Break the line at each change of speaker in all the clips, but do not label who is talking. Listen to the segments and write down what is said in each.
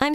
I'm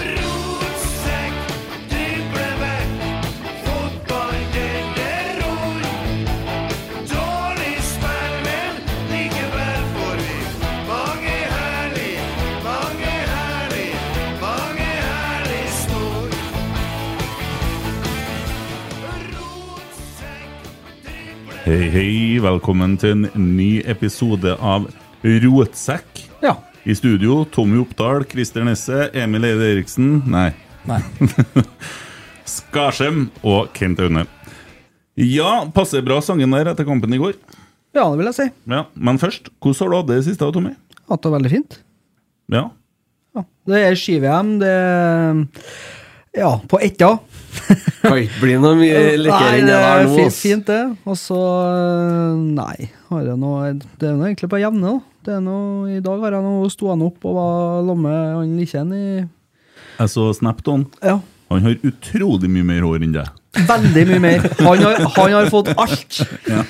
Rotsekk, driblevekk, fotball, det det ror. Dårlig spill, men likevel får vi mange herlig, mange herlig, mange herlig snor. Rotsekk, driblevekk
Hei, hei. Velkommen til en ny episode av Rotsekk.
Ja.
I studio Tommy Oppdal, Christer Nesse, Emil Eide Eriksen Nei,
Nei.
Skarsem og Kent Aune. Ja, passer bra sangen der etter kampen i går.
Ja, det vil jeg si.
Ja, Men først, hvordan har du hatt det i siste, Tommy?
Hatt det veldig fint.
Ja,
Ja. Det er ski-VM, det er Ja, på Etta.
Kan ikke bli noe mye likere enn det der nå.
fi-
ass.
fint, det. Og så øh, Nei. Har jeg noe Det er nå egentlig på jevne, da. Det er noe, I dag har jeg nå stående opp og var sammen med han Likjen i
jeg så Snapton.
Ja.
Han har utrolig mye mer hår enn deg.
Veldig mye mer. Han har, han har fått alt. Nei,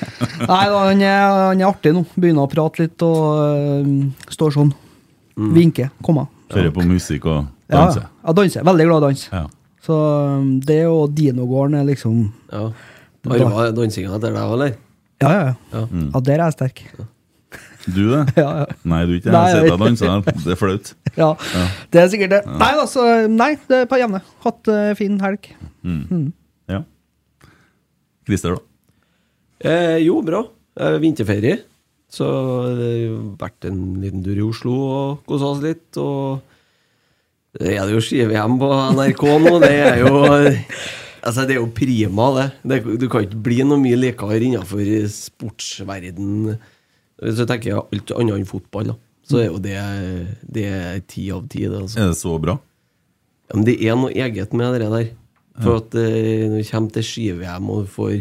da, han er, han er artig nå. Begynner å prate litt og øh, står sånn.
Mm.
Vinker. Kommer.
Hører på musikk og
Ja,
danser.
ja, danser. Veldig glad i dans.
Ja.
Så um, det og dinogården er liksom
Ja. Arva dansinga etter deg, eller?
Ja, ja, ja.
Ja.
Ja, der er jeg sterk.
Du det?
Mm. Ja, ja.
Nei, du er ikke det.
Nei,
Jeg sitter
jeg-
og danser her. Det er flaut.
Ja, Det er sikkert det. Nei, altså, nei, det er på jevne. Hatt uh, fin helg.
Ja. Christer, da?
Eh, jo, bra. Eh, vinterferie. Så det har jo vært en liten tur i Oslo og kosa oss litt. Og det er det jo ski-VM på NRK nå. Det er jo Altså, det er jo prima, det. det du kan ikke bli noe mye likere innenfor sportsverden Hvis du tenker alt annet enn fotball, da. Så er jo det, det er ti av ti, det. Altså.
Er det så bra?
Ja, men det er noe eget med det der. For at eh, når du kommer til ski-VM og du får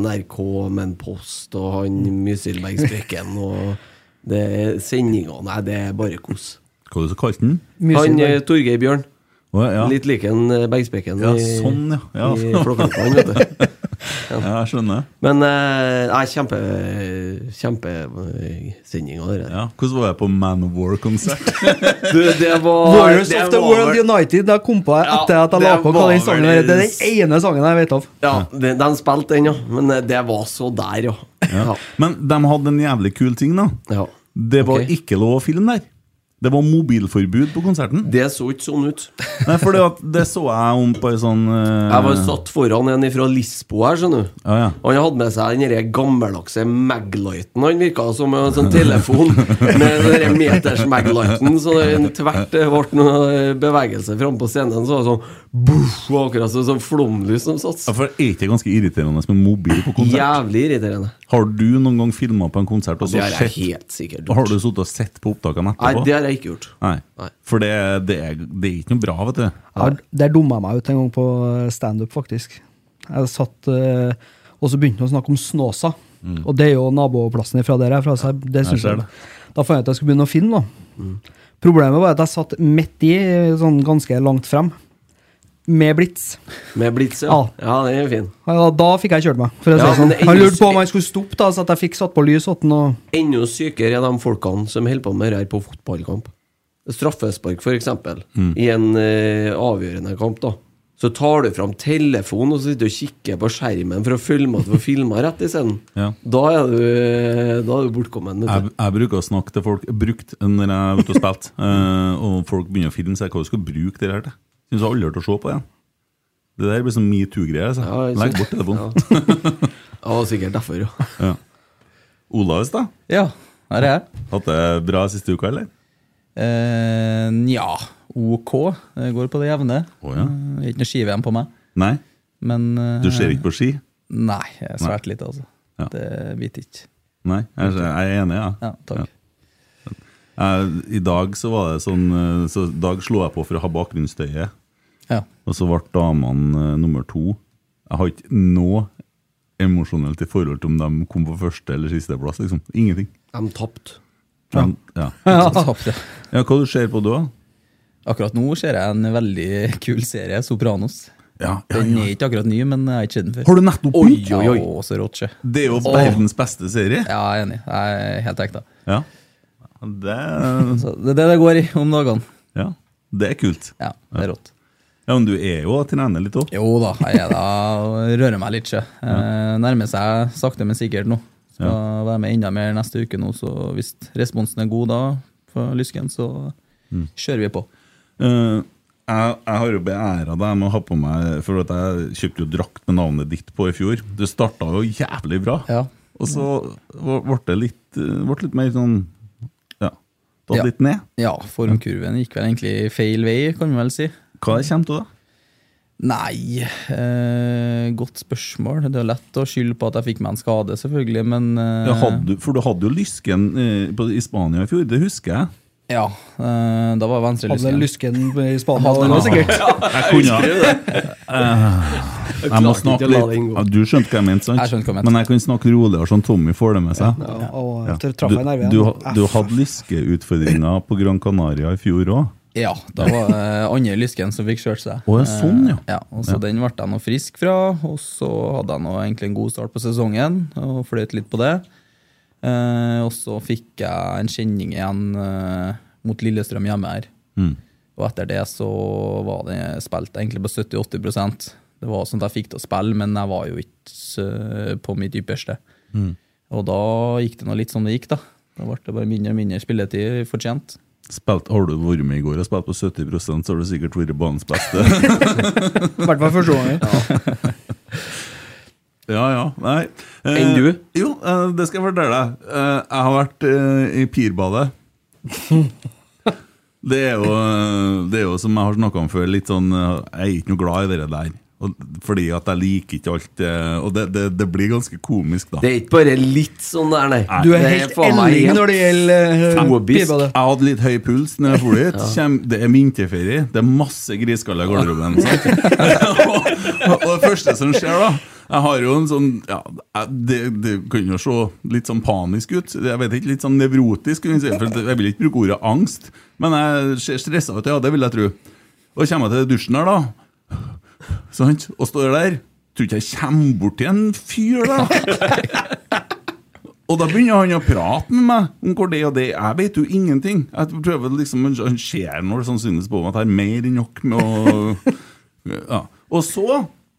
NRK med en post og han Mysilberg Sprekken og det er sendinger Nei, det er bare kos.
Hva var det du kalte den?
Han
Mye
eh, Torgeir Bjørn.
Å, ja.
Litt lik en eh, Bergspekken
Ja, sånn, ja. Ja.
i Flåklypa, vet du.
ja, jeg skjønner.
Men eh, nei, kjempe kjempesendinga, det der.
Ja. Hvordan var jeg på Man of War-konsert?
Du, det var
Warriors
det
of the
var
World
vel-
United. Da kom på jeg
Ja,
etter at jeg la
det
på hva
var
den sangen
vel-
er. Det er den ene sangen jeg vet av.
Ja, de, de spilte den, ja. Men eh, det var så der, ja.
Ja.
ja.
Men de hadde en jævlig kul ting, da.
ja.
Det var
Ok.
ikke lov å filme der. Det var mobilforbud på konserten.
Det så ikke sånn ut.
Nei, for det så jeg om på en sånn eh,
Jeg var satt foran en fra Lisboa her, skjønner du.
Ja, ja.
Han hadde med seg den der gammeldagse Maglighten. Han virka som en sånn telefon med den der meters Maglighten, så det en tvert det ble noe eh, bevegelse framme på scenen. Så var det sånn buff, og akkurat som sånn flomlys som satt.
Ja, for det er ikke ganske irriterende med mobil på konsert?
Jævlig irriterende.
Har du noen gang filma på en konsert og så
Det har jeg
sett
helt sikkert
Har du
gjort.
sittet og sett på opptakene
Nei,
etterpå?
det har jeg ikke gjort.
Nei.
Nei.
For det, det, er, det er ikke noe bra, vet du.
Jeg har- Der dumma jeg meg ut en gang
eh,
på standup, faktisk. Jeg satt eh, Og så begynte han å snakke om Snåsa. Og det Mm. er jo naboplassen fra der Mm. jeg er fra, så jeg- det syns
ser
jeg.
det.
Da fant jeg ut at jeg skulle begynne å finne. da. Problemet var at jeg satt midt i, sånn ganske langt frem, med blits.
Med blits, ja.
Ja.
Ah.
Ja, den er fin.
Ja, da fikk jeg kjørt meg. For å si
Ja,
det sånn.
men det er
Han
ingen-
lurte på om jeg skulle stoppe, da, så at jeg fikk satt på lys. åt den, og...
Enda sykere er de folkene som holder på med det her på fotballkamp. Straffespark, f.eks. eksempel
Mm.
I en eh, avgjørende kamp, da. Så tar du fram telefonen og så sitter du og kikker på skjermen for å følge med at du får filma rett isteden.
Ja.
Da er du, eh, da er du bortkommen. vet du.
Jeg, jeg bruker å snakke til folk brukt når jeg er ute og spilt, eh, og folk begynner å filme, så jeg hva jeg skal bruke det her til. Syns aldri jeg har hørt å se på igjen. Det der blir sånn metoo-greier. Så.
Ja, jeg
Legg
synes-
bort telefonen.
Ja. Ja, det var sikkert derfor, ja.
Olaus, da?
Ja, her er jeg.
Hatt det bra siste uka, eller?
Eh, Nja, ok. Jeg går på det jevne.
Å, ja.
Eh, Ikke noe ski-VM på meg.
Nei?
Men eh,
Du ser ikke på ski?
Nei, jeg er svært lite, altså.
Ja.
Det biter ikke.
Nei, jeg, jeg er enig, ja.
Ja, takk.
Jeg, I dag så var det sånn eh, så i dag slo jeg på for å ha bakgrunnsstøyet,
Ja.
og så ble damene eh, nummer to. Jeg har ikke noe emosjonelt i forhold til om de kom på første eller siste plass, liksom. Ingenting.
De tapte.
Ja. Ja.
Så tapte jeg.
ja, hva du ser på du da?
Akkurat nå ser jeg en veldig kul serie, Sopranos.
Ja, ja,
Den
ja.
er ikke akkurat ny, men jeg har ikke sett den før.
Har du nettopp begynt?
oi, oi. Ja, så rått, sjø.
Det er jo verdens beste serie.
Ja, jeg er enig. Jeg er helt ekte.
Ja. Det, er-
Så det er det det går i om dagene.
ja. det er kult.
Altså. Ja, det er rått.
Ja, Men du er jo trener litt òg.
Jo da, jeg er da og rører meg litt, sjø. Eh, Nærmer seg sakte, men sikkert nå. Skal være med enda mer neste uke nå, så hvis responsen er god da, for Lysken, så
Mm.
kjører vi på.
Eh, jeg, jeg har jo beæra deg med å ha på meg For at jeg kjøpte jo drakt med navnet ditt på i fjor. Det starta jo jævlig bra,
Ja.
og så ble det litt, eh, ble litt mer sånn Ja, datt
Ja.
litt ned.
Ja, formkurven gikk vel egentlig feil vei, kan vi vel si.
Hva kommer til da?
Nei, eh, godt spørsmål. Det er lett å skylde på at jeg fikk meg en skade, selvfølgelig, men eh,
Ja, hadde, du- for du hadde jo Lysken eh, på, i Spania i fjor, det husker jeg.
ja, eh, da var venstre
Hadde
lysken.
lysken i Spania. det var sikkert.
Jeg kunne Jeg må
klarte ikke
snakke
å la
litt
den gå.
ja, Du skjønte hva jeg mente, sant?
Jeg skjønte hva jeg mente.
Men jeg kan snakke roligere, sånn Tommy får det med seg.
Ja, og
Ja.
så traff jeg
Du,
nerven.
du, ha- du hadde lyskeutfordringer på Gran Canaria i fjor òg.
Ja, da var det andre lysken som fikk kjørt seg.
Å, ja, sånn, ja.
Eh, ja og så Den ble jeg nå frisk fra, og så hadde jeg nå egentlig en god start på sesongen og fløyt litt på det. Eh, og så fikk jeg en kjenning igjen eh, mot Lillestrøm hjemme her. Og etter det så var det spilt egentlig på 70-80 Det var sånn at jeg fikk til å spille, men jeg var jo ikke eh, på mitt ypperste. Og da gikk det nå litt som det gikk, da. Da ble det bare mindre og mindre spilletid fortjent.
Spilt, har du vært med i går og spilt på 70 så har du sikkert vært banens beste.
I hvert fall første gangen.
ja, ja, nei. Eh,
Enn du?
Jo, eh, det skal jeg fortelle deg. Eh, jeg har vært eh, i Pirbadet. det, er jo, eh, det er jo, som jeg har snakka om før, litt sånn eh, Jeg er ikke noe glad i det der. Og, fordi at jeg liker ikke alt eh, Og det, det, det blir ganske komisk, da.
Det er ikke bare litt sånn der, nei.
Du er helt elling når det gjelder eh,
Fobisk.
bilbadet.
Jeg hadde litt høy puls når jeg dro dit. Kjem, det er vinterferie, det er masse griskaller i garderoben. sant? og, og det første som skjer, da Jeg har jo en sånn ja, jeg- det, det kan jo se litt sånn panisk ut. Jeg vet ikke, Litt sånn nevrotisk. kan vi si, for Jeg vil ikke bruke ordet angst, men jeg ser stressa ut, ja, det vil jeg tro. Og kommer jeg til dusjen her, da, sant? og står der Tror ikke jeg kommer bort til en fyr, da. Og da begynner han å prate med meg om hvor det og det er. Jeg vet jo ingenting. Jeg prøver liksom, Han ser når det sannsynligvis på meg at jeg har mer enn nok med å ja. Og så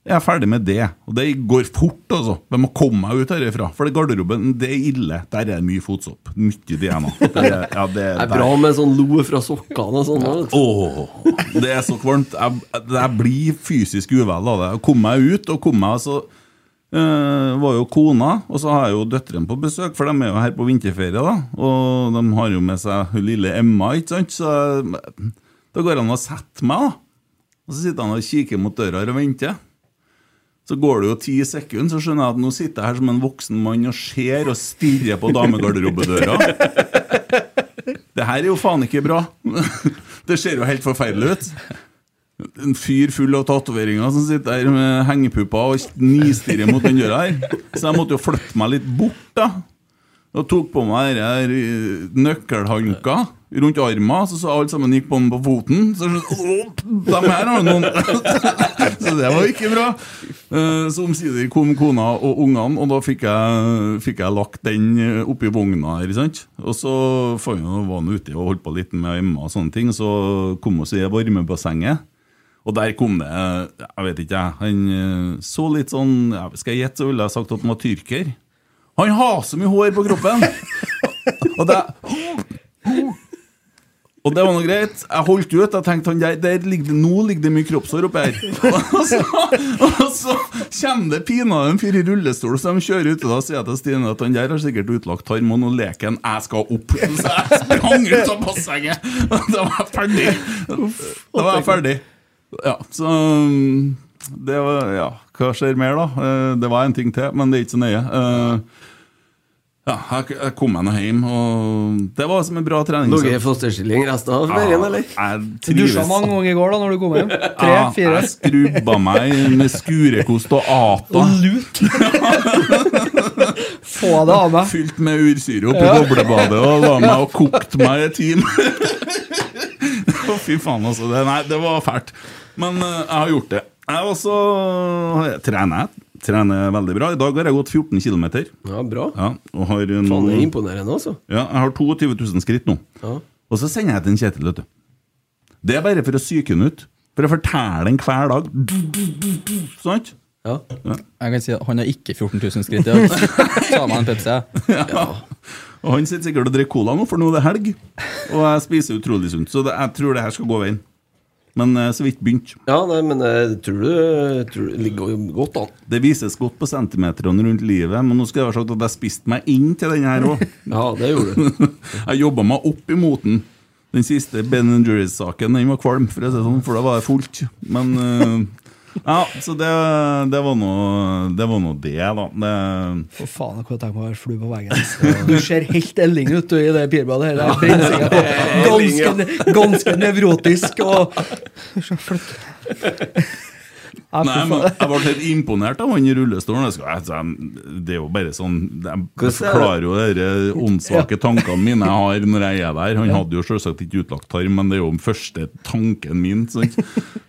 er jeg ferdig med det. Og det går fort, altså. Jeg må komme meg ut herifra. For det garderoben, det er ille. Der er det mye fotsopp. Mye DNA. Det er, ja, det
Det
er,
er bra med sånn lo fra sokkene og sånn. da, vet du.
Åh, det er så kvalmt. Jeg, jeg- jeg blir fysisk uvel av det. Jeg Kom meg ut, og kom meg så eh, var jo kona, og så har jeg jo døtrene på besøk, for de er jo her på vinterferie. da Og de har jo med seg hun lille Emma, ikke sant? Så jeg- da går han og setter meg, da. Og så sitter han og kikker mot døra her og venter. Så går det jo ti sekunder, så skjønner jeg at nå sitter jeg her som en voksen mann og ser og stirrer på damegarderobedøra. Det her er jo faen ikke bra. Det ser jo helt forferdelig ut. En fyr full av tatoveringer som sitter der med hengepupper og nistirrer mot den døra her. Så jeg måtte jo flytte meg litt bort, da. Og tok på meg denne her, eh, nøkkelhanka rundt armen, så, så alle sammen gikk på den på foten. Så jeg skjønte, «Åh, dem her har noen Så det var ikke bra. Eh, Så omsider kom kona og ungene, og da fikk jeg, fikk jeg lagt den eh, oppi vogna. her, ikke sant? Og så fant jeg- var han ute og holdt på litt med Emma og sånne ting, så kom vi oss i det varmebassenget. Og der kom det Jeg vet ikke, jeg. Han eh, så litt sånn ja, Skal jeg gjette, så ville jeg sagt at han var tyrker. Han har så mye hår på kroppen! og det og det var noe greit. Jeg holdt ut. Jeg tenkte han der, der ligger det, Nå ligger det mye kroppshår oppi her. og, så, og så kommer det pinadø en fyr i rullestol, så de kjører ute. Da sier jeg til Stine at han der har sikkert utlagt tarm, og nå leker han 'jeg skal opp'. Så jeg sprang ut av bassenget. Og da var jeg ferdig. Da var jeg ferdig. Ja, så um, det var, ja, Hva skjer mer, da? Eh, Det var en ting til, men det er ikke så nøye. Eh, Ja, jeg jeg kom meg nå hjem, og det var som en bra trening.
Ligget i fosterstilling resten av ferien, eller?
Ah, Jeg
Dusja
trives.
mange ganger i går da når du kom hjem. Tre,
Ja,
fire.
jeg skrubba meg med skurekost og ata.
Og lut! Få det av meg.
Fylt med ursyre oppi boblebadet og la meg og kokte meg i en time. Å, Fy faen, altså. Det, nei, det var fælt. Men eh, jeg har gjort det. Jeg også jeg trener. jeg. Trener veldig bra. I dag har jeg gått 14 km.
Ja, bra.
Ja, og har eh,
Faen, det er
nå-
imponerende, altså.
ja, jeg har 22 000 skritt nå.
Ja.
Og så sender jeg til en Kjetil, vet du. Det er bare for å psyke han ut. For å fortelle han hver dag. Sant?
Ja.
Jeg kan si at han har ikke 14 000 skritt i dag. Ta meg en Pepsi. jeg.
Og han sitter sikkert og drikker cola nå, for nå er det helg. Og jeg spiser utrolig sunt, så det, jeg tror det her skal gå veien. Men eh, så vidt begynt.
ja, nei, men eh, tror du tror du ligger jo godt an?
Det vises godt på centimeterne rundt livet, men nå skal jeg ha sagt at jeg spiste meg inn til den her òg.
Ja, det gjorde du.
Jeg jobba meg opp imot den. Den siste Ben Jerry's-saken den var kvalm, for å si det sånn, for da var det fullt. Men eh, Ja, så det, det var nå det, var nå det, da. Det,
For faen, jeg kunne tenkt meg å være flue på veggen. altså. Du ser helt elling ut du, i det pirbadet her. Det er brenner sikkert på. Ganske, ganske nevrotisk og
nei,
Nei,
men jeg ble helt imponert av han i rullestolen. Jeg skal, altså, jeg, det er jo bare sånn Jeg
Hvordan er
forklarer jo de åndssvake tankene mine jeg har når jeg er der. Han hadde jo selvsagt ikke utlagt tarm, men det er jo den første tanken min. sant?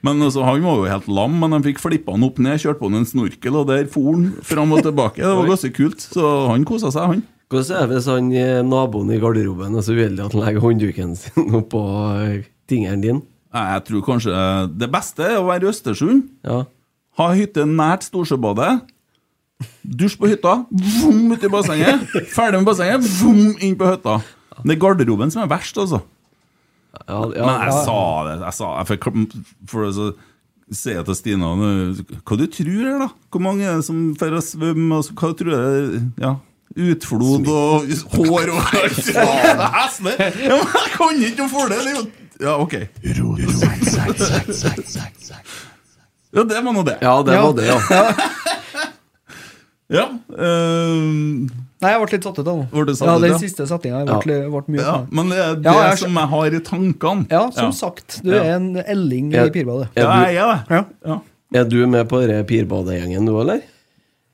Men altså, Han var jo helt lam, men han fikk flippa han opp ned, kjørte på han en snorkel, og der for han fram og tilbake. Det var ganske kult. Så han kosa seg, han.
Hvordan er det hvis han eh, naboen i garderoben er så uheldig at han legger håndduken sin oppå eh, tingeren din?
Nei, Jeg tror kanskje det beste er å være i Østersund.
Ja.
Ha hytte nært Storsjøbadet. Dusj på hytta, vom ut i bassenget. Ferdig med bassenget, vom inn på hytta. Det er garderoben som er verst, altså.
Ja, ja,
Men jeg
ja.
sa det. Jeg sa jeg fikk, For å så- sier jeg til Stina nå, Hva du tror her, da? Hvor mange er det som drar og svømmer? og så- Hva tror du det er? Ja. Utflod og hår og alt. Det er heslig! Ja, men Jeg kan ikke noe for det! det er jo- Ja, OK. Ja, det var nå det.
ja, det var det, ja.
Ja, eh,
Nei, jeg ble litt satt ut av
Ble du
nå.
satt
Ja,
ut, ja?
den siste setninga ble, ble mye
ja,
av.
men det er det
Ja, jeg skj-
som jeg har i tankene.
Ja, som sagt, du er en elling i
Ja.
pirbadet.
Ja,
Er
jeg er det.
Ja.
Ja.
Er du med på denne pirbadegjengen nå, eller?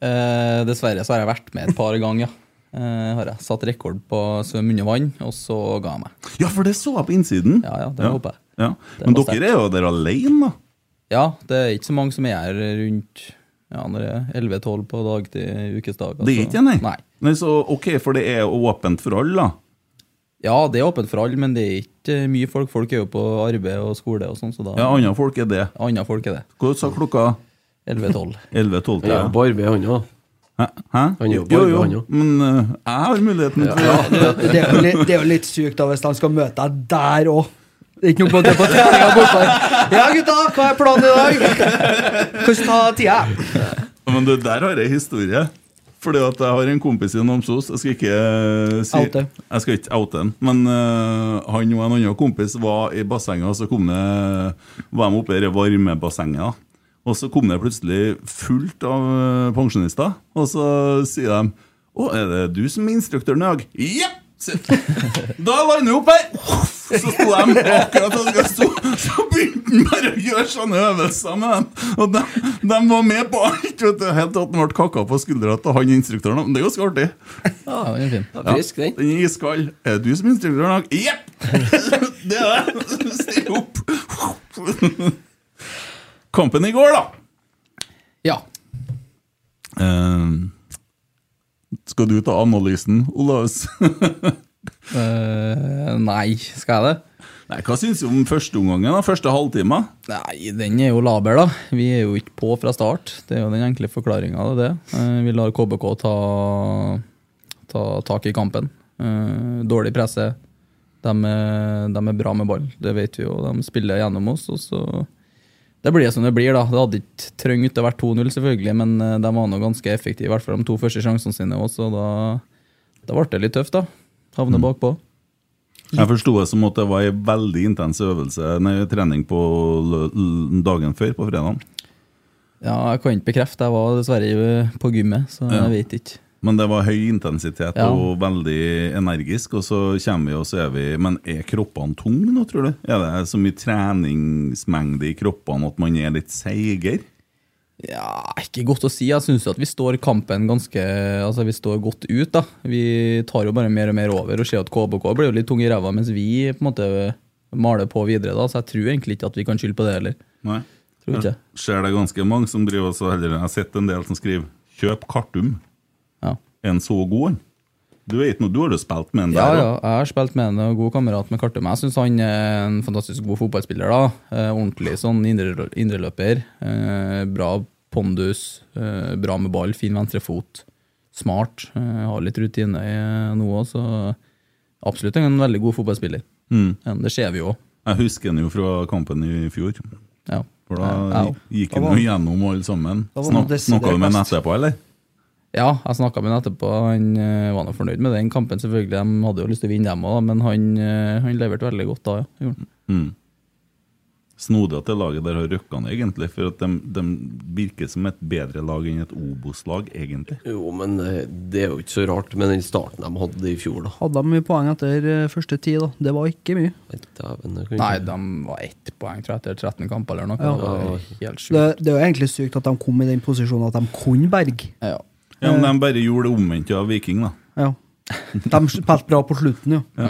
Eh, dessverre så har jeg vært med et par ganger. Eh, har jeg satt rekord på å svømme under vann, og så ga jeg meg.
ja, for det så jeg på innsiden.
Ja, ja, det håper jeg.
Ja. Men
var
dere er jo der alene, da.
Ja, det er ikke så mange som er her rundt ja, når det er 11-12 på dag til ukesdag.
Det er
altså.
ikke nei.
Nei.
nei. Så ok, for det er åpent for alle, da.
Ja, det er åpent for alle, men det er ikke mye folk. Folk er jo på arbeid og skole og sånn, så da
Ja, andre folk er det.
Andre folk er det.
Hva sa klokka
11-12.
11-12?
Han
Ja.
jobber på arbeid, han òg.
Hæ?
Han jobber,
jo, jo,
han jo.
men eh, jeg har muligheten til det.
Det er jo litt, det er jo litt sykt da hvis de skal møte deg der òg. Det er ikke noe på det på treninga borte. Ja, gutta, hva er planen i dag? Hvordan ta tida?
Men du, der har jeg historie. Fordi at jeg har en kompis i Namsos. Jeg skal ikke eh, si
Oute.
Jeg skal ikke oute han. Men eh, han og en annen kompis var i bassenget, og så kom det, var de oppe i det varmebassenget. da. Og så kom det plutselig fullt av eh, pensjonister, og så sier de Å, er det du som er instruktøren i dag? Ja! sier jeg. Da lander vi opp her! Uff, Så sto de akkurat og jeg sto, Så begynte han bare å gjøre sånne øvelser med dem. Og de, de var med på alt. Vet du, helt til at han ble kakka på skuldra til han instruktøren. Men det er ganske artig.
Ja, den er fin.
Ja, frisk, den.
Den er iskald. Er det du som er instruktør i dag? Jepp! Det er det. Still opp. Kampen i går, da.
Ja.
Eh, skal du ta analysen, Olavs?
Eh, nei, skal jeg det?
Nei, Hva syns du om førsteomgangen? da? Første halvtime?
Nei, den er jo laber, da. Vi er jo ikke på fra start. Det er jo den enkle forklaringa av det. Eh, Vi lar KBK ta, ta tak i kampen. Eh, Dårlig presse. De er, de er bra med ball, det vet vi jo. De spiller gjennom oss. og så... Det blir som det blir, da. Det hadde ikke trengt å være 2-0, selvfølgelig, men eh, de var nå ganske effektive, i hvert fall de to første sjansene sine også, og da, da ble det litt tøft, da. Havne bakpå.
Jeg forsto det som at det var ei veldig intens øvelse Nei, trening på lø- l- dagen før, på fredag.
Ja, jeg kan ikke bekrefte. Jeg var dessverre eh, på gymmet, så jeg vet ikke.
Men det var høy intensitet
Ja.
og veldig energisk. Og så kommer vi, og så er vi Men er kroppene tunge nå, tror du? Er det så mye treningsmengde i kroppene at man er litt seigere?
Ja, ikke godt å si. Jeg syns at vi står kampen ganske Altså, vi står godt ut, da. Vi tar jo bare mer og mer over og ser at KBK blir jo litt tung i ræva, mens vi på en måte maler på videre, da. Så jeg tror egentlig ikke at vi kan skylde på det heller.
Nei.
Tror ikke.
Jeg ser det ganske mange som driver så heller Jeg har sett en del som skriver 'Kjøp Kartum'.
Ja.
Er han så god, han? Du vet noe, du har jo spilt med han
Ja,
der.
ja, jeg har spilt med en og god kamerat med Kartum. Jeg syns han er en fantastisk god fotballspiller. da. Eh, Ordentlig sånn indre- indreløper. Eh, Bra pondus, eh, bra med ball, fin venstrefot. Smart. eh, Har litt rutine i- eh, nå òg, så absolutt en veldig god fotballspiller. Eh, Det ser vi jo òg.
Mm. Jeg husker han jo fra kampen i fjor.
Ja.
For
Ja,
da
ja.
gikk
Da
han
var-
jo gjennom alle sammen.
Da var han
Snak-
desidert
Snakka du med han
best.
etterpå, eller?
Ja, jeg snakka med han etterpå. Han eh, var nå fornøyd med den kampen, selvfølgelig. De hadde jo lyst til å vinne, dem òg, men han, eh, han leverte veldig godt da. ja. Gjorde han.
Snodig at det laget der har røkka ned, egentlig. For at de, de virker som et bedre lag enn et Obos-lag, egentlig.
Jo, men eh, det er jo ikke så rart med den starten de hadde i fjor, da.
Hadde de mye poeng etter eh, første ti, da? Det var ikke mye.
Nei, dæven, det kan ikke-
Nei, de var ett poeng tror jeg, etter 13 kamper eller noe.
Ja.
Det var helt sjukt.
Det, det er jo egentlig sykt at de kom i den posisjonen at de kunne berge.
Ja.
Ja, men De bare gjorde det omvendte av Viking, da.
Ja. De spilte bra på slutten, jo.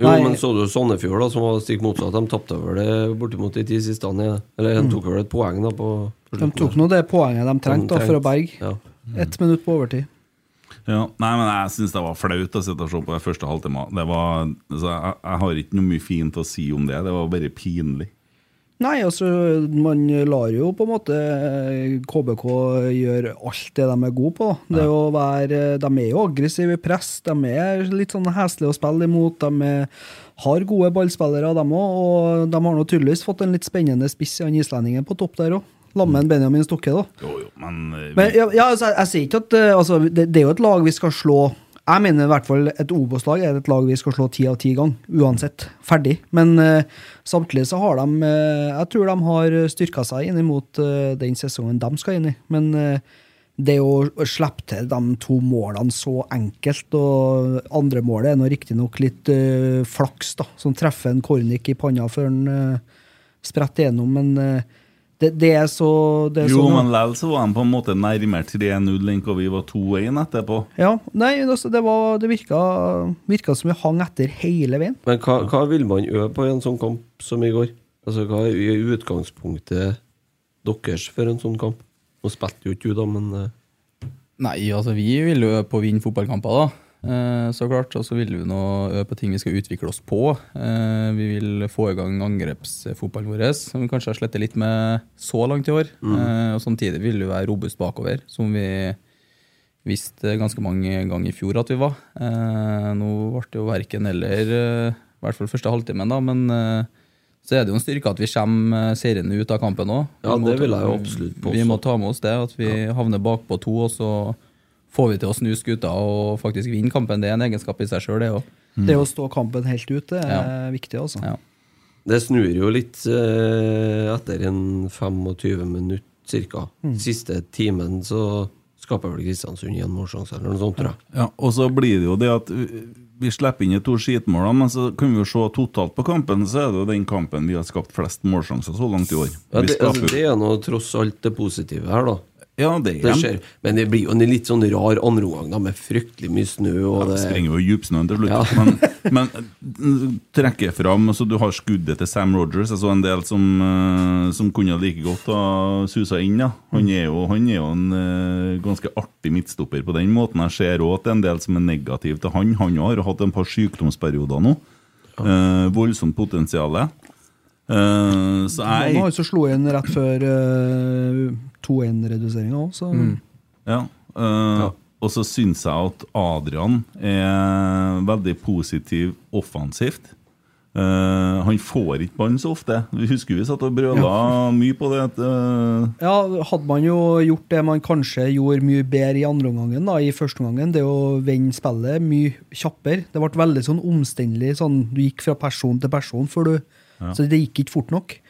Jo,
Nei.
men så du Sandefjord, da, som var stikk motsatt. De tapte vel det bortimot de ti siste dagene. Eller de tok vel et poeng, da, på, på
Mm. De tok nå det poenget de trengte da, for å berge.
Ja.
Ett minutt på overtid.
Ja, nei, men Jeg syns det var flaut å sitte og se på den første halvtimen. Det var, altså, jeg, jeg har ikke noe mye fint å si om det. Det var bare pinlig.
Nei, altså, man lar jo på en måte eh, KBK gjøre alt det de er gode på. da. Det er jo å være, eh, de er jo aggressive i press, de er litt sånn heslige å spille imot. De er, har gode ballspillere, de òg, og de har nå tydeligvis fått en litt spennende spiss i han islendingen på topp der òg. Lammen Benjamin Stokke, da.
Jo, jo, men, eh,
Men ja, ja, altså, jeg, jeg sier ikke at eh, altså, det, det er jo et lag vi skal slå Jeg mener i hvert fall et Obos-lag er et lag vi skal slå ti av ti gang, uansett. Ferdig. Men eh, samtidig så har de eh, Jeg tror de har styrka seg inn mot eh, den sesongen de skal inn i. Men eh, det å å slippe til de to målene så enkelt, og andre målet er nå riktignok litt eh, flaks, da, som treffer en Kornik i panna før han eh, spretter gjennom, men eh, det, det er så det er
jo,
sånn, da.
men likevel så var de på en måte nærmere 3-0 enn hva vi var 2-1 etterpå.
Ja, nei, altså, det, var, det virka, virka som vi hang etter hele veien.
Men hva, hva vil man øve på i en sånn kamp som i går? Altså, hva er i utgangspunktet deres for en sånn kamp? Nå spilte jo ikke du, da, men eh,
Nei, altså vi vil jo øve på å vinne fotballkamper, da. Eh, så klart. Og så vil vi nå øve på ting vi skal utvikle oss på. Eh, vi vil få i gang angrepsfotballen vår, som vi kanskje har slettet litt med så langt i år.
Mm.
Eh, og samtidig vil vi være robust bakover, som vi visste ganske mange ganger i fjor at vi var. Eh, nå ble det jo verken eller, eh, i hvert fall første halvtimen, da. Men eh, så er det jo en styrke at vi kommer eh, seirende ut av kampen òg.
Ja,
Vi må
det vil
ta-
jeg jo absolutt
Vi må
påstå.
ta med oss det, at vi havner bakpå to, og så får vi til å snu skuta og faktisk vinne kampen. Det er en egenskap i seg sjøl, det òg.
Det
Mm.
å stå kampen helt ut, det er viktig, altså.
Ja.
det snur jo litt eh, etter en 25 minutter, cirka.
Mm.
Siste timen så skaper vel Kristiansund igjen målsjanse, eller noe sånt, tror jeg.
Ja, og så blir det jo det at vi slipper inn de to skitmålene, men så kan vi jo se totalt på kampen, så er det jo den kampen vi har skapt flest målsjanser så langt i år.
Ja,
Vi
det, altså,
skaper-
det er nå tross alt det positive her, da.
ja, det
Det
er
skjer. Men det blir jo en litt sånn rar andre omgang, da, med fryktelig mye snø og
Det
det
sprenger jo i djupsnøen til slutt.
Ja.
Men, men trekker fram altså, Du har skuddet til Sam Rogers. Jeg så en del som, eh, som kunne like godt ha susa inn. Da. Han, er jo, han er jo en eh, ganske artig midtstopper på den måten. Jeg ser òg at det er en del som er negativ til han. Han har hatt en par sykdomsperioder nå. Eh, voldsomt potensial. Eh, så
Han har
jeg
jo så slo inn rett før eh, 2-1-reduseringa òg, så
Ja. eh, Og så syns jeg at Adrian er veldig positiv offensivt. Eh, han får ikke ballen så ofte. Vi husker vi satt og brøla mye på det. at, eh,
Ja, hadde man jo gjort det man kanskje gjorde mye bedre i andre omgangen, da, i første omgangen, det å vende spillet mye kjappere. Det ble veldig sånn omstendelig, sånn du gikk fra person til person, før du, så det gikk ikke fort nok.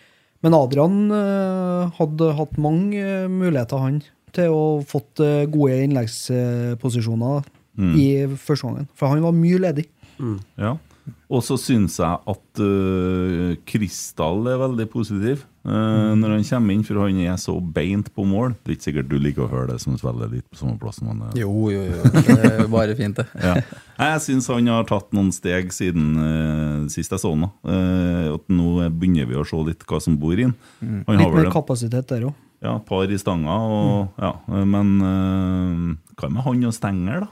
Men Adrian eh, hadde hatt mange eh, muligheter, han, til å fått eh, gode innleggsposisjoner i første omgangen. For han var mye ledig.
ja. Og så syns jeg at eh, Kristall er veldig positiv eh, når han kommer inn, for han er så beint på mål. Det er ikke sikkert du liker å høre det som spiller litt på samme plass. Men, eh,
Jo, jo, jo. Det er bare fint, det.
ja. Jeg syns han har tatt noen steg siden eh, sist jeg så han. da. Eh, at nå begynner vi å se litt hva som bor i han. Han har
Mm. Litt
vel
mer Mm.
en-
kapasitet der òg.
ja, et par i stanga, og, ja, eh, men eh, hva med han og Stenger, da?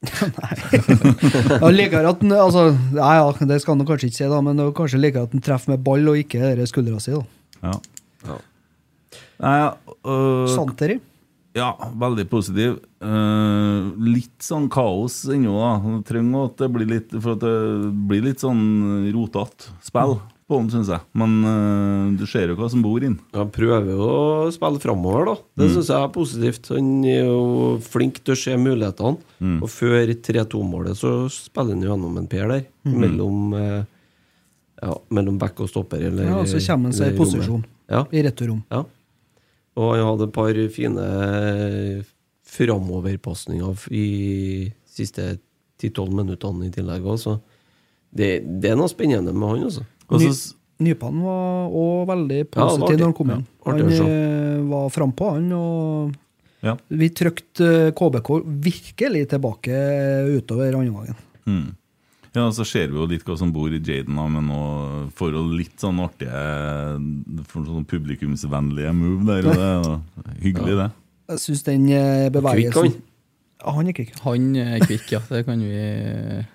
Ja, liker at den, altså, nei, ja, det skal han nå kanskje ikke si, da, men det er kanskje liker at han treffer med ball og ikke det der skuldra si. da.
Ja.
Ja.
Nei, øh,
Santeri.
ja, veldig positiv. Eh, litt sånn kaos ennå, da. Jeg Trenger at det blir litt For at det blir litt sånn rotete spill på han, syns jeg. Men eh, du ser jo hva som bor inn.
Ja, prøver jo å spille framover, da. Det synes syns jeg er positivt. Han er jo flink til å se mulighetene. Og før 3-2-målet så spiller han jo gjennom en per der, mellom eh, Ja, mellom back og stopper, eller
Ja, så kommer han seg i
eller rommet.
posisjon
Ja.
i returrom.
ja. Og han hadde et par fine eh, framoverpasninger i siste 10-12 minuttene i tillegg òg, så det, det er noe spennende med han, altså.
Og
Ny,
så s-
Nypan var òg veldig
Ja, det var
positiv
artig.
når han kom inn.
Ja, artig
han
å se.
eh, var frampå, han. og
ja.
Vi trykte eh, KBK virkelig tilbake eh, utover andre gangen.
Mm. Ja, så ser vi jo litt hva som bor i Jaden, da, men nå får hun litt sånn artige for sånn publikumsvennlige move der. Og det, er jo hyggelig, det.
Jeg syns den eh,
Kvikk
bevegelsen
han.
Ja, Han er kvikk.
Han er kvikk, ja. Det kan vi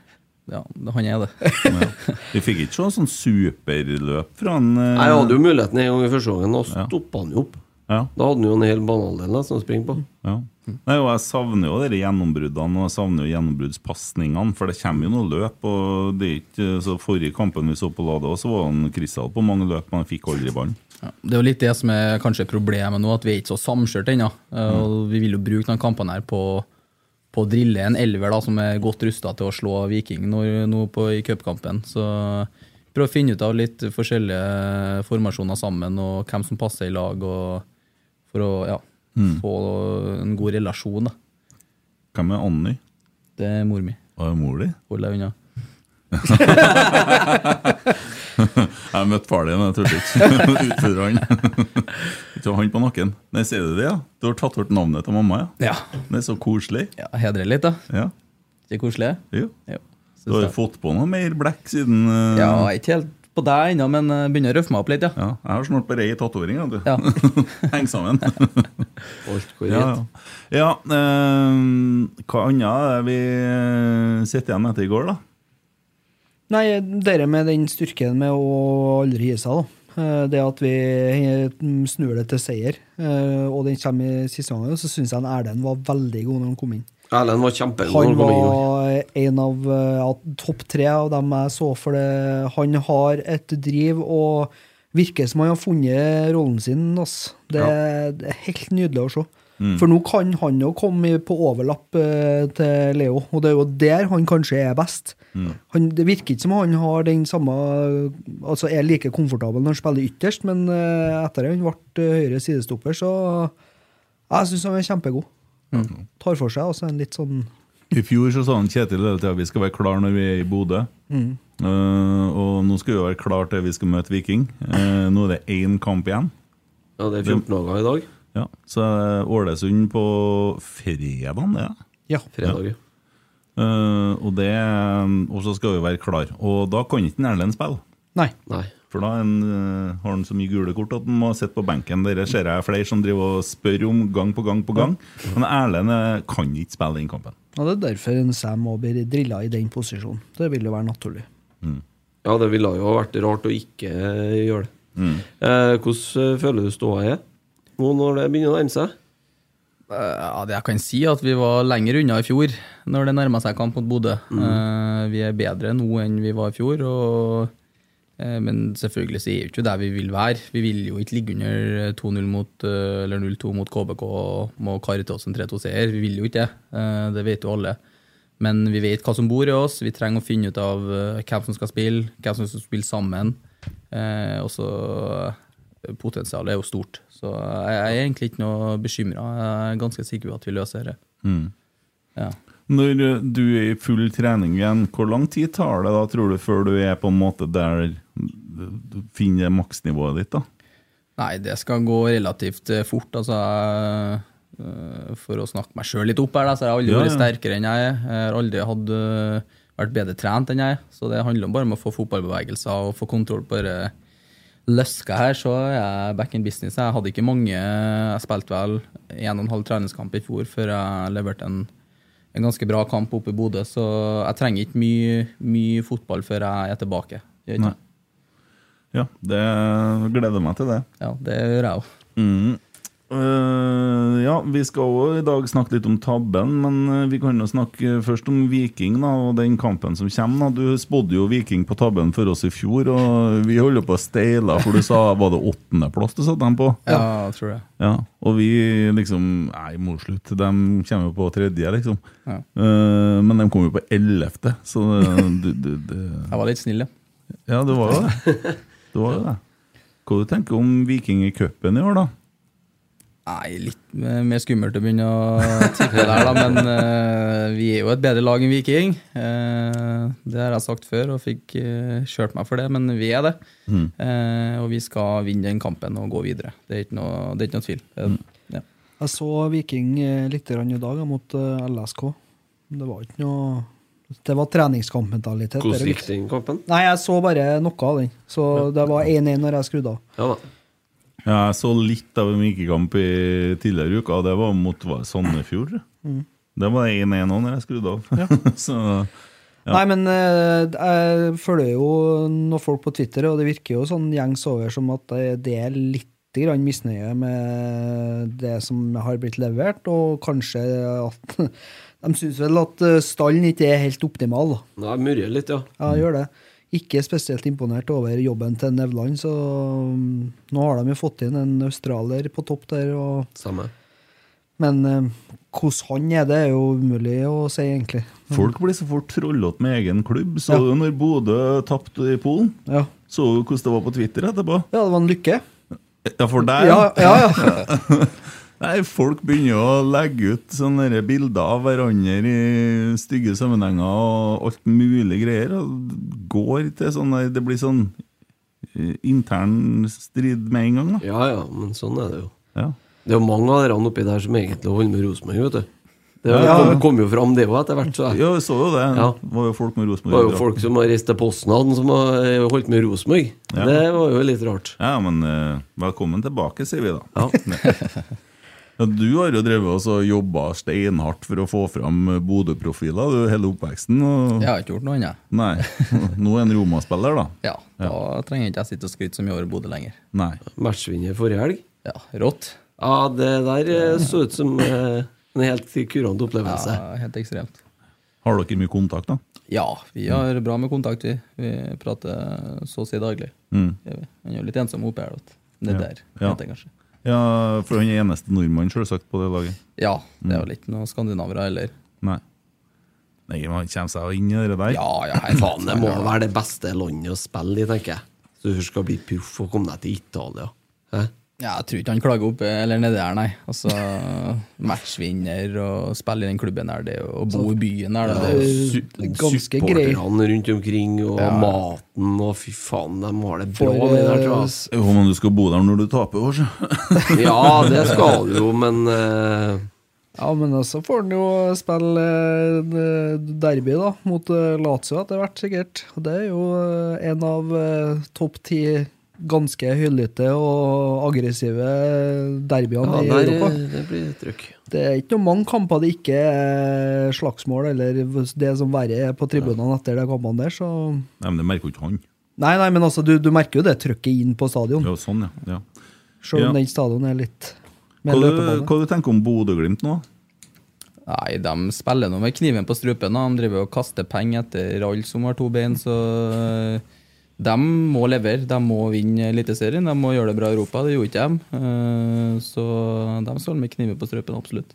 Ja, han er det.
Ja. Vi fikk ikke se sånn superløp fra han. eh,
Jeg hadde jo muligheten en gang i første gangen, og stoppa han jo opp.
Ja,
Da hadde han jo en hel banehalvdel da, som han springer på.
ja. Nei, og jeg savner jo dere gjennombruddene og jeg savner jo gjennombruddspasningene, for det kommer jo noen løp. og det er ikke, så Forrige kampen vi så på Lada, også, så var han Kristal på mange løp, men han fikk aldri ballen.
Ja, Det er jo litt det som er kanskje problemet nå, at vi er ikke så samkjørt ennå. Eh, og Vi vil jo bruke denne kampen her på, på å drille en elver da, som er godt rusta til å slå Viking nå, nå på, i cupkampen. Så prøv å finne ut av litt forskjellige formasjoner sammen, og hvem som passer i lag, og for å ja, få en god relasjon. da.
Mm. Hvem er Anny?
Det er mor mi.
Hva er mor di?
Hold deg unna.
Jeg møtte far din, jeg turte ikke utfordre han. Ikke ha han på nakken. Nei, sier du det, ja? Du har tatt bort navnet til mamma, ja?
Ja,
Det er så koselig.
ja Hedre litt, da.
Ja,
Ikke koselig?
jo.
Jo.
Du har jo fått på noe mer blekk siden eh,
Ja, ikke helt på deg ennå, men eh, begynner å røffe meg opp litt, ja.
ja, Jeg har snart bare ei tatovering, vet du.
ja.
Heng sammen.
Alt går
Ja,
rett.
ja. ja eh, hva annet er det vi eh, sitter igjen med etter i går, da?
Nei, dere med den styrken med å aldri gi seg, da. Eh, Det at vi eh, snur det til seier, eh, og den kommer i siste gangen, så syns jeg en Erlend var veldig god når han kom inn.
Erlend var kjempegod når
Han
han kom inn.
var en av eh, ja, topp tre av dem jeg så for det. Han har et driv og virker som han har funnet rollen sin. Ass. Det, det er helt nydelig å se. For nå kan han jo komme i- på overlapp eh, til Leo, og det er jo der han kanskje er best. Han, det virker ikke som han har den samme Altså er like komfortabel når han spiller ytterst, men eh, etter at han ble eh, høyre sidestopper, så Jeg syns han er kjempegod. Tar for seg altså en litt sånn
I fjor så sa han Kjetil hele tida vi skal være klar når vi er i Bodø. Eh, og nå skal vi være klar til vi skal møte Viking. Eh, nå er det én kamp igjen.
Ja, det er 14 dager i dag.
Ja, så er det Ålesund på fredagen, det. Ja.
Ja.
Fredag. Ja.
Eh, og, det, og så skal vi være klar Og da kan ikke en Erlend spille.
Nei.
Nei.
For da er han, eh, har han så mye gule kort at han må sitte på benken. Dere ser jeg flere som driver og spør om gang på gang på gang. Men Erlend eh, kan ikke spille den kampen.
Og det er derfor en Sam òg blir drilla i den posisjonen. Det vil jo være naturlig.
Ja, det ville jo ha vært rart å ikke gjøre det. Eh, hvordan eh, føler du ståa er nå når det begynner å nærme seg?
Ja, det jeg kan si er at vi var lenger unna i fjor når det nærma seg kamp mot Bodø. Eh, vi er bedre nå enn vi var i fjor, og, eh, men selvfølgelig så er vi ikke der vi vil være. Vi vil jo ikke ligge under 2-0 mot, eh, eller 0-2 mot KBK og må karre til oss en 3-2-seier. Vi vil jo ikke det. Eh, det vet jo alle. Men vi vet hva som bor i oss. Vi trenger å finne ut av eh, hvem som skal spille, hvem som skal spille sammen. Eh, og så eh, potensialet er jo stort. Så jeg jeg er egentlig ikke noe bekymra. Jeg er ganske sikker på at vi løser det. Ja.
Når eh, du er i full trening igjen, hvor lang tid tar det da, tror du, før du er på en måte der du finner maksnivået ditt? da?
Nei, det skal gå relativt eh, fort. Altså, jeg, eh, for å snakke meg sjøl litt opp her, da, så har jeg aldri
Ja,
vært
ja.
sterkere enn jeg er. Jeg har aldri hatt, eh, vært bedre trent enn jeg er. Så det handler bare om å få fotballbevegelser og få kontroll på det løska her, så er jeg back in business. Jeg hadde ikke mange Jeg spilte vel en og en halv treningskamp i fjor før jeg leverte en, en ganske bra kamp oppe i Bodø, så jeg trenger ikke mye, mye fotball før jeg er tilbake. Gjør ikke
Nei. Ja,
jeg?
det gleder meg til det.
Ja, det gjør jeg òg.
Mm. Eh, ja, vi skal også i dag snakke litt om tabben, men eh, vi kan jo snakke først om Viking da, og den kampen som kommer. Da. Du spådde jo Viking på tabben for oss i fjor, og vi holder på å steile, for du sa var det åttendeplass du satte dem på?
Ja, jeg tror det.
Ja, og vi liksom Nei, morslutt. De kommer jo på tredje, liksom.
Ja.
Eh, men de kom jo på ellevte, så du, du, det-
Jeg var litt snill, ja.
Ja, det var jo det. Det var jo det. Hva du tenker om Viking i cupen i år, da?
Nei, litt mer skummelt å begynne å tippe der, da. Men eh, vi er jo et bedre lag enn Viking. Eh, det har jeg sagt før og fikk eh, kjørt meg for det, men vi er det.
Mm.
Eh, og vi skal vinne den kampen og gå videre. Det er ikke noe, det er ikke noe tvil. Eh,
Mm.
ja.
Jeg så Viking eh, litt grann i dag eh, mot eh, LSK. Det var ikke noe Det var treningskampmentalitet. det er
Hvordan
det
gikk den kampen?
Nei, jeg så bare noe av den. Så det var 1-1 når jeg skrudde av.
Ja da.
Ja, jeg så litt av en Viking-kamp i tidligere uka, og det var mot var det Sandefjord.
Mm.
Det var 1-1 òg når jeg skrudde av. så
Nei, men eh, jeg følger jo noen folk på Twitter, og det virker jo sånn gjengs over som at det- det er litt grann misnøye med det som har blitt levert, og kanskje at De syns vel at eh, stallen ikke er helt optimal, da.
Nei, jeg murrer litt, ja.
Ja, jeg gjør det. Ikke spesielt imponert over jobben til Nevland, så mm, nå har de jo fått inn en australier på topp der. Og,
Stemmer.
men eh, hvordan han er, det er jo umulig å si, egentlig.
folk blir så fort trollete med egen klubb. Så du når Bodø tapte i Polen?
Ja,
Så du hvordan det var på Twitter etterpå?
ja det var en lykke.
Ja, for deg?
Ja, ja, ja.
Nei, folk begynner å legge ut sånne der bilder av hverandre i stygge sammenhenger og alt mulig greier. Og det går til sånn der- Det blir sånn eh, intern strid med en gang, da.
Ja ja, men sånn er det jo.
Ja.
Det er jo mange av dere oppi der som egentlig holder med Rosenborg, vet du. Det er jo-
Ja.
kom, kom jo fram, det òg, etter hvert. Så jeg.
Ja, vi så jo det.
Ja.
Det var jo folk med
Det var jo
Rosenborg-drakt.
folk som har reist til Postnaden, som har eh, holdt med Rosenborg.
Ja.
Det var jo litt rart.
Ja, men eh, velkommen tilbake, sier vi da.
Ja.
Ja, du har jo drevet oss og jobba steinhardt for å få fram eh, Bodø-profiler du, hele oppveksten. Og...
Jeg har ikke gjort noe annet.
Nei. Nå er en Roma-spiller, da.
Ja, da trenger ikke jeg sitte og skryte så mye over Bodø lenger.
Nei.
Matchvinner forrige helg.
Ja, rått.
Ja, det der eh, så ut som eh, en helt kurant
Ja,
opplevelse.
helt ekstremt.
Har dere mye kontakt, da?
Ja, vi har bra med kontakt, vi. Vi prater så å si daglig. Det gjør vi. Han er jo litt ensom oppe her, vet du.
Mm.
Det er
Ja.
der,
Ja.
heter det kanskje.
Ja, For han er eneste nordmann, selvsagt, på det laget. Mm.
Ja, det er vel ikke noen skandinavere heller.
Nei. Nei, men Han kommer seg jo inn i det der.
Ja, ja, jeg
Faen, det må være det beste landet å spille i, tenker jeg. Så du skal bli proff og komme deg til Italia. Hæ?
Ja, jeg tror ikke han klager oppe eller nede her, nei. Altså, Matchvinner og spille i den klubben her, det, og
Altså,
bo i byen her, det, det,
Su-
ganske grei.
Supporterne rundt omkring, og maten, og fy faen, de har det bra.
For,
med det der, tror
eh,
jeg, ass.
Om du skal bo der når du taper år, så.
Ja, det skal du jo, men eh,
Ja, men så får han jo spille eh, en derby, da, mot eh, Lazio etter hvert, sikkert. Og det er jo eh, en av eh, topp ti ganske høylytte og aggressive derbyene
ja,
i
der,
Europa.
eh, det blir trøkk.
Det er eh, ikke noe mange kamper det ikke er slagsmål eller det som verre er på tribunene etter de kampene der, så
Nei, men det merker jo ikke han.
Nei, nei, men altså, du, du merker jo det trøkket inn på stadion,
Ja, sånn, ja. ja.
selv om
ja.
den stadion er litt
Hva,
mer
du,
løpebane.
hva du tenker om Bodø-Glimt nå?
Nei, de spiller nå med kniven på strupen. da. De driver og kaster penger etter alle som har to bein, så øh, de må levere. De må vinne Eliteserien, de må gjøre det bra i Europa. Det gjorde ikke de. Eh, Så de står med kniven på strupen, absolutt.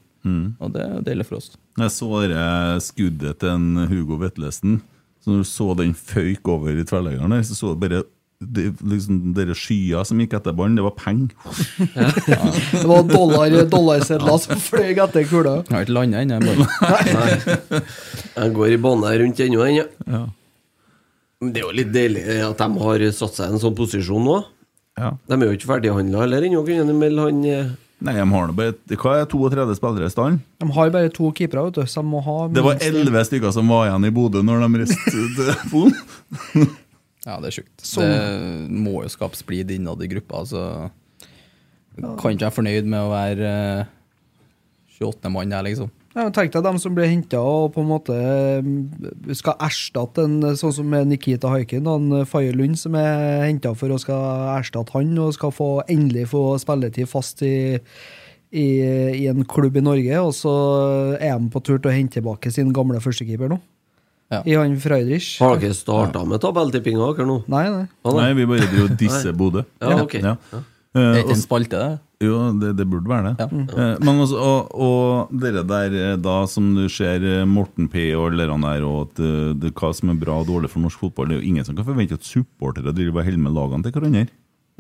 Og det er deilig for oss.
Jeg så det eh, skuddet til en eh, Hugo Vetlesen. Så når du så den føyk over i tverrleggeren der, så så du bare det, liksom, dere skyer som gikk etter ballen. Det var penger.
Det var dollar, dollarsedler som fløy etter kula.
Jeg har ikke landa ennå. jeg bare-
Jeg går i bane rundt ennå, ennå. Men Det er jo litt deilig at de har satt seg i en sånn posisjon nå.
Ja.
De er jo ikke ferdighandla heller ennå, kunne de melde han eh,
Nei, de har nå bare Hva er 32 spillere i stallen?
De har bare to keepere, vet du, så de må ha
Det var
minst-
11 stykker som var igjen i Bodø når de reiste til Polen.
Ja, det er sjukt.
eh,
Det må jo skape splid innad i gruppa. Altså. Kan ikke være fornøyd med å være eh, 28. mann her, liksom.
Ja, men Tenk deg dem som blir henta og på en måte eh, skal erstatte en eh, sånn som Nikita Haikin, han eh, Faye Lund som er henta for å skal erstatte han og skal få, endelig få spilletid fast i, i, i en klubb i Norge. Og så er han på tur til å hente tilbake sin gamle førstekeeper nå,
Ja.
i han Freidrich.
Har dere starta med tabelltippinga dere nå?
Nei, nei.
Ja, da.
Nei, vi bare dro og disse Bodø.
Ja, ok.
Det er
Eh,
ikke
og
en spalte, det.
Jo, det, det burde være det.
Ja.
Eh, Men også, og, og dere der eh, da, som du ser eh, Morten P og alle de der, og at eh, det, hva som er bra og dårlig for norsk fotball, det er jo ingen som kan forvente at supportere driver og holder med lagene til hverandre.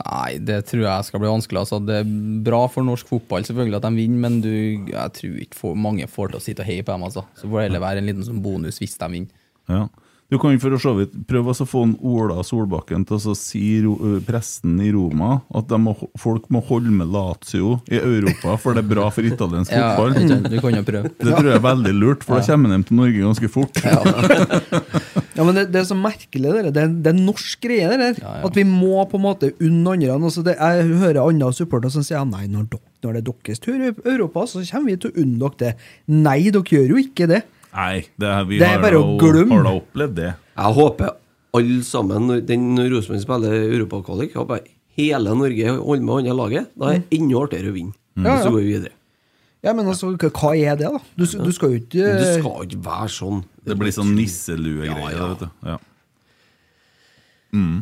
Nei, det tror jeg skal bli vanskelig. Altså, det er bra for norsk fotball selvfølgelig at de vinner, men du, jeg tror ikke få- mange får til å sitte og heie på dem. Altså. Så får det heller være en liten sånn bonus hvis de vinner.
Ja. Du kan jo for så vidt prøve å få en Ola Solbakken til å så si ro, eh, presten i Roma at de må, ho- folk må holde med Lazio i Europa, for det er bra for italiensk
Ja, ikke
fotball.
sant? du kan jo prøve.
Det tror jeg er veldig lurt, for da kommer de til Norge ganske fort.
Ja, men det, det er så merkelig, det der. Det, er- det er norsk greie, det der. At vi må på en måte unne andre. Altså, det, jeg hører andre supportere som sier ja, nei, når, dok, når det er deres tur i Europa, så kommer vi til å unne dere det. Nei, dere gjør jo ikke det.
Nei, det er, vi
Det er
har
bare
da-
å glemme.
Har da opplevd det.
Jeg håper alle sammen, når- den når Rosenborg spiller europakvalik, håper jeg hele Norge holder med andre laget. Da er det enda artigere å vinne. Og så går vi videre.
Ja, men altså, hva- hva er det, da? Du, s- du skal jo ikke
Men det skal ikke være sånn.
Det blir sånn nisselue-greier.
Ja, ja.
vet du. Ja.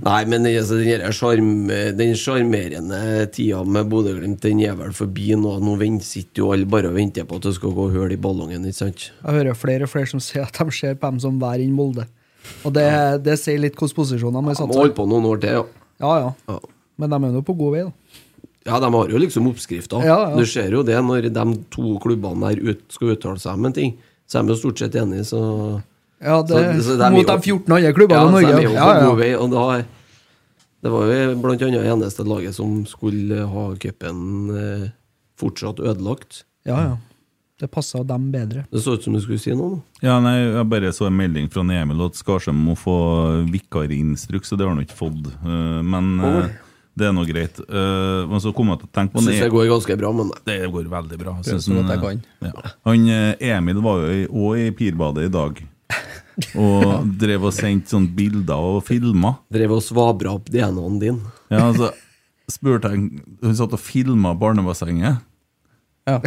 Nei, men det- altså, den her sjarm- den sjarmerende tida med Bodø-Glimt, den er vel forbi nå. Nå vent- sitter jo alle bare og venter på at det skal gå hull i ballongen, ikke sant?
Jeg hører flere og flere som sier at de ser på dem som vær inn Molde. Og det, det sier litt hvilke posisjoner de har
De
satt
må holde
seg.
på noen år til, ja.
Ja, ja.
ja.
Men de er nå på god vei, da.
Ja, de har jo liksom oppskrifta.
Ja, ja.
Du ser jo det når de to klubbene der ut, skal uttale seg om en ting. Så er de jo stort sett enige, så
Ja, det,
Så- så de er
mot
jo-
de 14 andre klubbene i
Ja, så
Norge.
de er jo
Ja,
på
ja.
god vei, og da Det var jo blant annet eneste laget som skulle ha cupen eh, fortsatt ødelagt.
ja, ja. Det passer dem bedre.
Det så ut som du skulle si noe. nå.
Ja, nei, Jeg bare så en melding fra Emil at Skarsheim må få vikarinstruks, og det har han ikke fått. Eh, Men eh, det er nå greit. Eh, Men så kom jeg til å tenke på
Syns det går ganske bra, men
Det går veldig bra.
Prøver
synes
så
han,
godt jeg
eh, ja. Han, eh, Emil var jo i- også i Pirbadet i dag, og drev og sendte sånne bilder og filma.
drev og svabra opp DNA-en din.
Ja, altså, spurte jeg Hun satt og filma barnebassenget.
Ja.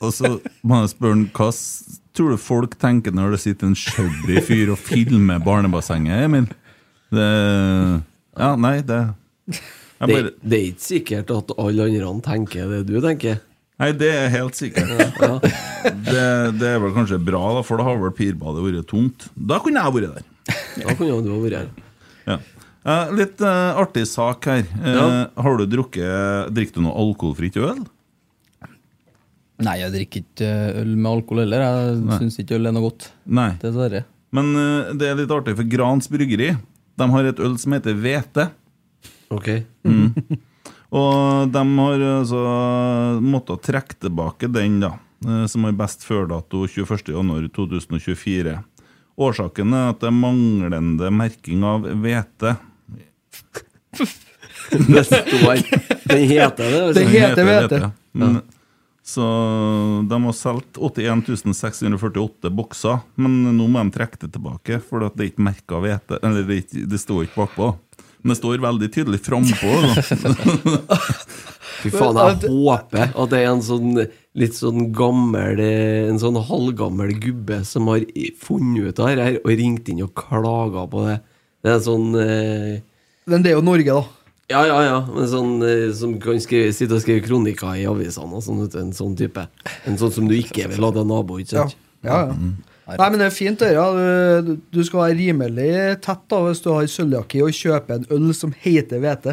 Og så må jeg spørre han, hva s- tror du folk tenker når det sitter en shabby fyr og filmer barnebassenget, Emil? Det, ja, nei, det jeg
Det,
bare,
det er ikke sikkert at alle andre tenker det du tenker.
Nei, det er helt sikkert.
Ja.
Det, det er vel kanskje bra, da, for da har vel pirbadet vært tomt. Da kunne jeg vært der.
Da kunne jo du ha vært her.
Ja. Eh, litt eh, artig sak her. Eh,
Ja.
Har du drukket Drikker du noe alkoholfritt øl?
Nei, jeg drikker ikke eh, øl med alkohol heller. Jeg syns ikke øl er noe godt.
Nei.
Dessverre.
Men eh, det er litt artig, for Grans bryggeri De har et øl som heter Hvete.
Ok.
Og de har altså måttet trekke tilbake den, da, eh, som har best før-dato 21.1.2024. Årsaken er at det er manglende merking av hvete.
Det står Den heter det.
Det
altså.
heter hvete.
Men, Så de har solgt 81 648 bokser, men nå må de trekke det tilbake, for at det er ikke merka hvete. Eller det, er ikke, det står ikke bakpå. Men det står veldig tydelig frampå. da.
Fy faen, jeg håper at det er en sånn litt sånn gammel eh, En sånn halvgammel gubbe som har i- funnet ut av det her og ringt inn og klaga på det. Det er en sånn eh,
Men det er jo Norge, da.
Ja, ja, ja. Men sånn eh, som kan skrive, sitte og skrive kronikker i avisene og sånn. vet du, En sånn type. En sånn som du ikke vil ha til nabo, ikke
Ja.
sant?
Ja, ja. Nei, men det er fint, det. Ja. Du, du skal være rimelig tett da hvis du har sølvjakke i og kjøper en øl som heter hvete.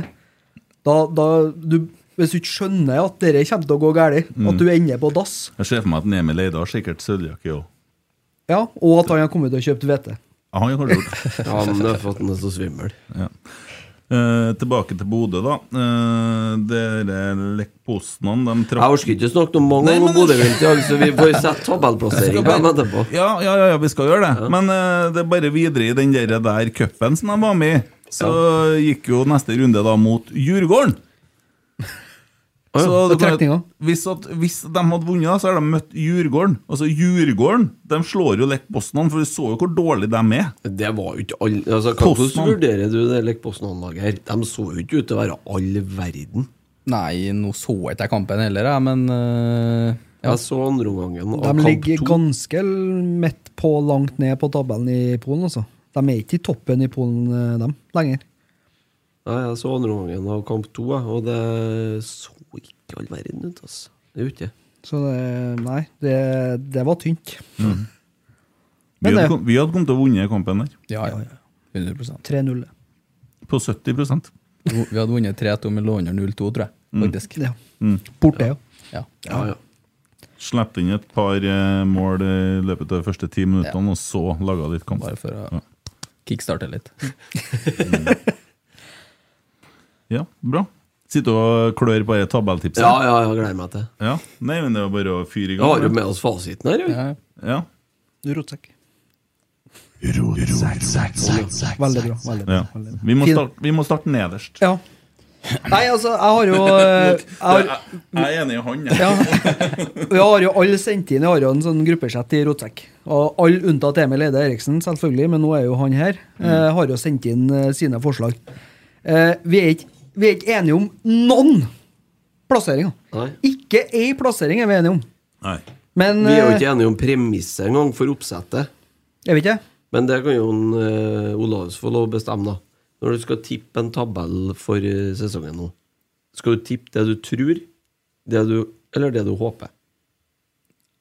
Da, da, du, hvis du ikke skjønner at dette kommer til å gå galt, at du ender på dass,
Jeg ser for meg at Emil Eide har sikkert sølvjakke òg.
ja, og at han har kommet til å kjøpe hvete.
Han har kanskje gjort det.
Ja, men det er for at den er så svimmel.
Eh, tilbake til Bodø, da. Eh, Dere Lech Poznan, de
Jeg
trakk
orker ikke snakke noe om mange
Nei,
om
men-
Bodø-Glimt i dag, så vi får sette tabellplasseringa etterpå.
ja, ja, ja, ja, vi skal gjøre det. Men eh, det er bare videre i den der, der cupen som de var med i. Så gikk jo neste runde da mot Djurgården. Så
på
det kan-
trekninga.
hvis, at, hvis de hadde vunnet, så hadde de møtt Djurgården. Altså Djurgården de slår jo Lech Poznan, for vi så jo hvor dårlig de er.
Det var jo ikke alle altså, hva- Hvordan
Postmann.
vurderer du det Lech Poznan-laget her? De så jo ikke ut til å være all verden.
Nei, nå så jeg ikke kampen heller, jeg, men øh, ja.
Jeg så andreomgangen av
De
kamp
ligger
to.
ganske midt på langt ned på tabellen i Polen, altså. De er ikke i toppen i Polen, eh, dem, lenger.
Nei, jeg så andreomgangen av kamp to, jeg, og det så ikke all verden ut, altså. Det er jo ikke det.
Så det, nei, det, det var tynt.
Vi
Men
hadde,
det-
kom- vi hadde kommet til å vinne kampen der,
Ja, ja, ja. 100
3-0.
på 70
Vi hadde vunnet 3-2 med lå under 0-2, tror jeg. Faktisk.
Mm.
Mm.
Ja. Borte, ja.
Ja.
Ja, ja.
Slapp inn et par eh, mål i løpet av de første ti minuttene, og så laga litt kamp.
Bare for å kickstarte litt.
Ja, bra. Sitter og klør på det tabelltipset.
ja, ja, jeg gleder meg til det.
Ja. Nei, men det var bare å fyre i
Vi har jo
gang.
med oss fasiten her, jo.
Ja,
Ja.
Rotsekk. Veldig bra. veldig bra,
Ja.
veldig bra.
Vi, må
Fin-
starte, vi må starte nederst.
Ja. Nei, altså, jeg har jo eh, jeg har,
Jeg jeg er enig i han. jeg.
ja. Vi har jo alle sendt inn Jeg har jo en sånn gruppesett i Rotsekk. Og alle unntatt Emil Eide Eriksen, selvfølgelig, men nå er jo han her. Eh,
Mm.
har jo sendt inn eh, sine forslag. Eh, vi, er ikke, vi er ikke enige om noen plasseringer.
Nei.
Ikke ei plassering er vi enige om.
Nei.
Men
Vi er jo
eh,
ikke enige om premisset engang for oppsettet.
Jeg vet eh, ikke.
Men det kan jo en, eh, Olaus få lov å bestemme, da. Når du skal tippe en tabell for eh, sesongen nå, skal du tippe det du tror, det du, eller det du håper?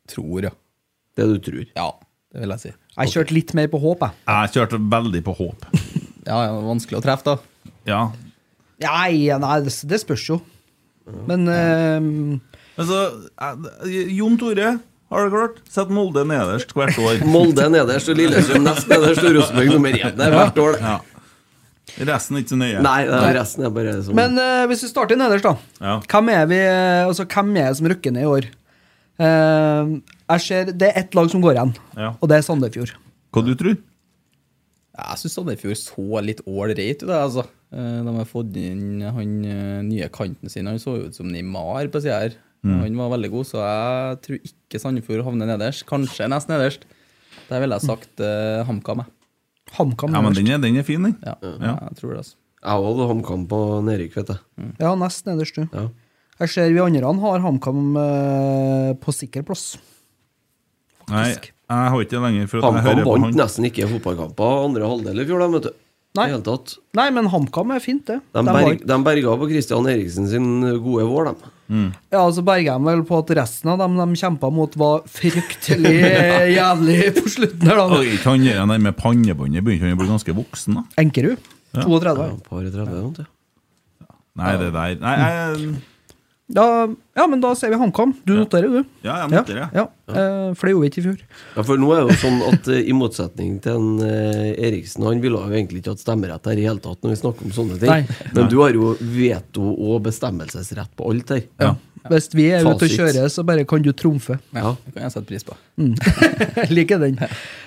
tror, ja.
Det du tror.
Ja, det vil jeg si.
Jeg kjørte litt mer på håp, jeg.
Jeg kjørte veldig på håp.
Ja, ja, det er vanskelig å treffe, da.
Ja.
Nei, nei, det, det spørs jo. Men eh,
Altså, jeg- Jon Tore, har du klart? Sett Molde nederst hvert år.
Molde er nederst og Lillestrøm nest nederst og Rosenborg nummer én der hvert år. det.
Ja. Resten er ikke så nøye.
Nei, det er resten er bare sånn- som
Men eh, hvis vi starter nederst, da.
Ja.
Hvem, er vi, eh, altså, hvem er det som rykker ned i år? Eh, jeg ser Det er ett lag som går igjen,
Ja.
og det er Sandefjord.
Hva du tror
Jeg syns Sandefjord så litt ålreit ut, jeg, altså. Eh, De har fått inn han eh, nye kanten sin. Han så jo ut som Neymar på sida her. Han var veldig god, så jeg tror ikke Sandefjord havner nederst. Kanskje nest nederst. Der ville jeg sagt eh, HamKam, jeg.
HamKam
Ja, men
nederst.
den er, den er fin, den.
Ja, jeg tror det, altså.
Jeg hadde HamKam på nedrykk, vet jeg.
Ja, nest nederst, du.
Ja.
Jeg ser vi andre har HamKam eh, på sikker plass.
Nei, jeg har ikke det lenger, for at jeg
HamKam
hører på
vant
han.
nesten ikke fotballkamper andre halvdel i fjor, da, vet du.
Nei.
I hele tatt.
Nei, men HamKam er fint, det.
De,
De
berg,
har-
de berga på Christian Eriksen sin eh, gode vår, de.
Ja, altså berger de vel på at resten av dem de kjempa mot, var fryktelig eh, jævlig på slutten her, da.
Oi, ikke han der med pannebåndet begynte han å bli ganske voksen, da.
Enkerud. 32
Ja, par og 30 eller noe sånt, ja.
Nei, det der Nei, jeg,
Da, ja, men da ser vi HamKam. Du noterer, du.
ja, jeg noterer, jeg.
Ja, eh, For det gjorde vi ikke i fjor.
Ja, for nå er det jo sånn at eh, i motsetning til en eh, Eriksen, han ville jo egentlig ikke hatt stemmerett her i hele tatt når vi snakker om sånne ting,
Nei.
men du har jo veto og bestemmelsesrett på alt her.
Ja.
Hvis vi er ute og
Fasit.
kjører, så bare kan du trumfe.
Ja.
Det kan jeg sette pris på.
Jeg liker den.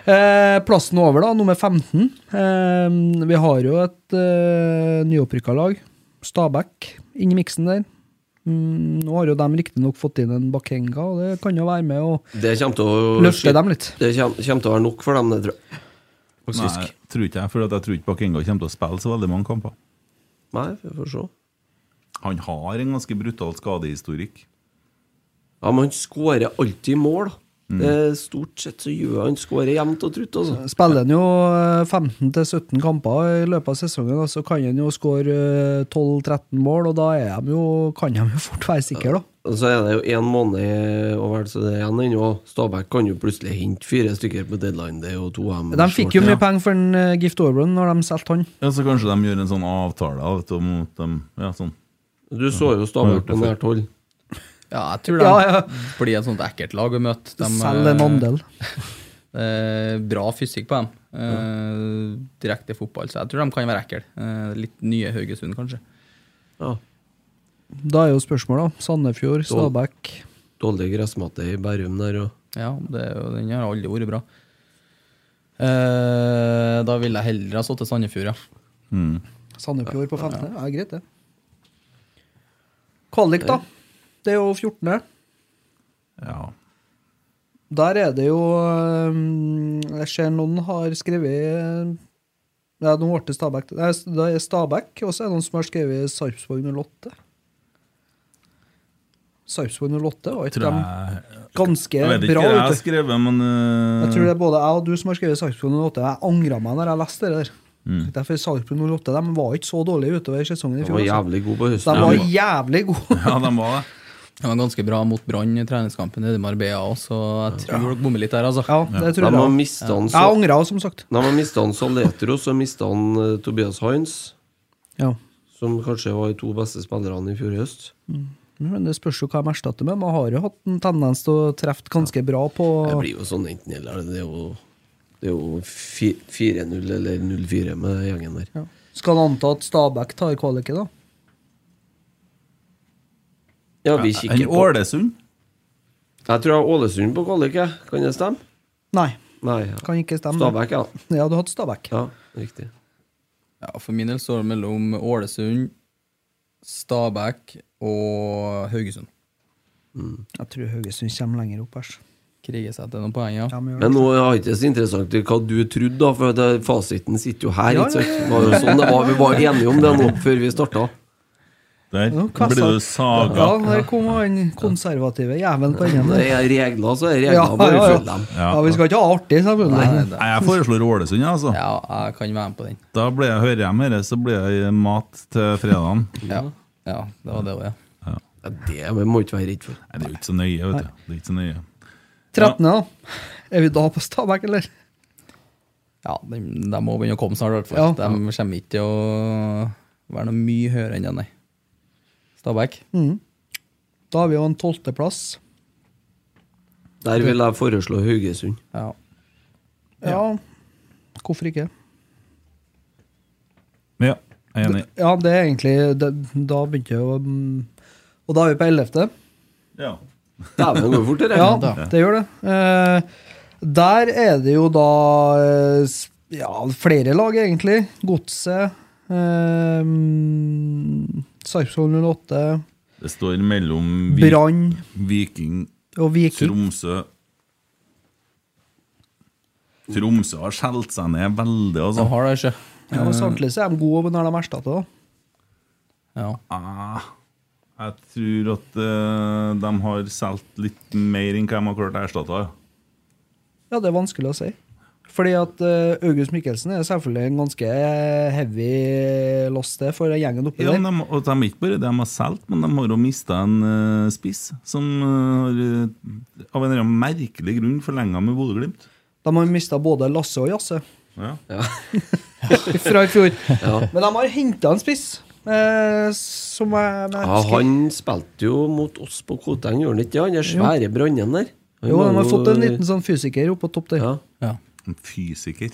Eh, plassen over, da, nummer 15. Eh, vi har jo et eh, nyopprykka lag, Stabæk, inni miksen der. Mm, nå har jo de riktignok fått inn en Bakenga, og det kan jo være med å
Det kommer til å
løfte dem litt.
Det kommer, kommer til å være nok for dem, det tror
Nei,
jeg. Faktisk.
tror ikke jeg, for at jeg tror ikke Bakenga kommer til å spille så veldig mange kamper.
Nei, vi får se.
Han har en ganske brutal skadehistorikk.
Ja, men han skårer alltid mål.
Mm.
Eh, Stort sett så gjør han skårer jevnt og trutt, altså.
Spiller han jo eh, 15-17 kamper i løpet av sesongen, og så kan han jo skåre eh, 12-13 mål, og da er de jo, kan de jo fort være sikre, da.
Og så er det jo én måned og vel så det er igjen ennå. Stabæk kan jo plutselig hente fire stykker på deadline day og to M.
De fikk jo mye penger for en eh, Gift Orbrun når de solgte han.
Ja, Så kanskje de gjør en sånn avtale vet du, om at de Ja, sånn.
Du så jo Stabæk på nært hold.
Ja, jeg tror de
Ja, ja.
blir et sånt ekkelt lag å møte. De,
Selg en
eh,
andel.
eh, bra fysikk på dem. Eh, direkte fotball, så jeg tror de kan være ekle. Eh, litt nye Haugesund, kanskje.
Ja.
Da er jo spørsmålet, da. Sandefjord, Stabæk
Dårlig gressmatte i Bærum der og
Ja, det, er jo- den har aldri vært bra. Eh, da ville jeg heller ha satt til Sandefjord, ja.
Sandefjord på 15. Ja, greit, det. Kvalik, da. Det er jo 14.
Ja.
Der er det jo øhm, Jeg ser noen har skrevet ja, nå ble det Stabæk. Nei, det er Stabæk, og så er det noen som har skrevet Sarpsborg 08. Sarpsborg 08 var ikke
Tror
dem
jeg
ganske
Jeg vet ikke
bra
hva jeg har
ute.
skrevet, men eh,
Jeg tror det er både jeg og du som har skrevet Sarpsborg 08. Jeg angra meg når jeg leste det der.
Mm.
Derfor Sarpsborg 08 de var ikke så dårlige utover sesongen i
De
fjor.
var
altså.
jævlig gode på høsten.
De var jævlig gode.
Ja, de var det.
De var ganske bra mot Brann i treningskampen nede i Marbella òg, så jeg tror dere bommer litt der, altså.
Ja, det tror
De har
jeg.
mista han
Jeg
så-
angra, som sagt.
de har mistet han Saletros og mista han eh, Tobias Hines,
Ja.
som kanskje var de to beste spillerne i fjor høst.
Men det spørs jo hva de erstatter med. Man har jo hatt en tendens til å treffe ganske bra på
Det blir jo sånn enten eller. Det er jo, det er jo fi- 4-0 eller 0-4 med gjengen der.
ja. Skal en anta at Stabæk tar kvaliken, da?
Ja, vi
En
kikker på
Ålesund?
Jeg tror jeg har Ålesund på kvalik, jeg. Kan det stemme?
Nei,
Nei. ja.
kan ikke stemme.
Stabæk, ja.
Ja, du hadde Stabæk.
ja. Riktig.
Ja, For min del står det mellom Ålesund, Stabæk og Haugesund.
Mm.
Jeg tror Haugesund kommer lenger opp, æsj.
Kriger seg til noen poeng, ja.
Ja, men gjør det.
Men nå er det ikke så interessant hva du trodde, da, for det, fasiten sitter jo her.
Ja,
ikke sant?
ja, ja,
Det var jo sånn det var. Vi var enige om det nå før vi starta.
Der
Nå
blir du
Ja,
saga.
der kom han konservative jævelen på enden.
Når
der.
det er regler, så er det
Ja,
regler.
ja,
Bare
ja.
følg dem.
ja, vi skal ikke ha artig, selvfølgelig.
Nei, jeg foreslår Ålesund, ja, altså.
Ja, jeg kan være med på den.
Da blir jeg, hører jeg med det, så blir jeg mat til fredagen.
Ja, ja det var det òg, ja.
Ja, det må vi ikke være redd for.
Nei, det er jo ikke så nøye, vet du. Det er ikke så nøye.
13., da. Er vi da på Stabæk, eller?
Ja, de, de må begynne å komme snart, i hvert
Ja.
fall. De kommer ikke til å være noe mye høyere enn det, nei. Stabæk.
Da har vi jo en tolvteplass.
Der vil jeg foreslå Haugesund.
Ja.
Ja, hvorfor ikke?
Men ja, jeg er enig.
Ja, det er egentlig det, Da begynte jeg å mm, Og da er vi på 11.
Ja.
Dæven, det går fort, det.
Ja, det gjør det. Eh, der er det jo da eh, s- ja, flere lag, egentlig. Godset. Eh, mm, Sarpsborg 08.
Det står mellom Vi-
Brann
Viking,
og Viking.
Tromsø Tromsø har skjelt seg ned veldig,
De
altså.
har det, ikke?
Ja, men Samtidig så er de gode når de erstatter, da.
Ja.
Ah, jeg tror at eh, de har solgt litt mer enn hva de har klart å erstatte.
Ja, det er vanskelig å si. Fordi at eh, August Mikkelsen er selvfølgelig en ganske heavy loss det for gjengen oppi
Ja,
der.
men de, og de er ikke bare det de har solgt, men de har jo mista en eh, spiss som eh, har, eh, av en eller annen merkelig grunn forlenga med Bodø-Glimt.
De har mista både Lasse og Jasse.
Ja.
Ja.
fra i fjor.
Ja.
Men de har henta en spiss, eh, som jeg, jeg
Ja,
husker-
han spilte jo mot oss på Koteng, gjorde han ikke det? Han er svære brannen der. Han
Jo,
var
de har
jo-
fått en liten sånn fysiker opp på topp der.
ja.
Ja.
En fysiker.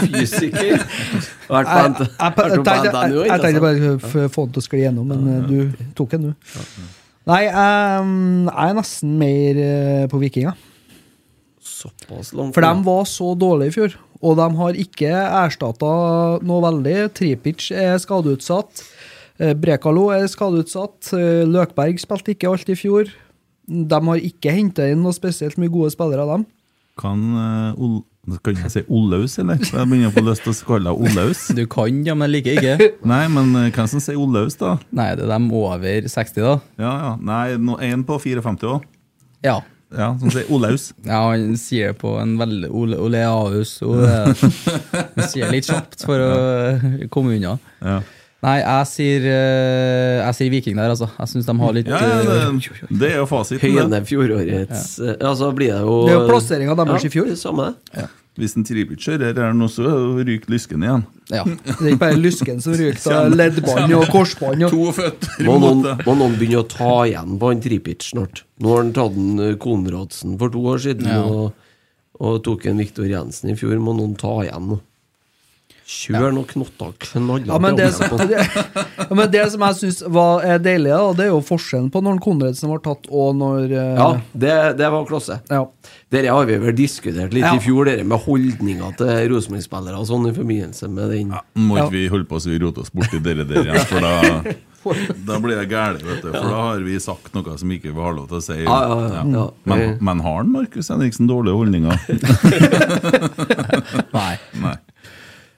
Fysiker. Vært på
Jeg,
NT-
jeg, jeg,
vært
jeg,
på
tenkte- jeg,
NTNU, ikke
jeg tenkte
sant?
bare å få den til å skli gjennom, men eh, du tok den, du. Nei, em, jeg er nesten mer eh, på Vikinga.
Såpass langt.
For de var så dårlige i fjor, og de har ikke erstatta noe veldig. Tripic er skadeutsatt. eh, Brekalo er skadeutsatt. eh, Løkberg spilte ikke alt i fjor. De har ikke henta inn noe spesielt mye gode spillere av dem.
Kan, eh, Ol kan jeg si Olaus, eller? Jeg begynner å få lyst til å kalle deg Olaus.
Du kan, ja, men jeg liker ikke.
Nei, men eh, hvem som sier Olaus, da?
Nei, det er dem over 60, da.
Ja, ja. Nei, no, en på 54 òg.
Ja.
Ja, som sier Olaus.
ja, han sier det på en veldig Ole, Oleaus Ole. Han sier litt kjapt for å komme unna.
Ja.
Nei, jeg sier, eh, jeg sier Viking der, altså. Jeg syns de har litt eh,
Ja, ja, det, det er jo fasiten. det.
Høyene fjorårets eh, Altså blir det jo
Det er jo plasseringen deres i fjor.
Ja, det er samme.
Hvis en Tribic kjører her nå, så ryker lysken igjen.
ja.
Mm. Det er ikke bare Lysken som ryker av leddbånd og korsbånd. Og.
To føtter
Må
imot
noen,
det.
må noen begynne å ta igjen på han Tripic snart? Nå har han tatt en eh, Konradsen for to år siden,
Ja.
og, og tok en Viktor Jensen i fjor. Må noen ta igjen nå? Kjør noen knotter knallhardt.
Ja, men det, som-
framover.
det, ja, men det som jeg syns er deilig, da, det er jo forskjellen på når Konradsen var tatt, og når eh,
Ja, det, det var klasse.
ja.
Dere har vi vel diskutert litt
Ja.
i fjor, dere med holdninga til Rosenborg-spillere og sånn i forbindelse med den.
Må
Ja.
ikke vi holde på så vi roter oss borti dere der igjen, for da, da blir det gærent, vet du. For da har vi sagt noe som ikke vi har lov til å si.
Ja, ja, ja, ja.
Men, men har han Markus Henriksen dårlige holdninger?
Nei.
Nei.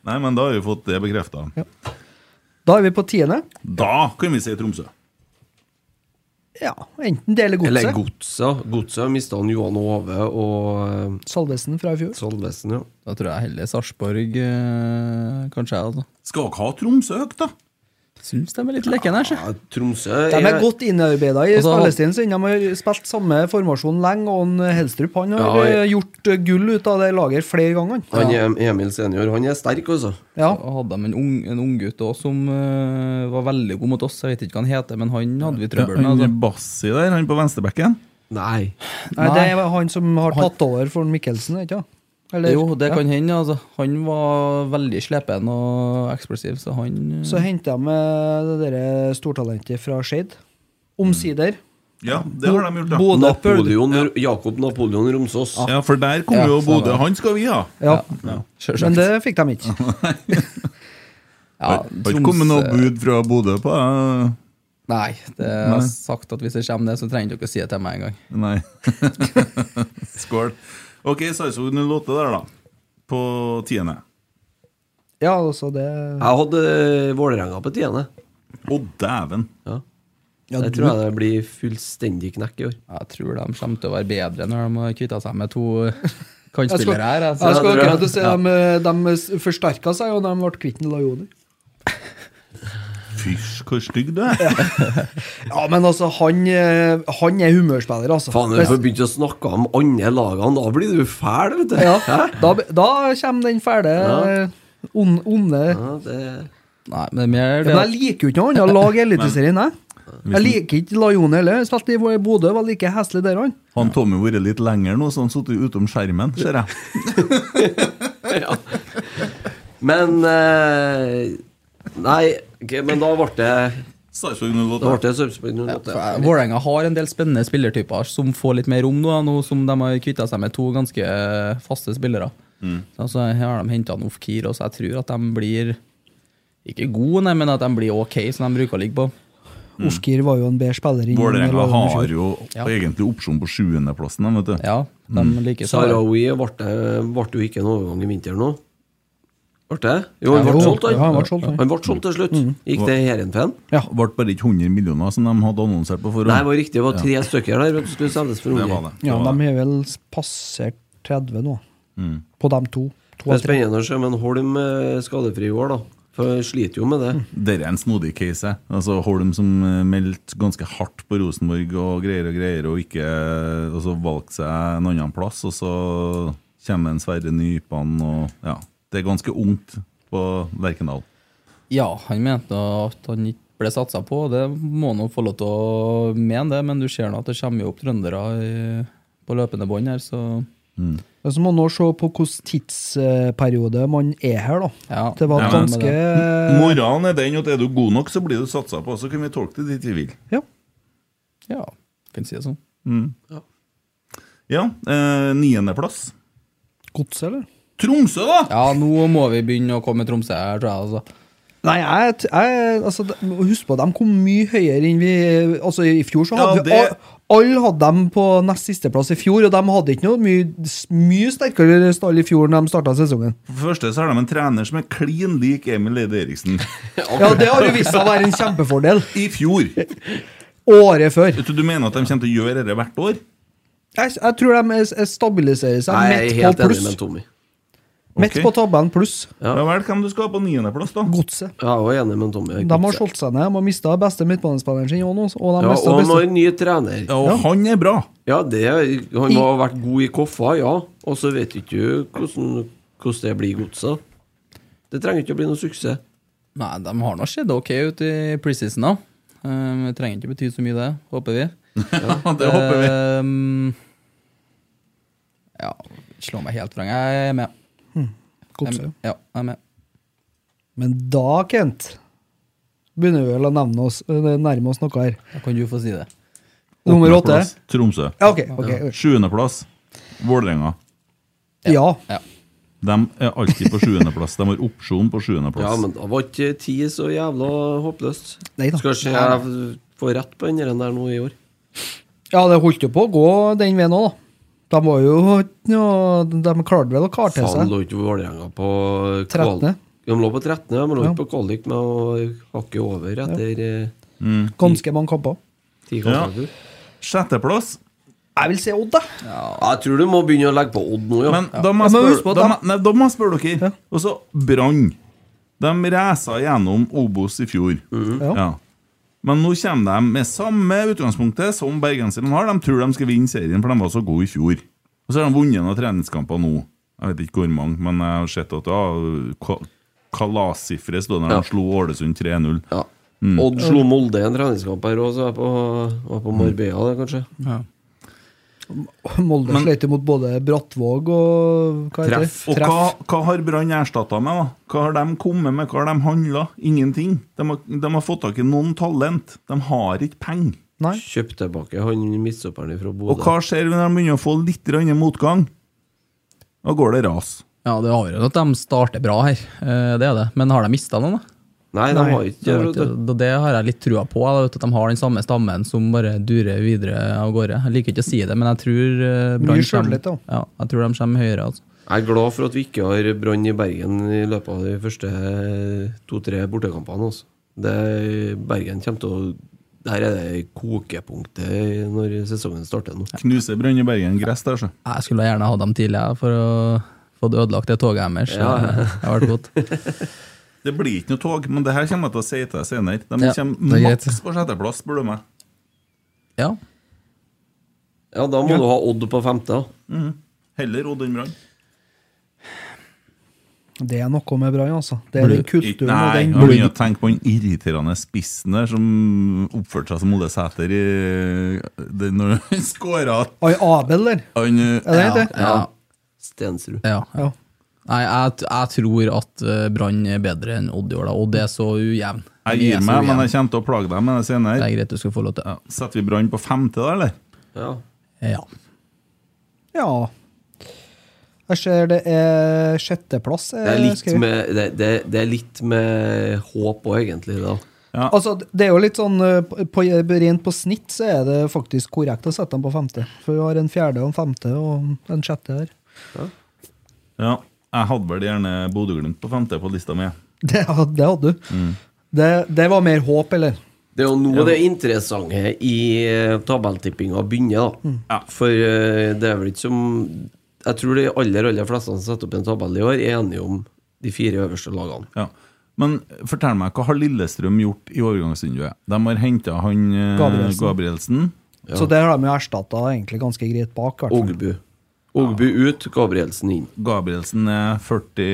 Nei, men da har vi fått det bekrefta.
Da er vi på tiende.
Da kan vi si Tromsø.
Ja, enten det eller
Eller
Godset.
Godset. Godset mista Johan Ove og eh,
Salvesen fra i fjor.
Salvesen, ja.
Da tror jeg heller Sarpsborg, eh, kanskje. jeg, altså.
Skal dere ha Tromsø høyt, da?
Syns de er litt lekne her, sjø.
ja. Tromsø
De er godt innarbeida i
Altså, han-
spillestilen sin. De har spilt samme formasjon lenge, og han Helstrup han har
Ja, jeg-
eh, gjort eh, gull ut av det laget flere ganger. han.
Han er, Emil senior, han er sterk, altså.
Ja.
Så hadde de en ung, en ung gutt også, som eh, var veldig god mot oss. Jeg vet ikke hva han heter, men han hadde vi trøbbel med.
Han
Altså.
Bassi der, han på venstrebekken.
Nei.
Nei, det
Nei.
er han som har tatt over for Mikkelsen, ikke sant? Eller-
Jo, det
ja.
kan hende. Altså. Han var veldig slepen og eksplosiv, så han eh,
Så henta jeg med det der eh, stortalentet fra Skeid.
Mm.
Omsider.
Ja, det har de gjort, ja.
Bodø Pøl.
Napoleon, Jakob Napoleon Romsås.
Ja, for der kom
Ja,
jo Bodø.
stemmer.
Han skal vi ha!
Ja, men
Sjølsagt.
det fikk de ikke.
ja,
Har ikke kommet noe bud fra Bodø på eh,
Nei, det jeg har sagt at hvis det kommer det, så trenger dere ikke å si det til meg engang.
Nei. Skål. Ok, Sarpsborg 08 der, da. På tiende.
Ja, altså det
Jeg hadde Vålerenga på tiende.
Å, dæven!
Ja.
Ja,
jeg
du-
tror jeg det blir fullstendig knekk i år.
Jeg tror de kommer til å være bedre når de har kvitta seg med to
Jeg skal,
kantspillere her.
jeg
altså.
skal
tror jeg.
akkurat si eh, de, de forsterka seg, og de ble kvitt en Lajoni.
Fysj, hvor stygg du er!
Ja, men altså, han, eh, han er humørspiller, altså.
Faen, når du får begynt å snakke om andre lagene, da blir du fæl, vet du.
ja, da, da kommer den fæle, on- onde
Ja, det
Nei, men det er mer
Ja,
det
Men jeg liker jo ikke noe annet lag i Eliteserien, jeg. Jeg liker ikke Lajoni heller. Spilte i Bodø, var like heslig der, han.
Han Tommy har vært litt lenger nå, så han satt utom skjermen, ser jeg.
ja. Men eh, Nei, ok, men da ble det
Sarpsborg 08.
Da ble det Sarpsborg 08.
at Vålerenga har en del spennende spillertyper som får litt mer rom nå, nå som de har kvitta seg med to ganske eh, faste spillere.
Mm.
Så altså, her har de henta Ofkir, og så jeg tror at de blir ikke gode, nei, men at de blir ok, som de bruker å ligge på.
Ofkir Mm. var jo en bedre spiller enn
Vålerenga
Lajoni i fjor.
har jo
Ja.
egentlig opsjon på sjuendeplassen, de, vet du.
Ja, de
Mm.
liker
Sarawi ble, det- ble jo ikke en overgang i vinter nå. Ble det? Jo, han
Ja,
ble
jo.
solgt, han.
Ja, Mm. han ble solgt, han.
han ble solgt til slutt. Gikk til Heerenveen?
Ja. Ble bare ikke 100 millioner som de hadde annonsert på forhånd.
Nei, det var riktig. Det var tre stykker der. vet du, Skulle selges for
det var
unge.
det.
Ja,
det, var
de
det.
har vel passert 30 nå.
Mm.
På de to. to
Det er
av tre.
spennende å se, men Holm er skadefri i år, da. For han sliter jo med
Mm.
det.
Dette er en snodig case. jeg. Altså, Holm som eh, meldte ganske hardt på Rosenborg og greier og greier, og ikke eh, Og så valgte seg en annen plass, og så kommer en Sverre Nypan og Ja. Det er ganske ungt. på Lerkendal.
Ja, han mente at han ikke ble satsa på. Det må han nå få lov til å mene, det, men du ser nå at det kommer jo opp trøndere i- på løpende bånd her, så
Mm.
Men Så må man nå se på hvilken tidsperiode man er her, da.
Ja.
det var
Ja,
et
men-
ganske
Eh. Moralen er den at er du god nok, så blir du satsa på. Så kan vi tolke det dit vi vil.
Mm. Ja.
ja, kan si det sånn.
Ja, eh, Niendeplass.
Godset, eller?
Tromsø, da!
Ja, nå må vi begynne å komme med Tromsø her, tror jeg. altså.
Nei, jeg, t- jeg altså, de- Husk på, de kom mye høyere enn vi Altså, i fjor så hadde
Ja, det-
vi al- Alle hadde dem på nest sisteplass i fjor, og de hadde ikke noe mye, s- mye sterkere stall i fjor når de starta sesongen.
For det første så har de en trener som er klin lik Emil Eide Eriksen.
Ja, det har jo vist seg å være en kjempefordel.
I fjor. Vet
Året før.
du, du mener at de kommer til å gjøre dette hvert år?
Jeg, jeg tror de s- s- stabiliserer seg
Nei, jeg er
midt
helt
på
enig med
pluss.
Tommy.
Midt
Ok.
på tabellen pluss.
Ja,
Ja.
vel, hvem du skal ha på niendeplass, da?
Godset.
Jeg er også enig med Tommy.
De har solgt seg ned. De har mista beste midtbanespilleren sin òg nå. Og de
ja,
mistet
og han har
beste.
en ny trener.
Ja, og han er bra.
Ja, det, han må ha vært god i koffa, ja. Og så vet ikke du hvordan, hvordan det blir i godset. Det trenger ikke å bli noe suksess.
Nei, de har nå sett ok ut i preseason, da. Um, det trenger ikke bety så mye, det, håper vi.
det håper vi.
Um, ja, slå meg helt vrang. Jeg er med. Jeg er
Godset.
med.
Eh,
Ja, jeg er med.
Men da, Kent, begynner vi vel å nevne oss, eh, nærme oss noe her.
Da kan du få si det.
Nummer åtte.
Åttendeplass, Tromsø.
Ja, ok. ok.
Sjuendeplass, Vålerenga.
Ja.
Ja.
De er alltid på sjuendeplass. De har opsjon på
Ja,
sjuendeplass.
men da var ikke ti så jævla håpløst.
Nei da.
Skal ikke jeg få rett på den der nå i år?
ja, det holdt jo på å gå den veien òg, da. De var jo ikke noe- De klarte vel å karte
Faen,
seg.
lå ikke Vålerenga på kval-
13..
De lå på 13., de lå
Ja.
ikke på kvalik med å hakke over etter eh,
Ganske mange kamper.
ti
Ja.
kamper.
Sjetteplass.
Jeg vil si Odd, da.
Jeg tror du må begynne å legge på Odd nå, ja.
Men da må jeg
Ja, men
spørre,
husk på at
da,
de-
må- nei, da må jeg spørre dere. Og så Brann. De resa gjennom Obos i fjor.
Mhm.
Ja.
Ja. Men nå kommer de med samme utgangspunktet som bergenserne har. De tror de skal vinne serien, for de var så gode i fjor. Og så har de vunnet noen treningskamper nå. Jeg vet ikke hvor mange, men jeg har sett at ja, ka- kalassifre stod der
Ja.
de slo Ålesund 3-0.
ja. Odd slo Molde i en treningskamp her òg, så jeg er på, var på Marbella, det, kanskje.
Molde sleit jo mot både Brattvåg og hva heter det?
Treff.
Og hva, hva har Brann erstatta med? da? Hva har de kommet med? Hva har de handla? Ingenting. De har, de har fått tak i noen talent. De har ikke penger.
Nei.
Kjøp tilbake han midtstopperen fra
Og
Bodø.
hva skjer når de begynner å få litt grann motgang? Da går det ras.
Ja, det er avgjørende at de starter bra her. Eh, Det er det. Men har de mista noen, da?
Nei, de har
Det,
ikke
har
vet du.
ikke- det har jeg litt trua på. jeg vet At de har den samme stammen som bare durer videre av gårde. Jeg liker ikke å si det, men jeg tror eh, Brann
Mye sjøltillit,
kommer, ja, jeg tror de kommer høyere. Altså.
Jeg er glad for at vi ikke har brann i Bergen i løpet av de første to-tre bortekampene. Altså. Det, Bergen kommer til å Der er det kokepunktet når sesongen starter nå.
Knuser Brann i Bergen gress der, så.
Jeg skulle gjerne ha dem tidlig jeg, for å få det ødelagt det toget deres.
Ja.
eh, Det har vært godt.
Det blir ikke noe tog, men det her kommer jeg til å si til deg senere. De
Ja,
kommer
det er greit.
maks på sjetteplass, spør du meg.
Ja.
Ja, da må du ha Odd på femte. da.
Heller Odd enn Brann.
Det er noe med Brann, altså. Det er den
Ikke-
kulturen
Nei,
og den
jeg begynner å tenke på den irriterende spissen der som oppførte seg som Ole Sæter i det, når han skåra
Ai, Abel, der.
han
Er det det? heter?
Ja.
Stensrud.
ja, ja.
Ja.
Nei, jeg, t- jeg tror at eh, Brann er bedre enn Odd i år, da. Odd er så ujevn.
Jeg
De er
gir
så
meg, men
ujevn.
jeg kommer til å plage deg med det
Det
senere.
er greit du skal få lov til.
Ja, Setter vi Brann på femte, da, eller?
Ja.
Ja.
ja. Jeg ser det er sjetteplass.
Det, er
eh,
litt
skrevet.
med, det, det, det er litt med håp òg, egentlig. da.
Altså, det er jo litt sånn eh, på, på, Rent på snitt så er det faktisk korrekt å sette dem på femte. For vi har en fjerde og en femte og en sjette her.
Ja. Jeg hadde vel gjerne Bodø-Glimt på femte på lista mi.
Det, had- det hadde du. Det, det var mer håp, eller?
Det er jo nå det interessante i eh, tabelltippinga begynner, da.
Mm. Ja.
For eh, det er vel ikke som Jeg tror de aller, aller fleste som setter opp en tabell i år, er enige om de fire øverste lagene.
Ja. Men fortell meg, hva har Lillestrøm gjort i overgangsvinduet? De har henta han eh,
Gabrielsen.
Gabrielsen.
Så det har de jo erstatta egentlig ganske greit bak. i hvert fall.
Ågbu. Ogbu ut, Gabrielsen inn.
Gabrielsen er 40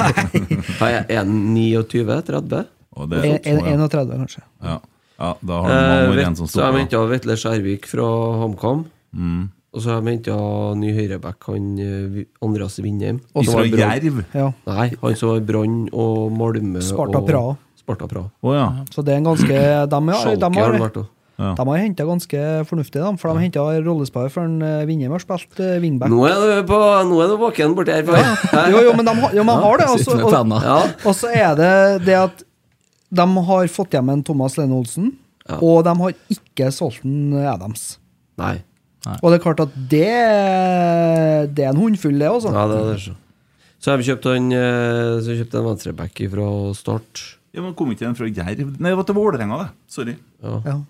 Er er han 29-30?
og det er
En- en-
ja.
31, kanskje.
Ja. ja, da har han mange år igjen som
Eh,
Mm.
så har
står
de
på.
henta Vetle Skjærvik fra HamKam. Og så har de henta ny høyreback, han eh, Vi- Andreas Vindheim. som
Ifra
var i Brann.
Jerv?
Ja.
Nei, han som var i Brann og Malmö
Sparta
og
Praha.
Sparta Praha.
Å ja.
Så det er en ganske De, har- de
Schalke har
har,
han vært òg.
de har henta ganske fornuftig, de, for de har henta rollespiller før en, eh, Vindheim har spilt eh, wingback.
Nå er du på Nå er du våken borti her. far.
Jo, jo, men de, har- jo, men har det. Altså,
Sitter med
og,
penna.
Ja.
og så er det det at de har fått hjem en Thomas Lene Olsen, og de har ikke solgt en Adams.
Nei.
Og det er klart at det, det er en hundfull, det, altså.
Ja, det er det. Så Så har vi kjøpt han eh, Så har vi kjøpt en venstreback fra Start.
ja men kom ikke den fra Jerv? Nei, det var til Vålerenga, det. Sorry. Mm.
Ja.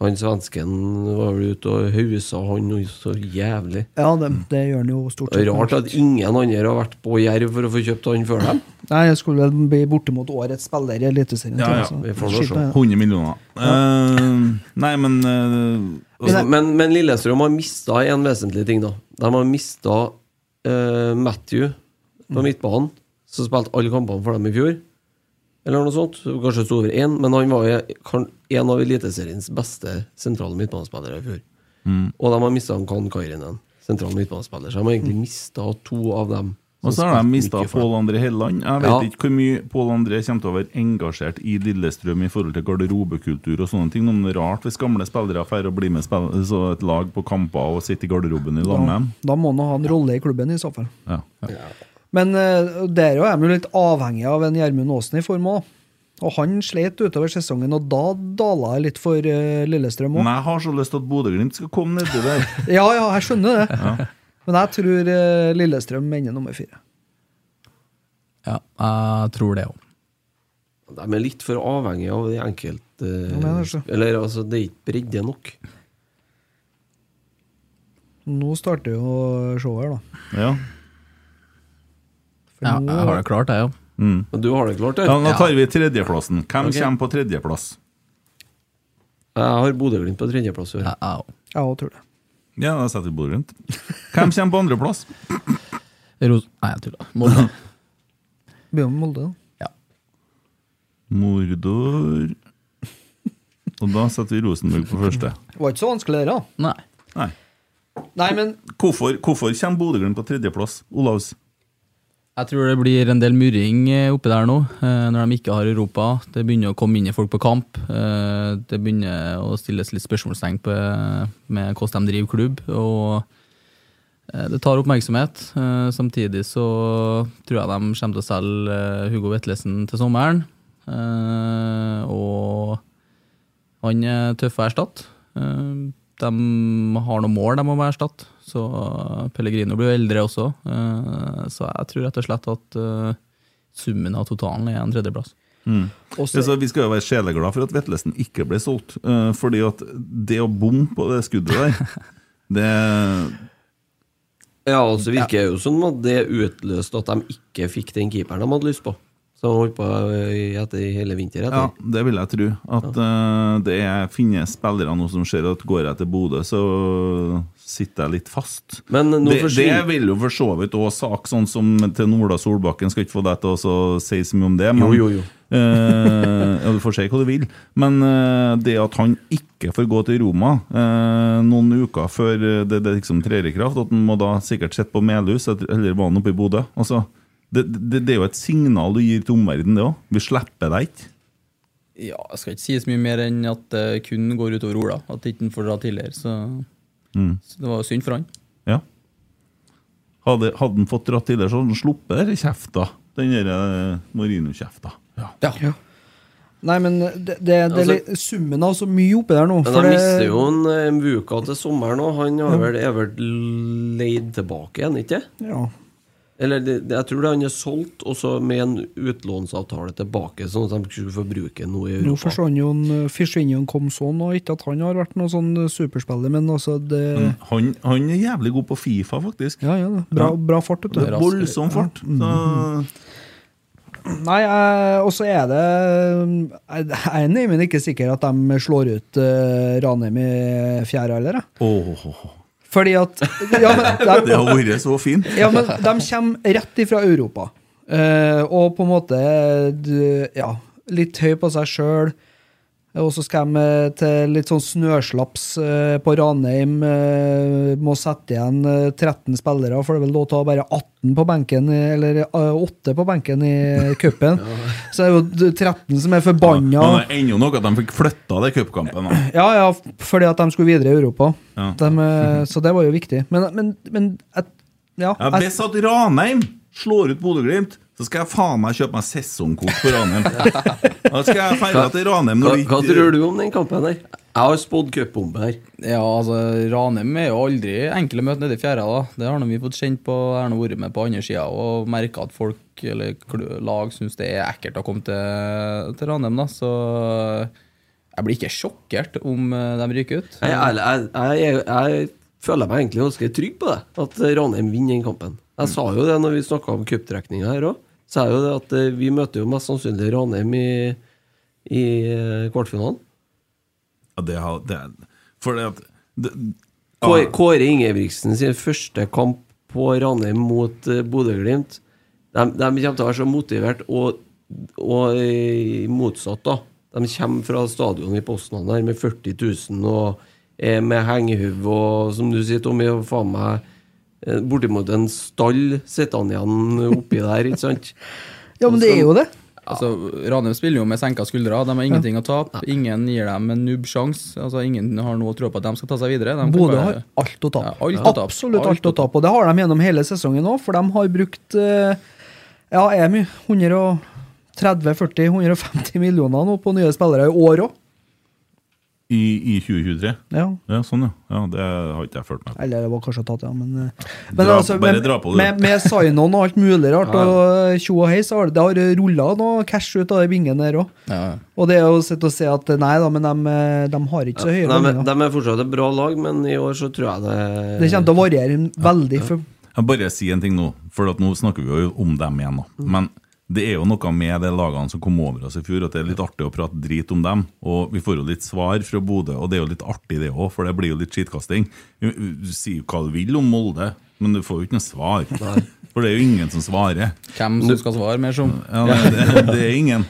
Han svensken var vel ute og hausa han noe så jævlig.
Ja, det, det gjør han jo stort sett.
Rart at ingen andre har vært på Jerv for å få kjøpt han før dem.
Nei, jeg skulle vel bli bortimot årets spiller i Eliteserien.
Ja,
tror jeg,
ja,
så
vi får nå
skyt
se.
meg.
100 millioner. Eh, nei, men eh,
Altså, men, men Lillestrøm har mista en vesentlig ting, da. De har mista Matthew
Mm.
på midtbanen, som spilte alle kampene for dem i fjor. Eller noe sånt. Kanskje sto over én, men han var jo kan- en av Eliteseriens beste sentrale midtbanespillere i fjor.
Mm.
Og de har mista Kan Kairinen, sentral midtbanespiller. Så de har egentlig mista to av dem. som
Og så har de
spilte
mista
mye for dem.
Pål André Helland. Jeg vet
Ja.
ikke hvor mye Pål André kommer til å være engasjert i Lillestrøm i forhold til garderobekultur og sånne ting. Om det er rart hvis gamle spillere drar og blir med spill- så et lag på kamper og sitter i garderoben i lag med dem.
Da må han ha en rolle i klubben, i så fall.
Ja.
Men eh, der også er vi jo litt avhengig av en Gjermund Aasen i form òg. Og han slet utover sesongen, og da dala jeg litt for eh, Lillestrøm òg.
Men jeg har så lyst til at Bodø-Glimt skal komme nedi der.
Ja, ja, jeg skjønner det. Men jeg tror eh, Lillestrøm ender nummer fire.
Ja, jeg tror det òg.
De er litt for avhengige av de enkelte eh,
mener så.
Eller altså, det er ikke bredde nok.
Nå starter jo showet her, da.
Ja.
For
Ja,
nå-
jeg har det klart, jeg òg.
Men du har det klart,
ja,
du.
Nå tar vi tredjeplassen. Hvem
Ok.
kommer på tredjeplass?
Jeg har Bodø-Glimt på tredjeplass. i år.
Jeg òg.
Jeg også tror det.
Ja, da setter vi Bodø-Glimt. Hvem kommer på andreplass?
Ros... Nei, jeg tuller. Molde.
Begynner med Molde, da.
Ja.
Mordor Og da setter vi Rosenborg på første.
Det var ikke så vanskelig, det, da.
Nei.
Nei.
Nei, men
Hvorfor, hvorfor kommer Bodø-Glimt på tredjeplass, Olavs?
Jeg tror det blir en del murring eh, oppi der nå, eh, når de ikke har Europa. Det begynner å komme inn folk på kamp. eh, Det begynner å stilles litt spørsmålstegn på, eh, med hvordan de driver klubb. Og eh, det tar oppmerksomhet. Eh, Samtidig så tror jeg de kommer til å selge eh, Hugo Vetlesen til sommeren. Eh, Og han er tøff å erstatte. Eh, De har noen mål de må erstatte. Så eh, Pellegrino blir jo eldre også. Eh, Så jeg tror rett og slett at eh, summen av totalen er en tredjeplass.
også,
Altså, vi skal jo være sjeleglade for at Vetlesen ikke ble solgt. eh, fordi at det å bomme på det skuddet der det,
Ja, og så virker det jo som at det utløste at de ikke fikk den keeperen de hadde lyst på. Som de holdt på eh, i- etter i hele vinter.
ja,
Etter.
det vil jeg tro. At eh, det er, finnes spillere nå som ser at går jeg til Bodø, så sitter jeg litt fast.
Men nå
det, det
forsvinner
vil jo for så vidt òg sak, sånn som til Ola Solbakken. Skal ikke få deg til å så si så mye om det.
Jo, jo, jo.
eh, ja, du får si hva du vil, men eh, det at han ikke får gå til Roma eh, noen uker før eh, det, det liksom trer i kraft, at han må da sikkert sitte på Melhus, et- eller var han oppe i Bodø altså, det, det, det er jo et signal du gir til omverdenen, det òg. Vi slipper deg ikke.
Ja, jeg skal ikke si så mye mer enn at det kun går utover Ola. At ikke han får dra tidligere. Så, så det var jo synd for han.
Ja. Hadde, hadde han fått dratt tidligere, så hadde han sluppet den kjefta. Den der eh, Marino-kjefta. Ja.
Ja.
nei, men det, det, det er
Altså-
litt- summen av så mye oppi der nå.
Men
for
de
det-
mister jo en eh, Mvuka til sommeren òg. Han har vel, er vel leid tilbake igjen, ikke
Ja.
Eller det, det- jeg tror det han er solgt, og så med en utlånsavtale tilbake, sånn at de skulle få bruke den nå i
Nå
Europa.
forsvant jo en- eh, forsvinner jo en Komson, og ikke at han har vært noen sånn superspiller, men altså det,
Han, han er jævlig god på Fifa, faktisk.
ja, ja, da. bra,
Ja.
bra fart, vet
Det
du. Mm.
er Voldsom fart. Så,
Nei, jeg- og så er det Jeg jeg er eh, nemlig ikke sikker at de slår ut eh, Ranheim i fjerde alder, jeg.
Åh,
Fordi at ja, men,
Det har vært så fint.
Ja, men de kommer rett ifra Europa. Eh, og på en måte du, ja, litt høy på seg sjøl. Og så skal de eh, til litt sånn snøslaps eh, på Ranheim. eh, må sette igjen eh, 13 spillere, for det er vel lov til å ha bare 18 på benken, i- eller eh, 8 på benken i cupen. Så det er jo d- 13 som er forbanna.
Men det er ennå noe at de fikk flytta det cupkampen. da.
Ja, ja, f- fordi at de skulle videre i Europa.
Ja.
De, eh, så det var jo viktig. Men, men, men et, ja,
Ja,
jeg-
hvis at Ranheim slår ut Bodø-Glimt, så skal jeg faen meg kjøpe meg sesongkort på Ranheim. Da skal jeg feire til Ranheim
Hva,
når
hva tror du om den kampen her? Jeg har spådd cupbombe her.
Ja, altså, Ranheim er jo aldri enkle møter nede i fjæra. da. Det har nå vi fått kjent på. Jeg har nå vært med på andre sida og merka at folk eller kl- lag syns det er ekkelt å komme til, til Ranheim. da. Så jeg blir ikke sjokkert om eh, de ryker ut.
Jeg, er ærlig, jeg, jeg, jeg, føler meg egentlig ganske trygg på det, at Ranheim vinner den kampen. Jeg sa jo det når vi snakka om cuptrekninga her òg. Sa jeg jo det at eh, vi møter jo mest sannsynlig Ranheim i, i eh, kvartfinalen.
Ja, det har, det er, for det at det,
Kåre, Kåre Ingebrigtsen sin første kamp på Ranheim mot eh, Bodø-Glimt. De, de kommer til å være så motivert og, og eh, motsatt, da. De kommer fra stadionet i Poznan her med 40 000 og eh, med hengehuv og som du sier, Tommy, og faen meg eh, bortimot en stall sitter han igjen oppi der, ikke sant?
ja, men det er jo det.
Altså, Ranheim spiller jo med senka skuldre. De har ingenting å tape. Ingen gir dem en nubbsjanse. Altså, ingen har noe å tro på at de skal ta seg videre. De kan
Bodø
bare-
har alt å tape.
Ja, alt å tape.
Absolutt alt, å tape. Og det har de gjennom hele sesongen òg, for de har brukt eh, Ja, er mye. 130-40-150 millioner nå på nye spillere i år òg.
i, I 2023?
Ja.
Ja, sånn, ja. ja. Det har ikke jeg fulgt med på.
Eller det var kanskje tatt, ja, men, eh, men
Dra-
altså,
bare
med,
dra på, du.
med, med sign-on og alt mulig rart, og eh, tjo og hei, så har det, det har rulla noe cash ut av de bingen der òg.
Ja, ja.
Og det er jo sett å se at nei da, men de, eh, de har ikke så høye
De,
lønninger.
de er fortsatt et bra lag, men i år så tror jeg det
Det kommer til å variere veldig. For,
Jeg bare si en ting nå, for at nå snakker vi jo om dem igjen. nå.
Mm.
Men det er jo noe med de lagene som kom over oss i fjor, at det er litt artig å prate drit om dem. Og vi får jo litt svar fra Bodø, og det er jo litt artig det òg, for det blir jo litt skittkasting. Du du sier jo hva du vil om Molde, men du får jo ikke noe svar. For det er jo ingen som svarer.
Hvem som skal svare, mer som.
Ja, det, det, det er ingen.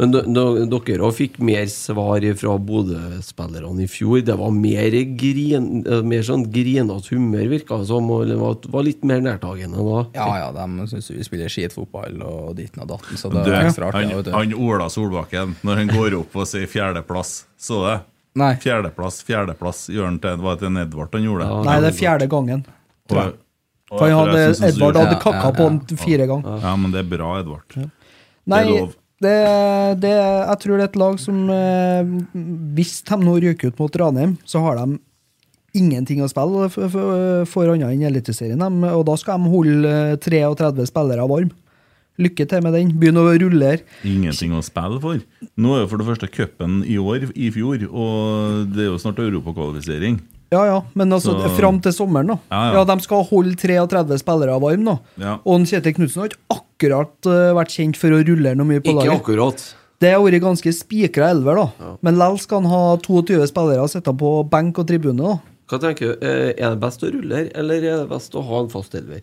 Men d- d- dere òg fikk mer svar fra Bodø-spillerne i fjor. Det var mer, grin, eh, mer sånn grinete humør, virka det som. og Det var, var litt mer nærtagende da.
Ja, ja, de syns vi spiller skitfotball og ditten og datten, så det
Du,
er ekstra artig.
han,
vet du.
han Ola Solbakken, når han går opp og sier fjerdeplass, så det?
Nei.
Fjerdeplass, fjerdeplass. Gjør han til, var det til en Edvard han gjorde det?
nei, det er fjerde gangen.
Og- og
For han
jeg
hadde,
synes han
Edvard
gjorde-
hadde
Ja,
kakka
ja,
på
ja.
han fire ganger.
Ja, men det er bra, Edvard. Det
Nei,
er lov.
det, det, jeg tror det er et lag som eh, Hvis de nå ryker ut mot Ranheim, så har de ingenting å spille for, for, for annet enn Eliteserien. dem, Og da skal de holde eh, 33 spillere varm. Lykke til med den. Begynn å rulle her.
Ingenting å spille for. Nå er jo for det første cupen i år, i fjor, og det er jo snart europakvalifisering.
Ja, ja, men altså,
Så-
fram til sommeren, da. Ja,
Ja, ja.
De skal holde 33 spillere varm nå.
Ja.
Og en Kjetil Knutsen har ikke akkurat eh, vært kjent for å rulle noe mye på
Ikke
laget.
akkurat.
Det har vært ganske spikra elver, da. Men lell skal han ha 22 spillere sittende på benk og tribune. da.
Hva tenker du? Eh, Er det best å rulle her, eller er det best å ha en fast elver?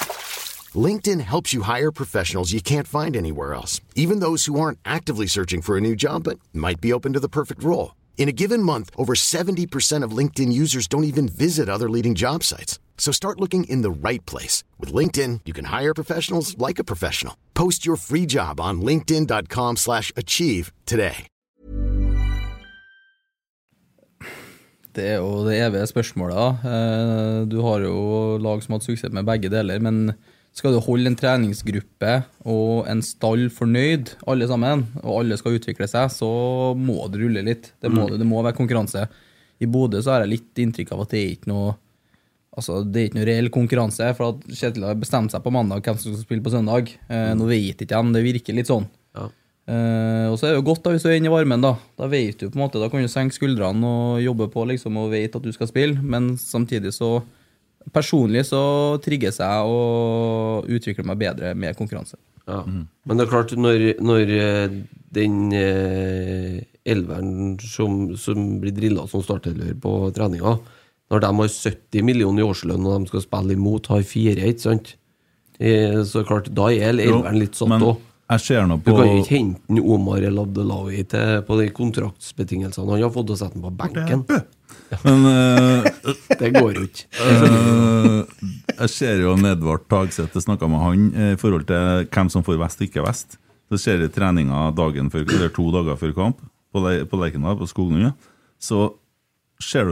LinkedIn helps you hire professionals you can't find anywhere else, even those who aren't actively searching for a new job but might be open to the perfect role. In a given month, over 70% of LinkedIn users don't even visit other leading job sites. So start looking in the right place. With LinkedIn, you can hire professionals like a professional. Post your free job on linkedin.com/achieve slash achieve today.
Det er jo det evige spørsmålet. da. Eh, Du har jo lag som har hatt suksess med begge deler, men skal du holde en treningsgruppe og en stall fornøyd, alle sammen, og alle skal utvikle seg, så må det rulle litt. Det må, det, det må være konkurranse. I Bodø så har jeg litt inntrykk av at det er ikke noe Altså, Det er ikke noe reell konkurranse, for at Kjetil har bestemt seg på mandag hvem som skal spille på søndag. Eh, Nå vet ikke jeg, det virker litt sånn.
Ja.
Eh, og så er det jo godt da hvis du er inne i varmen, da. Da vet du på en måte, da kan du senke skuldrene og jobbe på liksom, og vet at du skal spille, men samtidig så Personlig så trigges jeg og utvikler meg bedre med konkurranse.
Ja. Men det er klart, når, når eh, den eh, elveren som, som blir drilla som startelver på treninga, når de har 70 millioner i årslønn og de skal spille imot, har fire, ikke sant? Eh, Så klart, da er elveren litt satt
men
òg.
jeg ser nå
Du
på
kan jo ikke hente en Omar El Abdelawi til på de kontraktsbetingelsene han har fått, og sette den på benken.
Men eh,
Det går jo ikke.
Eh, jeg ser jo en Edvard Tagseth, jeg snakka med han eh, i forhold til hvem som får vest og ikke vest. Så ser jeg treninga dagen før, eller to dager før kamp på, Le på Lerkendal, på Skognøya. Så ser du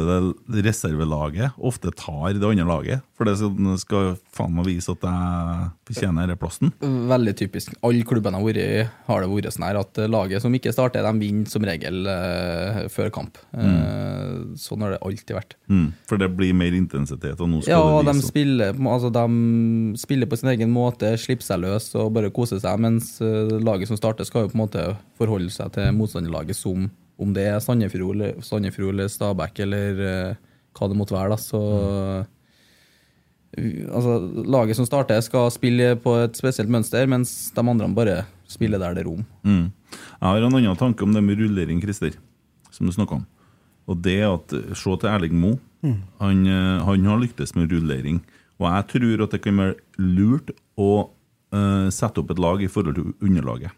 det reservelaget ofte tar det andre laget. For det skal, skal faen meg vise at jeg fortjener denne plassen.
Veldig typisk. Alle klubbene jeg har vært i, har det vært sånn her at laget som ikke starter, de vinner som regel eh, før kamp. Eh, sånn har det alltid vært.
Mm. For det blir mer intensitet, og nå skal
Ja,
det
de
vise.
spiller, på- altså, de spiller på sin egen måte, slipper seg løs og bare koser seg, mens eh, laget som starter, skal jo på en måte forholde seg til motstanderlaget som om det er Sandefjord eller, Sandefjord eller Stabæk eller eh, hva det måtte være. Da. Så, vi- altså, laget som starter, skal spille på et spesielt mønster, mens de andre bare spiller der det er rom.
Mm. Jeg har en annen tanke om det med rullering, Christer, som du snakka om. Og det at, eh, Se til Erling Moe. Han, eh, han har lyktes med rullering. Og jeg tror at det kan være lurt å eh, sette opp et lag i forhold til underlaget.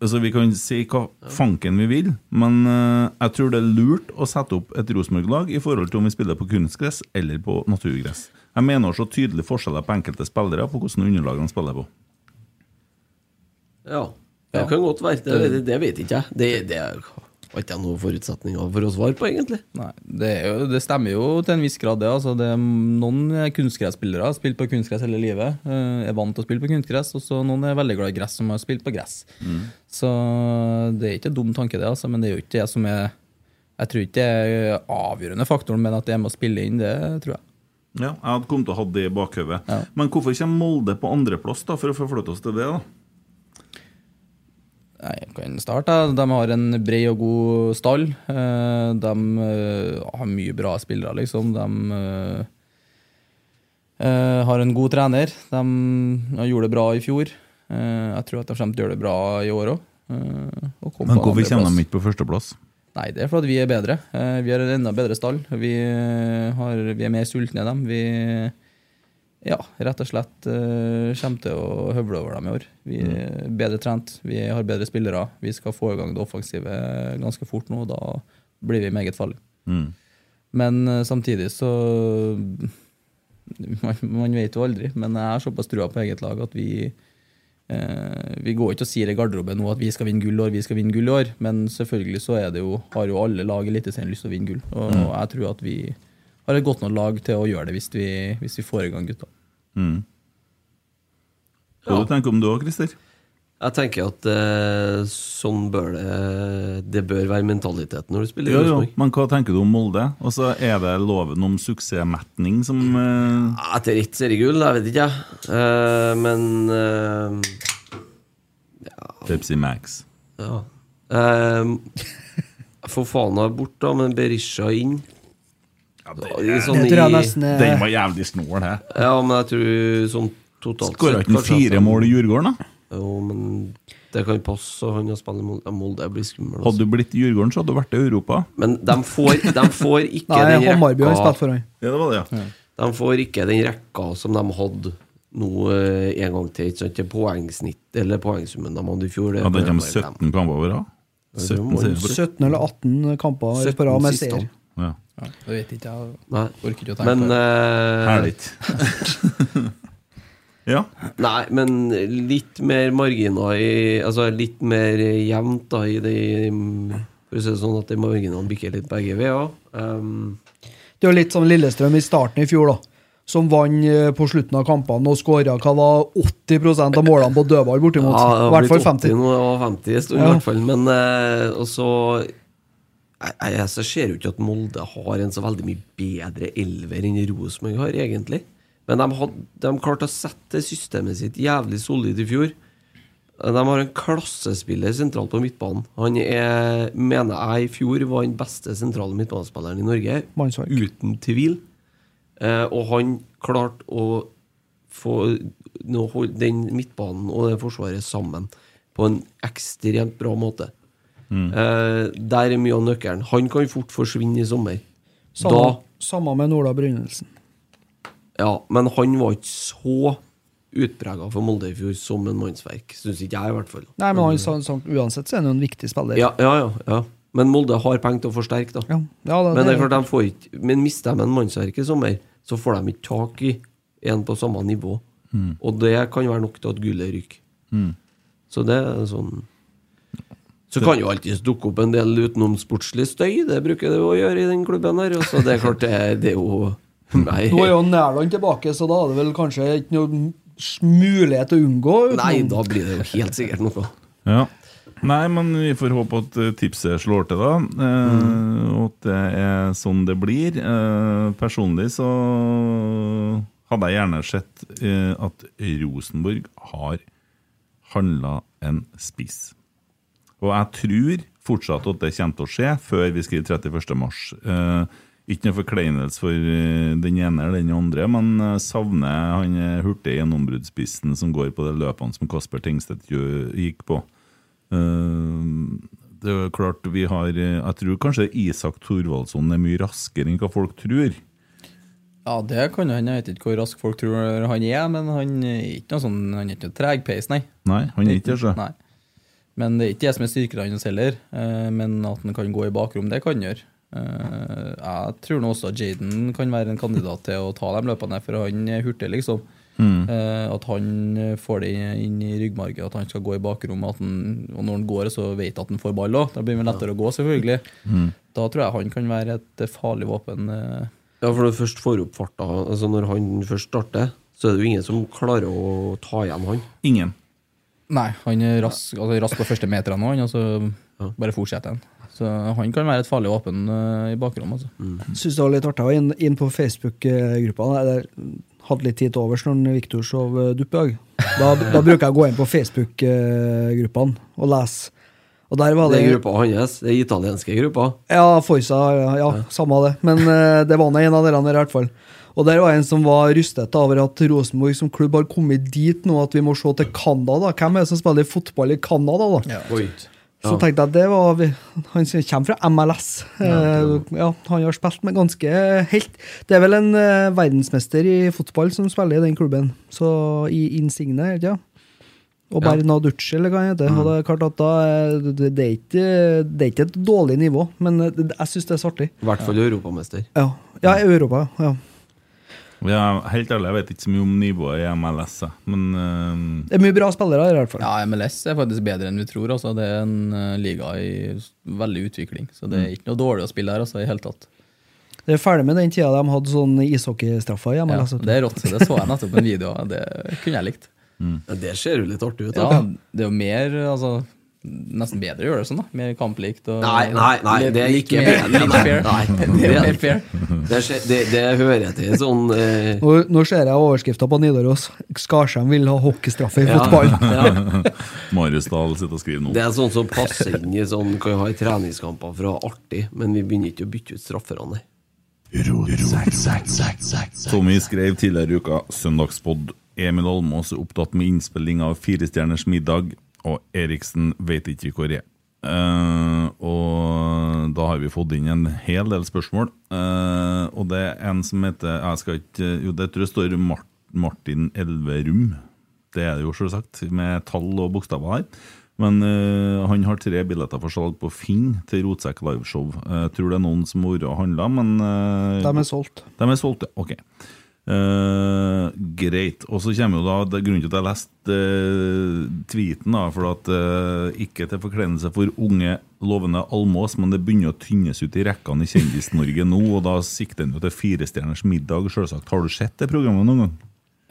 Altså, Vi kan si hva fanken vi vil, men eh, jeg tror det er lurt å sette opp et Rosenborg-lag i forhold til om vi spiller på kunstgress eller på naturgress. Jeg mener også tydelige forskjeller på enkelte spillere på hvordan underlag de spiller på.
Ja, det kan godt være. Det, det, det vet ikke jeg. Det, det har ikke jeg noen forutsetninger for å svare på, egentlig.
Nei, det, er jo, det stemmer jo til en viss grad, det. Altså, det er noen kunstgresspillere har spilt på kunstgress hele livet, eh, er vant til å spille på kunstgress, og så noen er veldig glad i gress som har spilt på gress. Så det er ikke en dum tanke, det, altså, men det er jo ikke det som er Jeg tror ikke det er avgjørende faktoren, men at det er med å spille inn, det tror jeg.
Ja, jeg hadde kommet til å ha det i bakhodet. Men hvorfor kommer Molde på andreplass, da, for å forflytte oss til det? da?
Nei, Jeg kan starte. jeg. De har en bred og god stall. Eh, De eh, har mye bra spillere, liksom. De eh, eh, har en god trener. De ja, gjorde det bra i fjor. Eh, Jeg tror at de kommer til å gjøre det bra i år Eh, òg.
Men hvorfor kommer de ikke på førsteplass?
Nei, det er fordi vi er bedre. Eh, Vi har en enda bedre stall. Vi, eh, har, vi er mer sultne enn dem. Vi ja, rett og slett eh, kommer til å høvle over dem i år. Vi er bedre trent, vi har bedre spillere. Vi skal få i gang det offensive ganske fort nå, og da blir vi meget farlige.
Mm.
Men eh, samtidig så man, man vet jo aldri, men jeg har såpass trua på eget lag at vi eh, Vi går ikke og sier i garderoben nå at vi skal vinne gull i år, vi skal vinne gull i år, men selvfølgelig så er det jo, har jo alle lag i Eliteserien lyst til å vinne gull. Og
Mm.
jeg tror at vi har et godt nok lag til å gjøre det hvis vi, hvis vi får i gang gutta.
mm. Hva du tenker du om det òg, Christer?
Jeg tenker at eh, sånn bør det Det bør være mentaliteten når du spiller i
Jo, jo,
Rosenborg.
Men hva tenker du om Molde? Og så er det loven om suksessmetning som eh,
Etter ett seriegull, jeg vet ikke, jeg. Eh, men eh,
Pepsi Max.
Ja. Eh, for faen er bort, da, men Berisha inn. I sånn
Det tror jeg
i-
nesten er
Den var jævlig snål, hæ.
Ja, men jeg tror sånn totalt
Skåra
sett
ikke han
kanskje at
fire
han-
mål i Djurgården, da?
Jo, men det kan passe, og han har spilt i Molde. Ja, Molde blir skummel. altså.
Hadde du blitt i Djurgården, så hadde du vært i Europa.
Men de får, de får ikke
Nei,
den
Hammarby har spilt
rekka
for han.
Ja, det var det, ja.
De får ikke den rekka som de hadde nå eh, en gang til. Ikke sant? Det poengsnitt Eller poengsummen de hadde i fjor. det
Hadde
bør
ikke de
være dem.
17 kamper over, da? 17
må de
serier på rad.
17 eller 18 kamper på rad
17
med
siste.
seier.
Ja.
Ja, det vet ikke jeg.
Nei.
Orker ikke å tenke
Men
på det.
eh,
Herlig. ja.
Nei, men litt mer marginer i Altså litt mer jevnt da i de For å si det sånn at de marginene bikker litt begge veier. Um,
Det er jo litt sånn Lillestrøm i starten i fjor, da. Som vant eh, på slutten av kampene og skåra 80 av målene på dødball, bortimot.
ja, det
I
har
hvert fall 50.
blitt 80 Nå, og 50 i stund, i
Ja.
hvert fall. Men eh, og så jeg, jeg, så ser jo ikke at Molde har en så veldig mye bedre elver enn Rosenborg har, egentlig. Men de, had, de klarte å sette systemet sitt jævlig solid i fjor. De har en klassespiller sentralt på midtbanen. Han er, mener jeg, i fjor var den beste sentrale midtbanespilleren i Norge.
Mannsverk.
Uten tvil. Eh, og han klarte å få nå hold- den midtbanen og det forsvaret sammen på en ekstremt bra måte. Eh, der er mye av nøkkelen. Han kan fort forsvinne i sommer.
Samme, samme med Nola Brynildsen.
Da, ja, men han var ikke så utprega for Molde i fjor som en mannsverk. Syns ikke jeg, i hvert fall.
Nei, men han, sa- sa- uansett så er han jo en viktig spiller.
Ja, ja, ja, ja. Men Molde har penger til å forsterke, da.
Ja, ja, det-
men det er
det-
klart de får ikke Men mister de en mannsverk i sommer, så får de ikke tak i en på samme nivå.
Mm.
Og det kan være nok til at gullet ryker. Så det er sånn Så kan jo alltids dukke opp en del utenomsportslig støy, det bruker det jo å gjøre i den klubben her. og Så det er klart, det, det er jo Nei.
Nå er jo Nærland tilbake, så da er det vel kanskje ikke noe mulighet til å unngå. utenom-
Nei, da blir det jo helt sikkert noe.
Ja. Nei, men vi får håpe at eh, tipset slår til, da. Eh, Og at det er sånn det blir. Eh, personlig så hadde jeg gjerne sett eh, at Rosenborg har handla en spiss. Og jeg tror fortsatt at det kommer til å skje før vi skriver 31. mars. Eh, ikke noe forkleinelse for eh, den ene eller den andre, men eh, savner han eh, hurtige gjennombruddsspissen som går på de løpene som Kasper Tengstedt gjø- gikk på. Eh, det er jo klart vi har eh, Jeg tror kanskje Isak Thorvaldsson er mye raskere enn hva folk tror.
Ja, det kan jo hende. Jeg vet ikke hvor rask folk tror han er, men han er ikke noe sånn, han er ikke noe tregpeis, nei.
Nei, han er ikke det. altså. så.
Nei. Men det er ikke det som er styrken hans heller. eh, Men at han kan gå i bakrom, det kan han gjøre. Eh, Jeg tror nå også at Jaden kan være en kandidat til å ta de løpene, for han er hurtig, liksom.
Mm.
Eh, At han får det inn i ryggmargen, at han skal gå i bakrom. At han, og når han går, så vet at han får ball òg. Da blir det lettere å gå, selvfølgelig.
Mm.
Da tror jeg han kan være et farlig våpen. eh,
Ja, for når du først får opp farta, altså når han først starter, så er det jo ingen som klarer å ta igjen han.
Ingen.
Nei, han er rask, altså, rask på første meterne nå, han, og så bare fortsetter han. Så han kan være et farlig våpen eh, i bakrommet. Altså.
Syns det var litt artig å være inn, inn på Facebook-gruppa. Jeg hadde litt tid til overs når Viktor sov eh, dupp i dag. Da, da bruker jeg å gå inn på Facebook-gruppene og lese. Og der var
Det
det
er gruppa hans, det er italienske gruppa.
Ja, Forsa, ja, ja, samme det. Men eh, det var nå en av dere der, i hvert fall. Og der var en som var rystet over at Rosenborg som klubb har kommet dit nå at vi må se til Canada. Hvem er det som spiller fotball i Canada, da?
Oi.
Så tenkte jeg at det var vi- Han som kommer fra MLS. Eh, ja, han har spilt med ganske helt Det er vel en eh, verdensmester i fotball som spiller i den klubben. Så i Insigne, ikke ja. Og Bernaducci, eller hva han
Mm.
heter. Og det er klart at da er- det, det, er ikke, det er ikke et dårlig nivå, men eh, det, jeg syns det er så artig.
I hvert fall europamester.
Ja, ja i Europa, ja.
Ja, helt ærlig, jeg vet ikke så mye om nivået i MLS, jeg. men eh,
Det er mye bra spillere her, i hvert fall.
Ja, MLS er faktisk bedre enn vi tror. Altså. Det er en eh, liga i s- veldig utvikling, så det er ikke noe dårlig å spille her. Altså, i hele tatt.
Det er ferdig med den tida de hadde sånn ishockeystraffer i
Ja,
MLS.
det er rått. så Det så jeg nettopp en video av. Det kunne jeg likt.
Ja, det ser jo litt artig ut.
Ja,
da.
det er jo mer altså, Nesten bedre å gjøre det sånn, da. Mer kamplikt. Og,
Nei, nei, nei,
litt-
det er
litt
ikke
mer-
bedre.
litt
Nei,
fair.
nei,
Det
det
er
er
mer fair.
Det, ser, det, det hører til sånn eh,
Nå, nå ser jeg overskrifta på Nidaros. Skarsheim vil ha hockeystraffe i
ja,
fotball.
ja.
Marius Dahl sitter og skriver nå.
Det er sånn som passer inn i sånn kan ha i treningskamper for å ha artig, men vi begynner ikke å bytte ut strafferne.
Som vi skrev tidligere i uka, søndagspod. Emil Almås er opptatt med innspilling av Firestjerners middag, og Eriksen vet ikke hvor jeg er. Eh, og da har vi fått inn en hel del spørsmål. Eh, og det er en som heter Jeg skal ikke Jo, det tror jeg står Mart, Martin Elverum. Det er det jo, selvsagt, med tall og bokstaver her. Men eh, han har tre billetter for salg på Finn til Rotsekk liveshow. Eh, tror det er noen som har vært og handla, men eh,
De er solgt.
de er solgt, ja. Ok. Eh, greit. Og så kommer jo da det er grunnen til at jeg leste eh, tweeten, da, for at eh, ikke til forkleinelse for unge, lovende Almås, men det begynner å tynnes ut i rekkene i Kjendis-Norge nå, og da sikter en jo til Firestjerners middag, sjølsagt. Har du sett det programmet noen gang?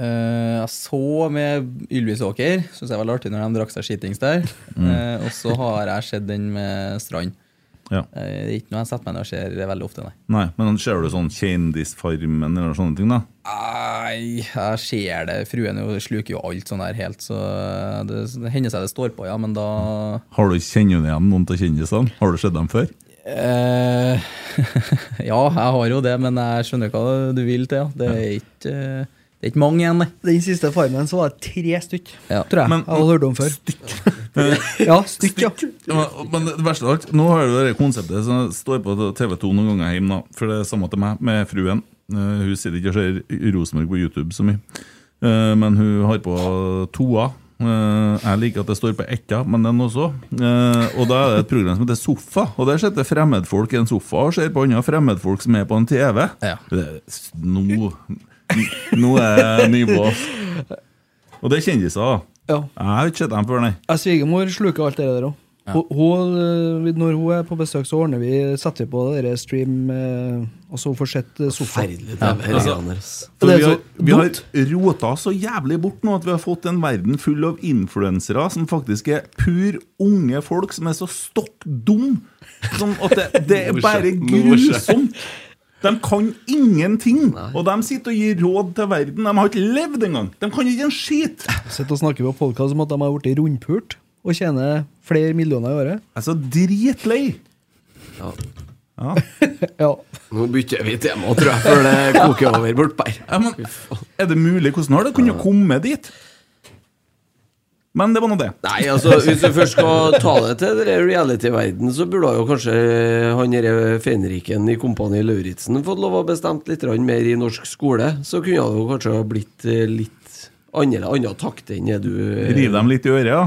Eh, jeg så med Ylvis Åker, syns jeg var litt artig når de drakk seg skitings der.
Mm.
Eh, og så har jeg sett den med Strand.
Ja.
Eh, det er ikke noe jeg setter meg ned og ser veldig ofte, nei.
Nei, men ser du sånn Kjendisfarmen eller sånne ting, da?
Nei, jeg ser det. Fruen jo sluker jo alt sånn her helt, så det, det hender seg det står på, ja, men da
Har du Kjenner du igjen noen av kjendisene? Har du sett dem før?
eh, Ja, jeg har jo det, men jeg skjønner hva du vil til. Ja. Det, er ikke, eh, det er ikke mange igjen, nei.
Den siste farmen så var det tre stykk,
Ja.
tror jeg.
Men-
jeg hadde hørt om før. ja, stykk, ja.
Ja, Men, men det verste av alt, nå har du det konseptet som står på TV 2 noen ganger hjemme, da, for det er samme til meg med fruen. Eh, hun sitter ikke og ser Rosenborg på YouTube så mye, Eh, men hun har på toa. Eh, jeg liker at det står på etta, men den også. Eh, og da er det et program som heter Sofa, og der sitter fremmedfolk i en sofa og ser på andre fremmedfolk som er på en TV.
Ja.
Det- Nå, nå er nivået Og det er kjendiser, da.
ja.
Jeg har ikke sett dem før, nei.
Jeg Svigermor sluker alt det der òg. Hun, øh, når hun er på besøk, så ordner vi, setter vi på det der stream, øh, og så hun får sett øh, sofa.
Forferdelig TV-greier.
For
Det er
vi, har,
så
vi har
dumt.
rota så jævlig bort nå at vi har fått en verden full av influensere som faktisk er pur unge folk som er så stokk dum som at det, det er bare grusomt. De kan ingenting, og de sitter og gir råd til verden. De har ikke levd engang! De kan ikke en skit!
Sitter og snakker på podkast om at de har blitt rundpult og tjener flere millioner i året.
Jeg er så dritlei!
Ja.
Nå bytter vi tema, tror jeg, før det koker over bortpå her.
Ja, men, er det mulig? Hvordan har det kunnet komme dit? Men det var nå det.
Nei, altså, hvis du først skal ta det til det der reality-verden, så burde jo kanskje han derre fenriken i Kompani Lauritzen fått lov å bestemt litt grann mer i norsk skole. Så kunne det jo kanskje ha blitt eh, litt andre, andre takt enn det du eh,
Riv dem litt i øret, ja.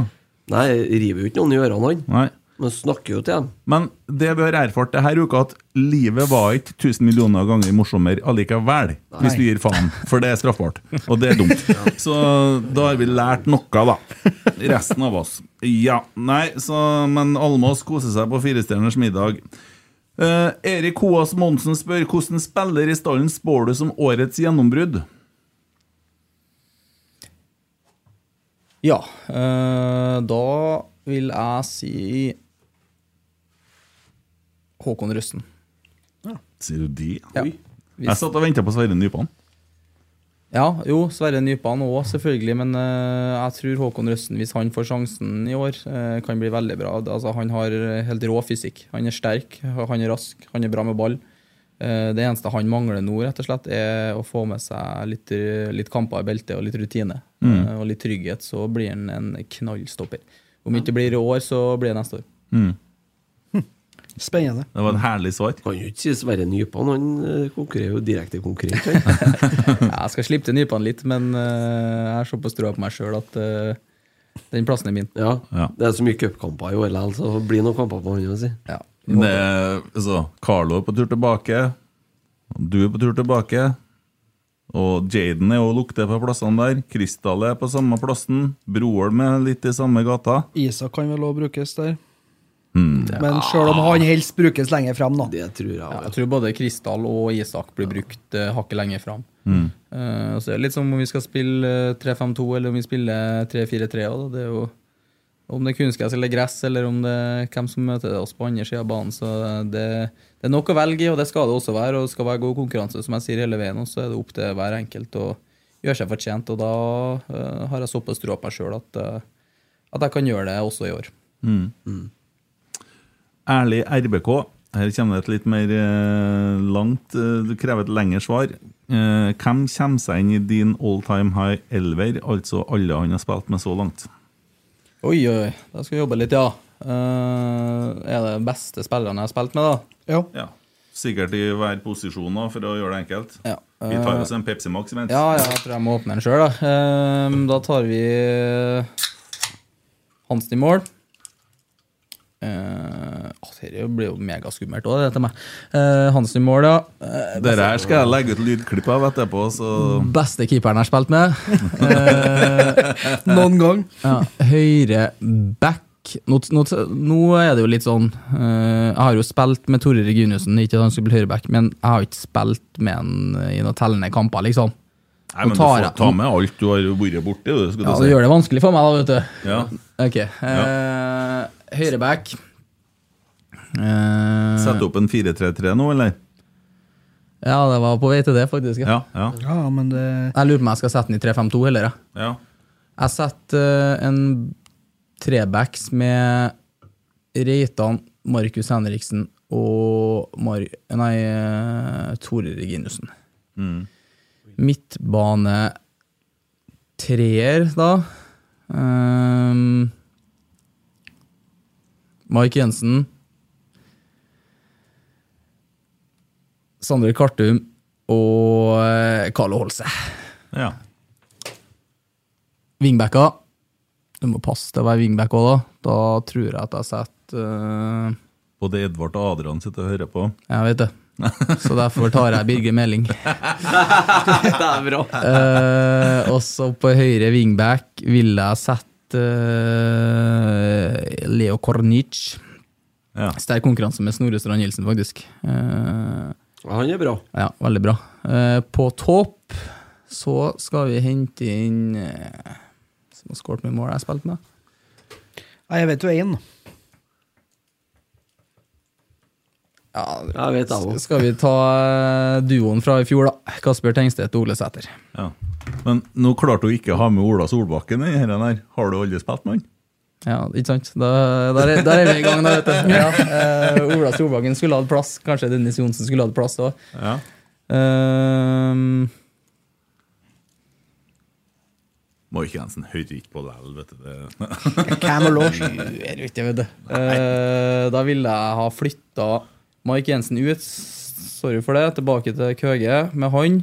Nei, river jo ikke noen i ørene, han.
Nei.
Men snakker jo til dem.
Men det vi har erfart det her uka, at livet var ikke 1000 millioner ganger morsommere allikevel. Hvis du gir faen. For det er straffbart. Og det er dumt. Så da har vi lært noe, da. Resten av oss. Ja. Nei, så Men Almås koser seg på Firestjerners middag. Eh, Erik Hoas Monsen spør hvordan spiller i stallen spår du som årets gjennombrudd?
Ja, eh, da vil jeg si Håkon Røsten.
Sier du det?
Ja.
Jeg satt og venta på Sverre Nypan.
Ja, jo, Sverre Nypan òg, selvfølgelig. Men eh, jeg tror Håkon Røsten, hvis han får sjansen i år, eh, kan bli veldig bra. Altså, han har helt rå fysikk. Han er sterk, han er rask, han er bra med ball. Eh, det eneste han mangler nå, rett og slett, er å få med seg litt, litt kamper i beltet og litt rutine. eh, og litt trygghet, så blir han en knallstopper. Om ikke det blir i år, så blir det neste år.
Spennende.
Det var et herlig svar.
Kan jo ikke si Sverre Nypan, han eh, konkurrerer jo direkte konkurrent. han.
Jeg skal slippe til nypene litt, men eh, jeg har såpass trua på meg sjøl at eh, den plassen er min.
Ja.
Ja.
Det er så mye cupkamper i OL, så det blir noen kamper på hånda si.
Ja.
Det, er- altså, Carlo er på tur tilbake. Du er på tur tilbake. Og Jaden er og lukter på plassene der. Krystal er på samme plassen. Broholm er litt i samme gata.
Isak kan vel òg brukes der. Men sjøl om han helst brukes lenger frem, da.
Det tror jeg.
Ja,
vel.
jeg tror både Kristall og Isak blir brukt eh, hakket lenger fram. Eh, og så er det litt som om vi skal spille eh, 3-5-2 eller om vi spiller 3-4-3. også, da. Det er jo om det er kunstgress eller gress, eller om det er hvem som møter oss på andre sida av banen. Så det, det er nok å velge i, og det skal det også være. Og det skal være god konkurranse, som jeg sier hele veien. Og så er det opp til hver enkelt å gjøre seg fortjent. Og da eh, har jeg såpass tro på meg sjøl at, eh, at jeg kan gjøre det også i år.
Ærlig RBK. Her kommer det et litt mer eh, langt eh, Det krever et lengre svar. Eh, hvem kommer seg inn i din all time high elver, altså alle han har spilt med så langt?
Oi, oi, da skal vi jobbe litt, ja. Eh, er det beste spillerne jeg har spilt med, da?
Ja.
Ja. Sikkert i hver posisjon, da, for å gjøre det enkelt.
Ja.
Vi tar oss en Pepsi Max imens.
Ja, ja, jeg tror jeg må åpne den sjøl, da. Eh, da tar vi Hansen eh, i mål. Eh, å, Dette blir jo megaskummelt òg, det til meg. Eh, Hansen i mål, ja. Eh,
Dette her skal jeg legge ut lydklipp av etterpå, så
beste keeperen jeg har spilt med. Eh,
Noen gang.
ja, høyre back. Nå, nå, nå er det jo litt sånn eh, Jeg har jo spilt med Tore Reginiussen, ikke at han skulle bli høyreback, men jeg har ikke spilt med han i noen tellende kamper, liksom.
Nei, men du
tar
får
jeg-
ta med alt du har vært borti, du,
Ja,
skulle
det
du si.
gjør det vanskelig for meg, da, vet du.
Ja.
Ok. eh, Høyreback. Eh,
Sette opp en 4-3-3 nå, eller?
Ja, det var på vei til det, faktisk. Ja.
Ja, ja,
Ja, men det
Jeg lurer på om jeg skal sette den i 3-5-2 heller. Jeg,
ja.
jeg setter eh, en trebacks med Reitan, Markus Henriksen og Mar Nei, eh, Tore Reginussen. Midtbane treer, da. Ehm, Mike Jensen. Sander Kartum og eh, Carlo Holse.
ja.
Vingbacka. Du må passe til å være wingback òg, da. Da tror jeg at jeg setter eh,
Både Edvard og Adrian sitter og hører på.
Jeg vet det. Så derfor tar jeg Birger Meling.
Det er bra.
Eh, og så på høyre wingback vil jeg sette eh, Leo Kornic.
Ja.
Sterk konkurranse med Snorre Strand Nilsen, faktisk. Eh,
Han er bra.
ja, veldig bra. Eh, på topp så skal vi hente inn eh, Som har skåret med mål jeg har spilt med.
Nei, jeg vet jo én.
Jeg vet jeg
S-
òg.
Skal vi ta eh, duoen fra i fjor, da. Kasper Tengstedt og Ole Sæter.
Ja. Men nå klarte hun ikke å ha med Ola Solbakken i denne her. Har du aldri spilt med han?
Ja, ikke sant? Da, der, er, der er vi i gang, da, vet du. Ja, eh, Ola Solbakken skulle hatt plass. Kanskje Dennis Johnsen skulle hatt plass da.
Ja.
Ehm,
Må ikke Jensen hører ikke på deg, vet du. Det.
Cam og Lars.
jeg vet ikke, vet du. Eh, da ville jeg ha flytta Mike Jensen ut, sorry for det, tilbake til Køge med han.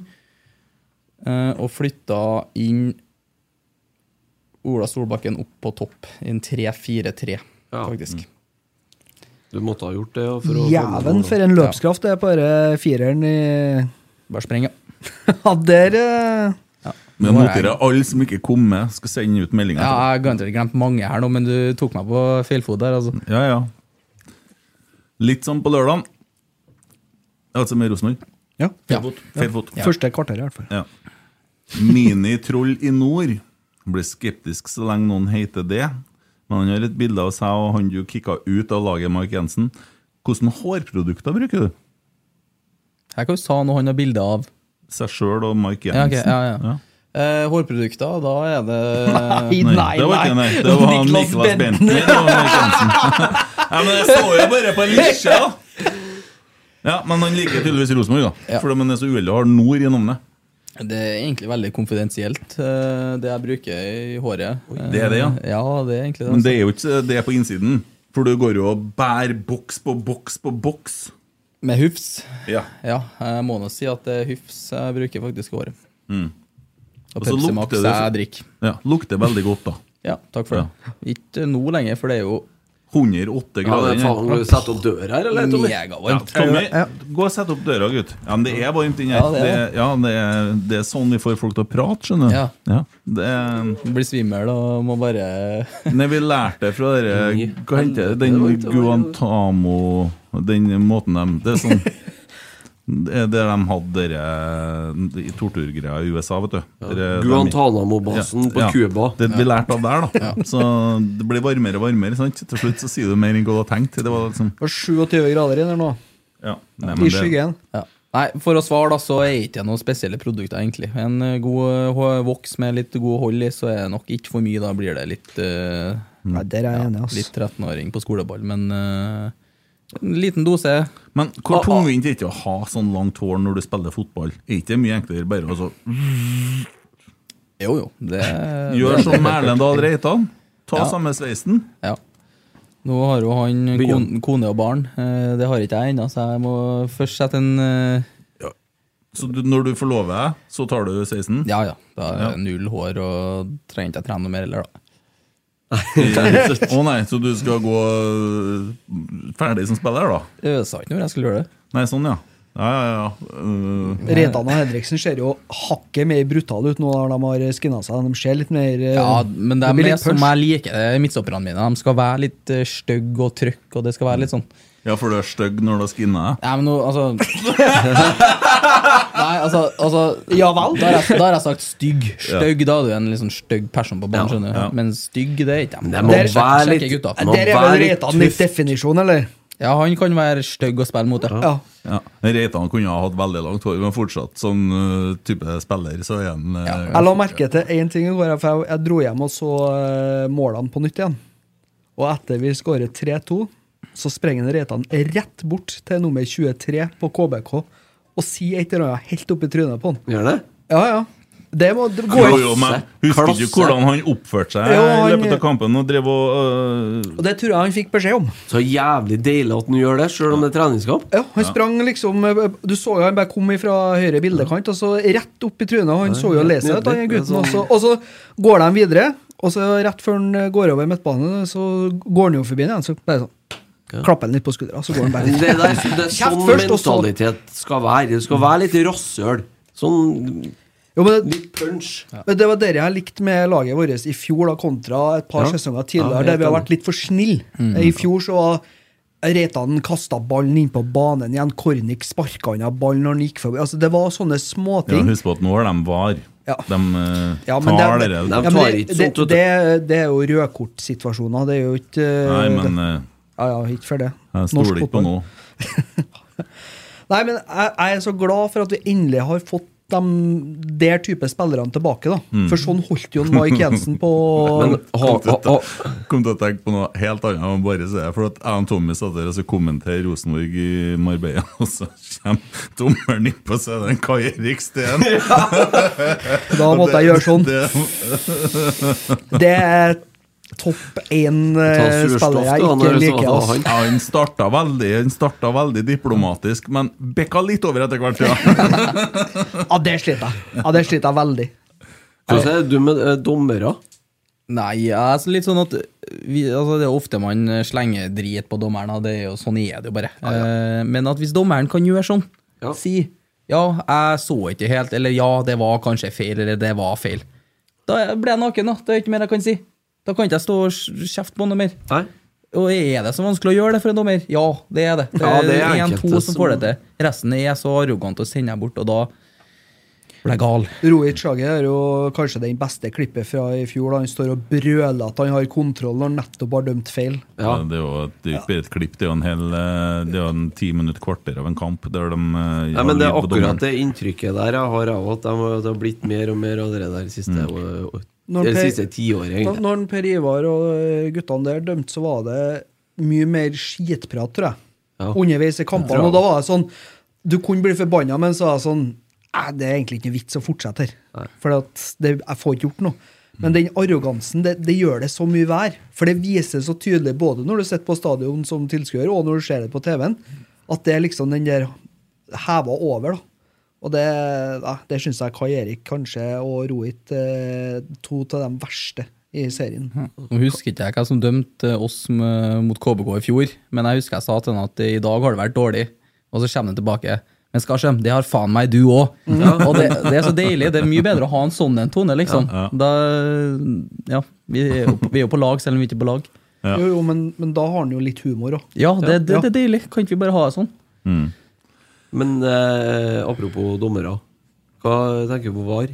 eh, og flytta inn Ola Solbakken opp på topp, i en 3-4-3,
Ja.
faktisk.
Du måtte ha gjort det. ja, For å
Jæven, for en løpskraft det er på denne fireren i
Bare spreng, ja.
Ja, der eh,
Men
Nå er
noterer alle som ikke kom med, skal sende ut meldinger.
Ja, jeg har garantert glemt mange her nå, men du tok meg på feilfot der, altså.
til- ja, ja. Litt sånn på lørdagen. Altså med Rosenborg.
Ja.
Ja.
Feil fot.
Første kvarter, i hvert fall.
Ja. Minitroll i nord. Blir skeptisk så lenge noen heter det. Men han har et bilde av seg og han du kicka ut av laget, Mark Jensen. Hvilke hårprodukter bruker du?
Her kan du sa noe han har bilde av.
Seg sjøl og Mark
Ja,
Jensen?
ok, ja, ja. Eh, hårprodukter, da er det
Nei, det var ikke nei. Det var han
Niklas
Niklas Bentner og Mark Jensen. Nei, men jeg så jo bare på lisja! Ja, men han liker tydeligvis Rosenborg, da.
Ja.
For han er så uheldig å ha nord i navnet.
Det er egentlig veldig konfidensielt, eh, det jeg bruker i håret.
det er det, ja.
Eh, Ja, det er egentlig det.
Men
Altså.
det er jo ikke det er på innsiden. For du går jo og bærer boks på boks på boks.
Med hufs.
Ja.
Ja, jeg må nå si at det er hufs jeg bruker faktisk i håret. Og
Mm. Og så
Pepsi
lukter
Max
det så-
jeg drikker.
ja. Lukter veldig godt, da.
Ja, takk for det. Ikke nå lenger, for det er jo
108
Ja,
grader
men faen,
inne.
må du sette opp døra her, eller, Tommy?
Ja,
megavarmt.
Tommy, gå og sett opp døra, gutt. Ja, men det er varmt inne her.
Ja, det er
det, ja, det, er, det er sånn vi får folk til å prate, skjønner du.
Ja.
det er,
Blir svimmel og må bare
Nei, vi lærte det fra dere Hva heter det? Den Guantamo Den måten de Det er sånn Det er der de hadde dere i torturgreia i USA, vet du. Dere-
Guantánamo-basen på
Ja,
Cuba.
Det vi lærte av der, da. Så det blir varmere og varmere. sant? Til slutt så sier du mer enn hva du har tenkt. Det var liksom
Det var 27 grader inne her nå.
ja. Nei,
I
det-
skyggen.
Ja. Nei, for å svare, da, så er ikke det noen spesielle produkter, egentlig. En eh, god eh, hå- voks med litt god hold i, så er det nok ikke for mye. Da blir det litt, eh,
Nei, Mm. der er jeg enig, ass.
litt 13-åring på skoleball, men eh, en liten dose.
Men hvor tungvint er det ikke å ha sånn langt hår når du spiller fotball? Er ikke det mye enklere bare å så
Jo, jo. Det,
Gjør som Merlendal Reitan. Ta
Ja.
samme sveisen.
Ja. Nå har jo han kon,
Begynn.
kone og barn. Eh, Det har ikke jeg ennå, så jeg må først sette en eh,
Så du, når du forlover deg, så tar du sveisen?
Ja ja, da er
Ja.
det null hår og trenger ikke jeg trene noe mer heller, da.
Å nei, så du skal gå øh, ferdig som spiller, da?
Jeg sa ikke noe jeg skulle gjøre det.
Nei, sånn, ja. Ja, ja, ja. Øh,
Reitan og Henriksen ser jo hakket mer brutale ut nå når de har skinna seg. Altså, De ser litt mer eh,
Ja, men de
det blir
er
litt
som
punch.
jeg liker det, midtstopperne mine. De skal være litt eh, stygge og trøkk, og det skal være litt sånn
ja, for du er stygg når du har skinna deg?
Nei, men nå, altså Nei, altså, altså
Ja vel?
Da har jeg, da har jeg sagt stygg. Stygg, da er du en litt sånn stygg person på banen,
Ja,
skjønner du. Men stygg, det er ikke
Det må
Der sjek-
være
sjekker
litt-
gutta.
det må
Der er vel
være
Reitan litt
tøft.
definisjon, eller?
Ja, han kan være stygg å spille mot, ja.
Ja.
Ja. Reitan kunne ha hatt veldig langt hår, men fortsatt som øh, type spiller, så er han øh,
Jeg la merke til én ting i går. For jeg, jeg dro hjem og så eh, målene på nytt igjen. Og etter vi skårer 3-2, så sprenger Reitan rett bort til nummer 23 på KBK og sier et eller annet helt opp i trynet på han.
Gjør det?
Ja, ja. Det må det går
Jo,
jo.
jo, men Husker
Klasse.
ikke hvordan han oppførte seg
Jo,
i
han-
løpet av kampen og drev og øh,
Og det tror jeg han fikk beskjed om.
Så jævlig deilig at han gjør det, sjøl om det er treningskamp.
Ja, Han sprang liksom eh, Du så jo han bare kom fra høyre bildekant, og så rett opp i trynet. og Han så jo lei seg ut, han
nydelig.
gutten. Og
Det er
så,
sånn-
og så går de videre, og så rett før han eh, går over midtbanen, så går han jo forbi den, så bare sånn Klapper han litt på skuldra, så går han bare
Det, der, det er sånn
Kjeft først, og så-
mentalitet skal være. Det skal være litt rasshøl. Sånn
Jo, men det,
litt punch.
men det var det jeg likte med laget vårt i fjor, da, kontra et par
Ja.
sesonger
Ja,
tidligere,
helt
der vi har
enig.
vært litt for snille.
Mm.
I fjor så var Reitan kasta ballen inn på banen igjen, Kornik sparka han av ballen når han gikk forbi. Altså, det var sånne
ja,
småting.
Husk på at nå er de var.
Ja.
De øh,
Ja, men
tar
det-
det,
De
Ja, men
tar
det-
ikke
det-
sånt, vet du.
Det, Eh, det er jo rødkortsituasjoner. Det er jo ikke
Nei,
eh,
men
det-
øh,
Ja, ja, ikke for det.
jeg
Norsk
stoler ikke på
fotball.
noe.
Nei, men jeg, jeg er så glad for at vi endelig har fått dem, der type spillerne tilbake, da.
Mm.
For sånn holdt jo Mike Jensen
Men
på
ha, ha, ha,
kom til å tenke på noe helt annet. Jeg må bare si det, for at jeg og Tommy satt der og så kommenterer Rosenborg i Marbella, og så kommer dommeren inn på scenen, Kai Erik Steen.
Da måtte jeg gjøre sånn.
Det,
Det er topp
Ta surstoff,
én-spiller eh, jeg
da,
ikke
når det
liker. altså.
var
ass.
han.
ja, han starta veldig, han starta veldig diplomatisk, men bekka litt over etter hvert. Ja.
Ja, det sliter jeg. Ja, det sliter jeg veldig.
Hvordan er du med eh, dommere?
Nei, jeg er så litt sånn at vi, altså Det er ofte man slenger drit på dommeren, og det er jo, sånn er det jo bare. Eh, Men at hvis dommeren kan gjøre sånn,
Ja.
si ja, jeg så ikke helt, eller ja, det var kanskje feil, eller det var feil. Da blir jeg naken, da. Det er ikke mer jeg kan si. Da kan ikke jeg stå og sj- kjefte på noe mer.
Nei?
Og er det så vanskelig å gjøre det for en dommer? Ja, det er det. Det
Ja, det er
er én,
enkelte
to som får det
som-
til. Resten er så arrogant og sender jeg bort, og da blir jeg gal.
Rohit Sjage er jo kanskje den beste klippet fra i fjor. da Han står og brøler at han har kontroll når han nettopp har dømt feil.
Ja.
Det er jo et, det er jo ikke bare et klipp, det er jo en hel eh, Det er jo en ti minutt kvarter av en kamp der de eh,
Nei, men Det er
har lyd på dommeren.
akkurat det inntrykket der jeg har av at de har- det har blitt mer og mer av det der siste,
Mm.
og- og-
Når
det
Per-
siste tiåret,
Da
egentlig.
når Per Ivar og guttene der dømte, så var det mye mer skitprat, tror jeg.
Ja.
Underveis i kampene. Og da var det sånn Du kunne bli forbanna, men så var det sånn «Nei, Det er egentlig ikke noe vits å fortsette her. For at det, jeg får ikke gjort noe. Men den arrogansen, det, det gjør det så mye vær. For det vises så tydelig både når du sitter på stadion som tilskuer, og når du ser det på TV-en, at det er liksom den der heva over, da. Og det, ja, det syns jeg Kai Erik kanskje og Rohit eh, to av de verste i serien.
Nå husker ikke jeg hva som dømte oss med- mot KBK i fjor, men jeg husker jeg sa til han at i dag har det vært dårlig, og så kommer han tilbake. Men Skarsheim, det har faen meg du òg! Og det, det er så deilig. Det er mye bedre å ha en sånn en tone, liksom. Da, ja, vi er jo vi er jo på lag, selv om vi ikke er på lag.
Jo, jo, men, men da har han jo litt humor òg.
Ja, det, det, det er deilig. Kan ikke vi bare ha det sånn?
Men eh, apropos dommere, hva tenker du på VAR?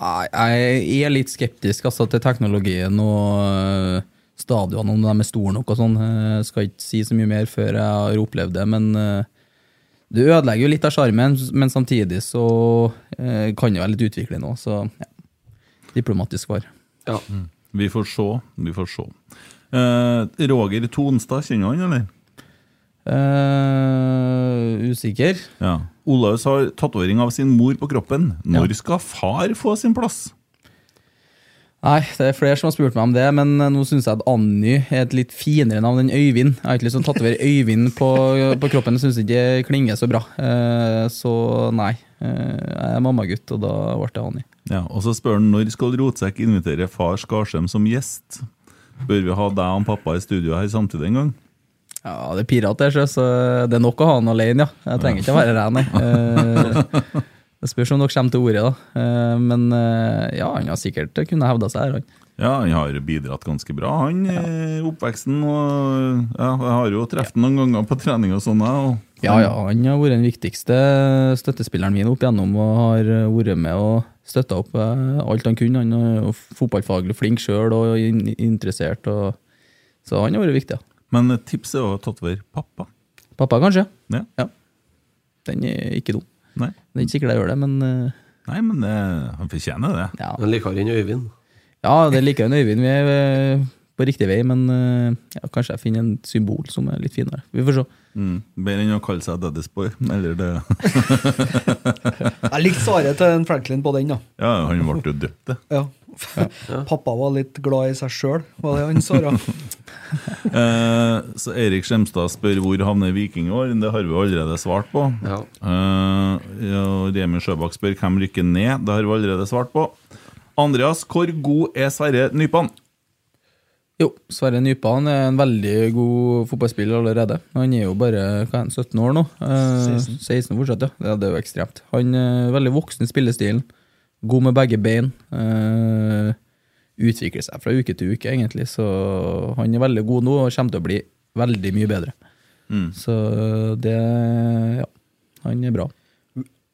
Nei, Jeg er litt skeptisk altså, til teknologien og øh, stadionene, om de er store nok og sånn. Jeg skal ikke si så mye mer før jeg har opplevd det, men øh, det ødelegger jo litt av sjarmen. Men samtidig så øh, kan det være litt utviklende òg, så ja. Diplomatisk svar.
Ja.
Vi får se, vi får se. Eh, Roger Tonstad, kjenner du han, eller?
Eh, usikker.
Ja. Olaus har tatovering av sin mor på kroppen. Når skal far få sin plass?
Nei, det er flere som har spurt meg om det, men eh, nå syns jeg at Anny er et litt finere navn enn Øyvind. Jeg har ikke lyst til å tatovere Øyvind på, på kroppen, jeg syns ikke det klinger så bra. Eh, så nei. Eh, jeg er mammagutt, og da ble det Anny.
Ja, og så spør han når skal Rotsekk invitere far Skarsheim som gjest? Bør vi ha deg og pappa i studio her samtidig en gang?
Ja, det er pirat der, sjø, så det er nok å ha han alene, ja. Jeg trenger ikke å være ren, jeg. Eh, Det spørs om dere kommer til ordet, da. Eh, Men eh, ja, han har sikkert kunnet hevda seg her, han.
Ja, han har bidratt ganske bra, han, i oppveksten. Og ja, jeg har jo truffet ham noen ganger på trening og sånn, jeg. og-
Ja, ja, han har vært den viktigste støttespilleren min opp igjennom og har eh, vært med og støtta opp eh, alt han kunne. Han er jo fotballfaglig flink sjøl og in- interessert, og, så han har vært viktig. Ja.
Men tipset var tatt over pappa.
Pappa, kanskje?
Ja.
Ja. Den er ikke dum.
Nei.
Det er ikke sikkert jeg gjør det, men eh,
Nei, men det, han fortjener det.
ja.
Han liker han Øyvind.
ja det liker han Øyvind. Vi er eh, på riktig vei, men eh, ja, kanskje jeg finner en symbol som er litt finere. Vi får se.
Mm. Bedre enn å kalle seg Daddy's Boy. Eller det
Jeg likte svaret til en Franklin på den, da.
Ja, han ble jo døpt, det.
Ja. Pappa var litt glad i seg sjøl, var det han svara.
Eh, så Erik Skjemstad spør hvor havner Viking i år. Det har vi allerede svart på.
Ja.
Eh, ja, Remi Sjøbakk spør hvem rykker ned. Det har vi allerede svart på. Andreas, hvor god er Sverre Nypan?
Jo, Sverre Nypan er en veldig god fotballspiller allerede. Han er jo bare hva er han, 17 år nå. Eh, 16. fortsatt, ja. ja. Det er jo ekstremt. Han er veldig voksen i spillestilen. God med begge bein. Eh, utvikler seg fra uke til uke, egentlig. Så han er veldig god nå og kommer til å bli veldig mye bedre. Så eh, det Ja, han er bra.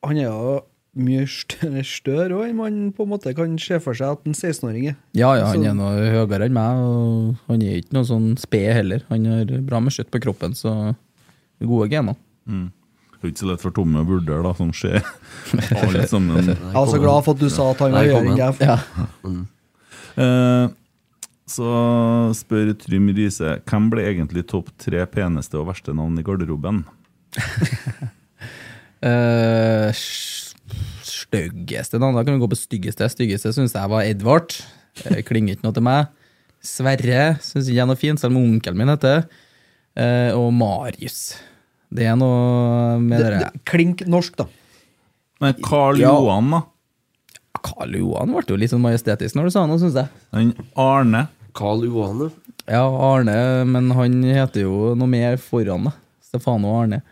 Han er jo mye større større òg enn man på en måte kan se for seg at en 16-åring er.
Ja, ja, han
Så-
er noe høyere enn meg, og han er ikke noe sånn sped heller. Han har bra med kjøtt på kroppen, så gode gener.
Det er ikke så lett for tomme bulder, da, som skjer alle sammen.
Jeg var så glad for at du sa at han var
Nei, kom
høyere enn
igjen.
deg. for-
Eh, så spør Trym Riise hvem ble egentlig topp tre peneste og verste navn i garderoben?
Eh, s- Styggeste navn? Da kan vi gå på styggeste. Styggeste syns jeg var Edvard. Eh, Klinger ikke noe til meg. Sverre syns ikke jeg er noe fint, selv om onkelen min heter det. Eh, Og Marius. Det er noe med
Det,
det, der-
det, klink norsk, da.
Nei, Karl
Ja.
Johan, da.
Karl Johan ble jo litt sånn majestetisk når du sa noe, syns jeg.
Han Arne.
Carl Johan, ja.
Ja, Arne, men han heter jo noe mer foran, da. Stefano Arne.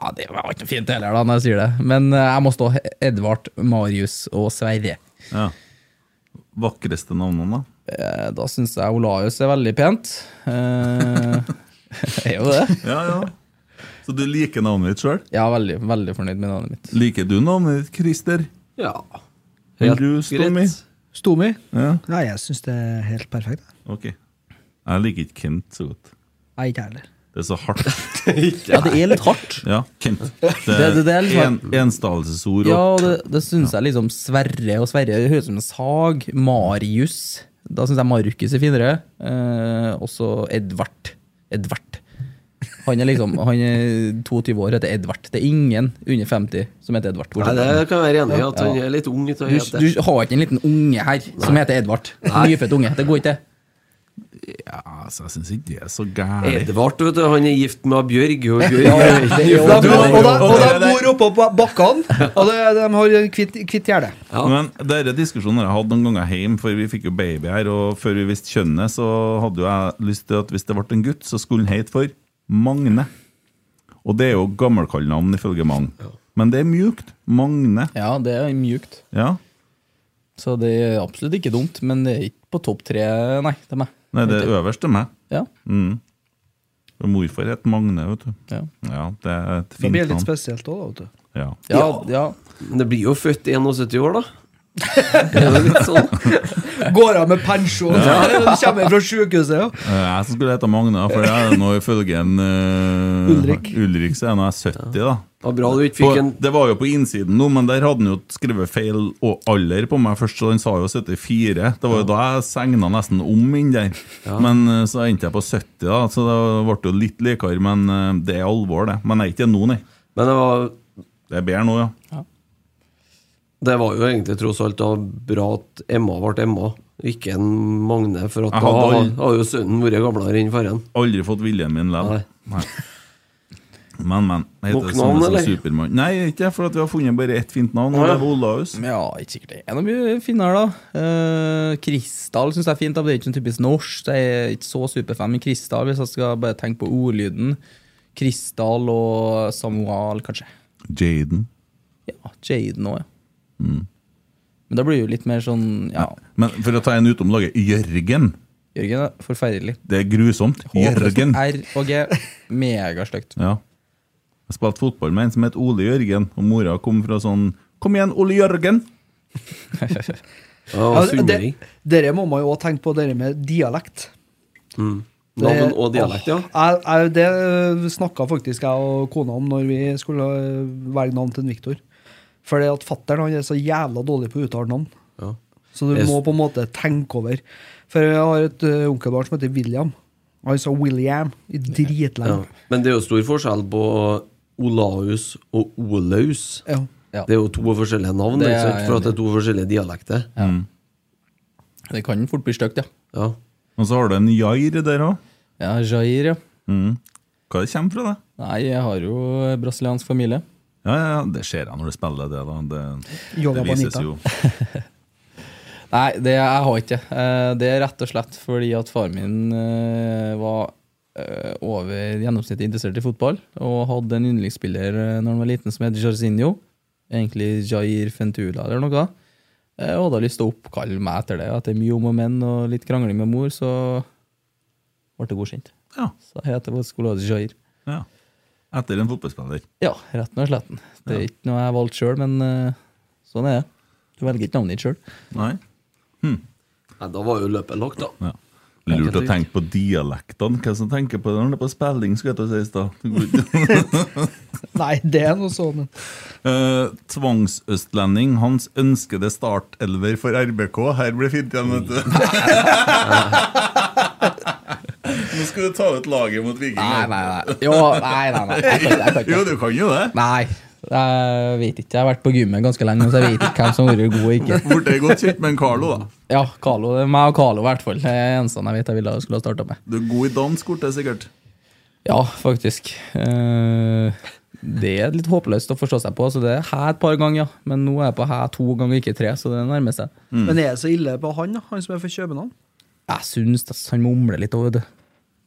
Ja, Det var ikke noe fint heller, da, når jeg sier det. Men eh, jeg må stå Edvard, Marius og Sverre.
Ja. Vakreste navnene, da.
Eh, Da syns jeg Olaus er veldig pent. Eh, er jo det.
Ja, ja. Så du liker navnet ditt sjøl?
Jeg er veldig, veldig fornøyd med navnet mitt.
Liker du navnet ditt, Christer?
Ja.
Vil du stå med?
Stomi?
Ja,
Nei, jeg syns det er helt perfekt. jeg.
ok. Jeg liker ikke Kent så godt.
Nei, ikke jeg heller.
Det er så hardt.
Ja, det er litt hardt.
Ja, Kent. Det
Det- det- det er
er
litt
en, enstavelsesord.
Ja,
og-
og det, det syns jeg liksom Sverre og Sverre det høres ut som en sag. Marius. Da syns jeg Markus er finere. Eh, også Edvard. Edvard. Han er liksom Han er 22 år, heter Edvard. Det er ingen under 50 som heter Edvard.
Nei,
bortsett
det
fra han.
kan jeg være enig i, at han er litt ung. til å
Du,
hete.
du har ikke en liten unge her som heter Edvard. Nyfødt unge. Det går ikke, det.
Ja, så jeg syns ikke det er så gærent.
Edvard, vet du, han er gift med Bjørg. Og Bjørg er ikke
Og
gift
de,
med
og
Bjørg.
de, og
det
de
er det.
bor oppå på bakkene, og de, de har en kvitt, kvitt gjerde.
Ja.
Men denne diskusjonen har jeg hatt noen ganger hjemme, for vi fikk jo baby her, og før vi visste kjønnet, så hadde jo jeg lyst til at hvis det ble en gutt, så skulle han hete for Magne. Og det er jo gammelkallenavn ifølge mange. Men det er mjukt. Magne.
Ja, det er mjukt.
Ja.
Så det er absolutt ikke dumt, men det er ikke på topp tre, nei, til meg.
Nei, det er øverst til meg.
Ja,
Og Morfar het Magne, vet du.
ja.
Ja, det er et
Det
fint
blir litt
navn.
spesielt òg, vet du.
Ja.
ja, ja.
Men det blir jo født 71 år, da. Det er jo litt sånn.
Går av med pensjon, de kommer fra sjukehuset, ja.
Eh, Jeg som skulle hete Magne, for jeg er nå ifølge en eh,
Ulrik.
Ulrik så er jeg nå 70, da.
Det var bra du ikke
På,
fikk en
det var jo på innsiden nå, men der hadde han jo skrevet feil og alder på meg først, så han sa jo 74. Det var jo da jeg segna nesten om inn der. Men eh, så endte jeg på 70, da, så det ble jo litt likere. Men eh, det er alvor, det. Men jeg er ikke det nå, nei.
Men det var,
Det er bedre nå, ja.
det var jo egentlig tross alt da bra at Emma ble Emma, ikke en Magne. For at
Jeg
da
hadde
har
aldri-
har jo sønnen vært gamlere enn faren.
Aldri fått viljen min likevel.
Nei.
Nei. Men, men. Jeg heter
Nok
det samme
navn,
som
eller?
Supermann. Nei, ikke jeg, for at vi har funnet bare ett fint navn, og det er Olaus.
Ja, ikke sikkert det er noe mye finere, da. Eh, Kristall syns jeg er fint, da, men det er ikke sånn typisk norsk. Jeg er ikke så superfan, men Kristall, hvis jeg skal bare tenke på ordlyden Kristall og Samuel, kanskje.
Jaden.
Ja, Jaden òg, ja.
Mm.
Men da blir det jo litt mer sånn Ja,
Men for å ta en utom laget Jørgen.
Jørgen er forferdelig.
Det er grusomt.
Håpløst.
Jørgen.
R og G. Megastygt.
Ja. Jeg spilte fotball med en som het Ole Jørgen, og mora kom fra sånn Kom igjen, Ole Jørgen!
Ja,
Ja,
Sunnmøring.
det- Dere må man jo også tenke på, dere med dialekt.
Navn og dialekt, ja.
Åh, jeg- jeg- det snakka faktisk jeg og kona om når vi skulle øh, velge navn til en Viktor. Fordi at fattern han er så jævla dårlig på å uttale navn.
Ja.
Så du
Jeg s-
må på en måte tenke over. For jeg har et øh, onkelbarn som heter William. Han sa William i
ja.
dritlenge.
Men det er jo stor forskjell på Olaus og Olaus.
Ja.
Ja.
Det er jo to forskjellige navn,
Det er
ikke sant?
jeg
for at det er to forskjellige dialekter.
Det kan fort bli stygt, ja.
Ja.
Og så har du en Jair der òg.
Ja, Jair, ja.
Hva det kommer fra, det?
Nei, jeg har jo brasiliansk familie.
Ja, ja, ja, det ser jeg når du spiller det, da. Det,
Yoga
det vises
Bonita.
jo.
Nei, det jeg har ikke. Eh, Det er rett og slett fordi at faren min eh, var eh, over gjennomsnittet interessert i fotball, og hadde en yndlingsspiller eh, når han var liten som het Jarzinho. Egentlig Jair Fentula eller noe. Eh, Og hadde lyst til å oppkalle meg etter det. Etter mye om og men og litt krangling med mor, så ble det godkjent.
Ja,
Så jeg heter Skolas Jair.
ja. Etter en fotballspiller.
Ja, retten og sletten. Det er ikke noe jeg valgte sjøl, men eh, sånn er det. Du velger ikke navnet ditt sjøl.
Nei.
Nei, da var jo løpet lagt, da.
Ja. Lurt å
Enkelt og
tenke på dialektene. Hvem som tenker på det når det er på spilling, skulle jeg til å si i stad.
Nei, det er noe sånn.
Eh, Tvangsøstlending, hans ønskede startelver for RBK. Her blir fint igjen, vet du.
Mm.
Nå skal du ta ut laget mot Viking.
Nei, nei, nei. Jo, nei, nei, nei. Jeg kan ikke, jeg kan
Jo,
ikke.
du kan jo det.
Nei, jeg vet ikke. Jeg har vært på gymmet ganske lenge, så jeg vet ikke hvem som har vært god og ikke.
Borte er godt kjent med en Carlo, da.
Ja, Carlo. Det er meg og Carlo, i hvert fall. Det er eneste jeg vet jeg ville skulle ha starta med.
Du er god i dansk, borte, sikkert.
Ja, faktisk. Eh, Det er litt håpløst å forstå seg på, så det er hæ et par ganger, ja. Men nå er jeg på hæ to ganger, ikke tre, så det nærmer seg.
Mm.
Men er det så ille på han, da? Han som er fra København?
Jeg syns det, han mumler litt òg, vet du.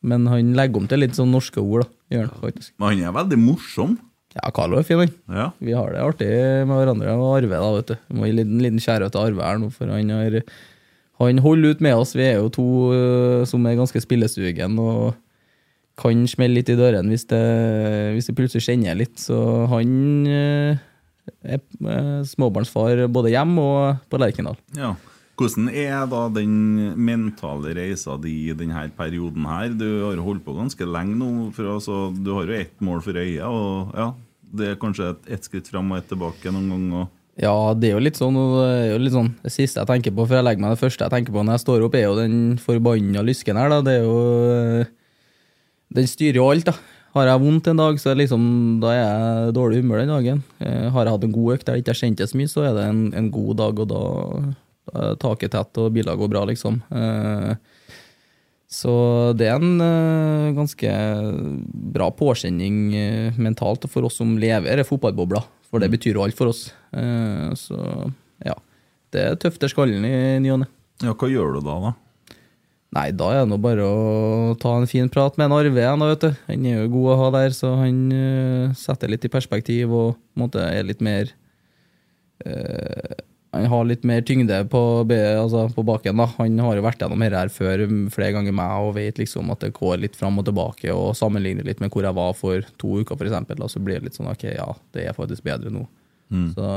Men han legger om til litt sånn norske ord, da. Gjør han faktisk.
Men han er veldig morsom.
Ja, Carlo er fin, han.
Ja.
Vi har det artig med hverandre og Arve, da, vet du. Vi må gi en liten, liten kjære til Arve her nå, for han har Han holder ut med oss. Vi er jo to øh, som er ganske spillesugen og kan smelle litt i dørene hvis det, hvis det plutselig kjenner litt. Så han øh, er øh, småbarnsfar både hjem og på Lerkendal.
Ja. Hvordan er da den mentale reisa di i denne perioden her? Du har jo holdt på ganske lenge nå. For altså, du har jo ett mål for øya. Og ja, det er kanskje ett et skritt fram og ett tilbake noen ganger.
Ja, det er jo litt sånn, og det er jo litt sånn Det siste jeg tenker på, for jeg legger meg det første jeg tenker på når jeg står opp, er jo den forbanna lysken her, da. Det er jo øh, Den styrer jo alt, da. Har jeg vondt en dag, så er liksom, da er jeg i dårlig humør den dagen. Eh, har jeg hatt en god økt der jeg ikke har kjent det så mye, så er det en, en god dag, og da, da er taket tett og biler går bra, liksom. Eh, så det er en eh, ganske bra påkjenning eh, mentalt for oss som lever i fotballbobla, for det betyr jo alt for oss. Eh, så ja, det tøfter skallen i ny og ne.
Ja, hva gjør du da, da?
Nei, da er det nå bare å ta en fin prat med en Arve igjen, da, vet du. Han er jo god å ha der, så han eh, setter litt i perspektiv og på en måte er litt mer eh, Han har litt mer tyngde på, be- altså, på baken, da. Han har jo vært gjennom dette her før mm, flere ganger meg og vet liksom at det går litt fram og tilbake, og sammenligner litt med hvor jeg var for to uker, for eksempel, da, så blir det litt sånn ok, ja, det er faktisk bedre nå. Så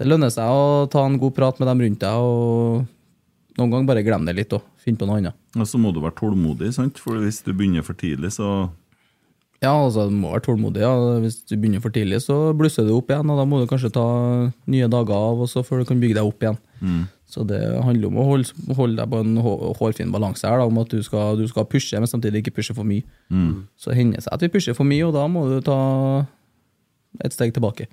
det lønner seg å ta en god prat med dem rundt deg, og noen ganger bare glem det litt og finne på noe annet.
Og så må du være tålmodig, sant? For hvis du begynner for tidlig, så
Ja, altså, du må være tålmodig. Ja. Hvis du begynner for tidlig, så blusser det opp igjen, og da må du kanskje ta nye dager av og så før du kan bygge deg opp igjen. Så det handler om å holde, holde deg på en hå- hårfin balanse her, da, om at du skal, du skal pushe, men samtidig ikke pushe for mye. Så hender det seg at vi pusher for mye, og da må du ta et steg tilbake.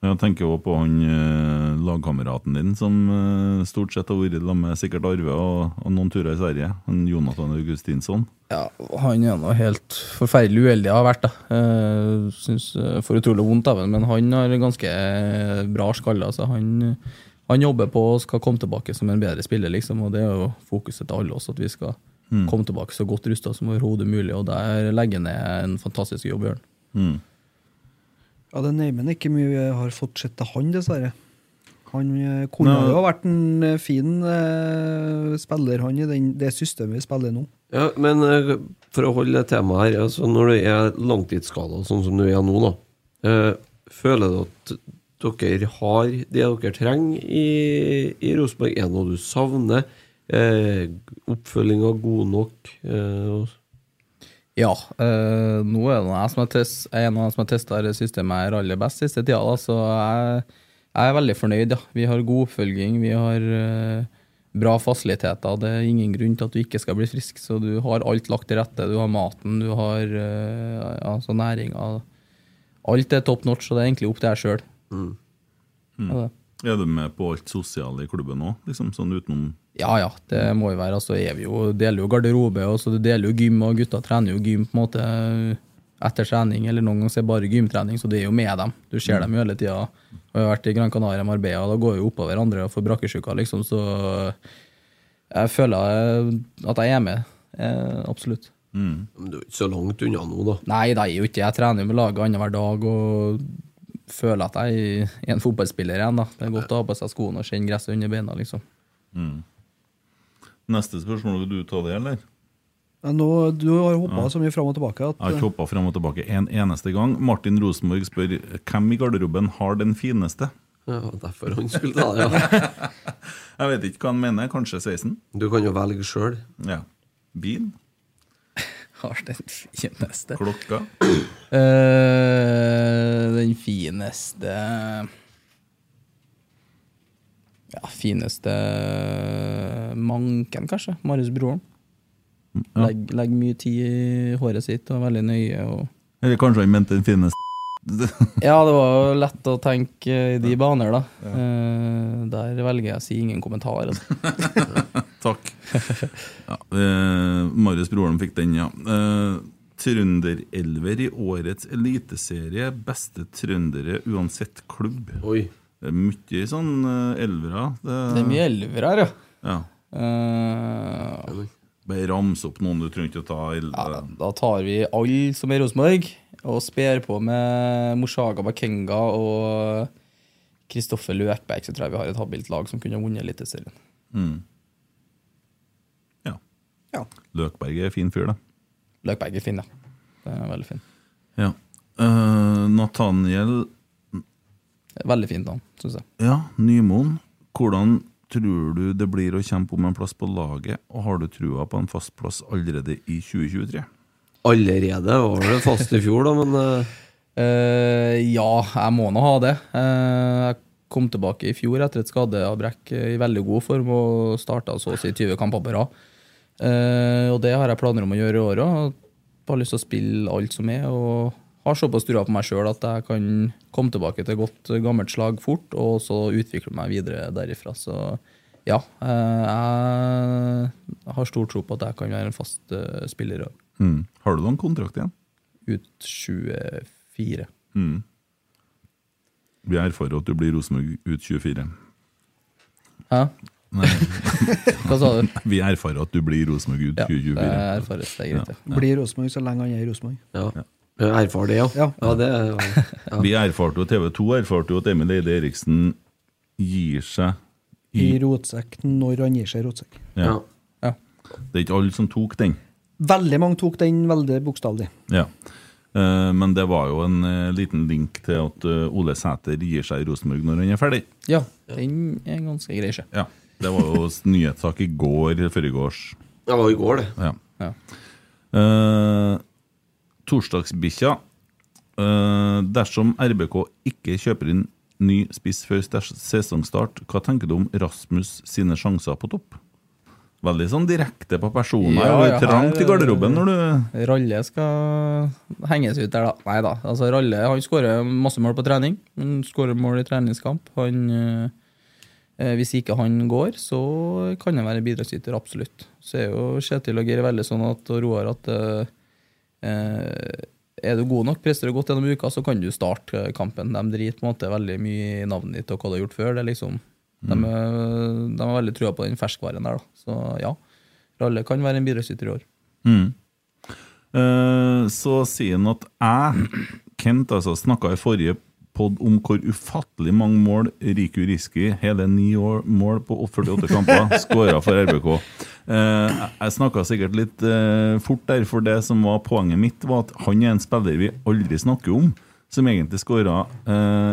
Jeg tenker også på han eh, lagkameraten din som eh, stort sett har vært sammen med sikkert Arve og, og noen turer i Sverige. Han Jonathan Augustinsson.
Ja, han er nå helt forferdelig uheldig har vært, da. Eh, synes, eh, får utrolig vondt av ham, men han har ganske eh, bra skaller. Så han, han jobber på og skal komme tilbake som en bedre spiller, liksom. Og det er jo fokuset til alle oss, at vi skal komme tilbake så godt rusta som overhodet mulig. Og der legger han ned en fantastisk jobb, Jørn.
Mm.
Ja, det neimen ikke mye vi har fått sett til han, dessverre. Han eh, kunne
Nei.
jo ha vært en eh, fin eh, spiller, han, i den, det systemet vi spiller nå.
Ja, men eh, for å holde det temaet her, altså når du er langtidsskada, sånn som du er nå, da, eh, føler du at dere har det dere trenger i, i Rosenborg? Er det noe du savner? Eh, Oppfølginga god nok? Eh, og-
Ja. Eh, nå er det jeg som har test, jeg er en av dem som har testa systemet her aller best siste tida, da, så jeg, jeg er veldig fornøyd. Ja. Vi har god oppfølging, vi har eh, bra fasiliteter. Det er ingen grunn til at du ikke skal bli frisk, så du har alt lagt til rette. Du har maten, du har eh, altså næringa. Alt er top notch, så det er egentlig opp til deg sjøl. Ja, det.
Er du med på alt sosiale i klubben òg, liksom, sånn utenom
Ja, ja, det må jo være. Altså, er vi jo, deler jo garderobe, og så du deler jo gym, og gutta trener jo gym på en måte etter trening, eller noen ganger så er det bare gymtrening, så det er jo med dem. Du ser dem jo hele tida. Og jeg har vært i Gran Canaria med Arbea, og da går jo oppå hverandre og får brakkesjuka, liksom, så jeg føler eh, at jeg er med. Eh, absolutt.
Men du er ikke så langt unna nå, da.
Nei, det er jo ikke Jeg trener jo med laget annenhver dag og føler at jeg er en fotballspiller igjen, da. Det er godt å ha på seg skoene og kjenne gresset under beina, liksom.
Neste spørsmål, vil du ta det, eller?
Ja, nå, du har hoppa så mye fram og tilbake at
Jeg har ikke hoppa frem og tilbake en eneste gang. Martin Rosenborg spør hvem i garderoben har den fineste?
Ja, derfor han skulle ta det, ja.
Jeg vet ikke hva han mener. Kanskje 16?
Du kan jo velge sjøl.
Ja. Bil?
Har den fineste.
Klokka?
Eh, den fineste Ja, fineste manken, kanskje. Marius Broren.
ja.
Legger legg mye tid i håret sitt og er veldig nøye. Og
Eller kanskje han mente den fineste?
ja, det var jo lett å tenke i de baner, da. Eh, der velger jeg å si ingen kommentar. Altså.
Takk. Ja, eh, Marius Broholm fikk den, ja. Eh, Trønderelver i årets eliteserie. Beste trøndere uansett klubb.
Oi.
Det er mye sånn eh, elvere.
Det er mye elver her, ja.
Ja.
Eh,
Bare ramse opp noen, du trenger ikke å ta el-
Ja, da tar vi alle som er i Rosenborg, og sper på med Moshaga Bakenga og Kristoffer Løkberg, så tror jeg vi har et habilt lag som kunne vunnet Eliteserien.
Ja.
Ja.
Løkberg er en fin fyr, da.
Løkberg er fin, ja. Det er veldig fin.
Ja. Eh, Nathaniel
Det er Veldig fint navn, syns jeg.
ja, Nymoen, hvordan tror du det blir å kjempe om en plass på laget, og har du trua på en fast plass allerede i 2023?
Allerede var det fast i fjor, da, men eh,
Eh, ja, jeg må nå ha det. Eh, jeg kom tilbake i fjor etter et skadeavbrekk eh, i veldig god form og starta så å si 20 kamper på rad. Eh, og det har jeg planer om å gjøre i år òg. Har lyst til å spille alt som er. og har såpass trua på meg sjøl at jeg kan komme tilbake til godt eh, gammelt slag fort, og så utvikle meg videre derifra. Så ja, eh, jeg har stor tro på at jeg kan være en fast eh, spiller også.
Mm. Har du noen kontrakt igjen?
ut 24.
Mm. Vi er for at du blir Rosenborg ut 24.
Hæ?
Nei,
Hva sa du?
vi er for at du blir Rosenborg ut
Ja, det
2024.
er erfares, det er greit. Ja.
blir Rosenborg så lenge han er i Rosenborg.
ja. Jeg erfar det, ja.
Ja.
ja det er
Vi erfarte jo, TV 2 erfarte jo at Emil Eide Eriksen gir seg
I
i
rotsekk når han gir seg i rotsekk.
ja.
ja.
Ja.
Det er ikke alle som tok den.
Veldig mange tok den veldig bokstavelig.
Ja. Eh, Men det var jo en eh, liten link til at eh, Ole Sæter gir seg i Rosenborg når han er ferdig.
ja, den er ganske grei, sjø.
Ja. Det var jo s- nyhetssak i går, eller forgårs.
Det var i går, det.
Ja.
Ja.
Eh, torsdagsbikkja. Eh, dersom RBK ikke kjøper inn ny spiss før stes- sesongstart, hva tenker du om Rasmus sine sjanser på topp? Veldig sånn direkte på personer.
Ja,
og det
ja,
er trangt
her-
i garderoben når du
Ralle skal henges ut der, da. Nei da. Altså, Ralle han skårer masse mål på trening. Han skårer mål i treningskamp. Han, eh, hvis ikke han går, så kan han være bidragsyter, absolutt. Så er jo Kjetil og Geir veldig sånn at, og Roar at eh, eh, er du god nok, presterer du godt gjennom uka, så kan du starte eh, kampen. De driter på en måte veldig mye i navnet ditt og hva du har gjort før. Det er liksom, de, er- de har veldig trua på den ferskvaren der. Da. Så ja, Ralle kan være en bidragsyter i år.
Mm. Eh, så sier han at jeg, Kent, altså, snakka i forrige pod om hvor ufattelig mange mål Riku Riski, hele ni år, mål på 48 kamper, skåra for RBK. Eh, jeg- jeg snakka sikkert litt eh, fort der, for det som var poenget mitt, var at han er en spiller vi aldri snakker om. Som egentlig skåra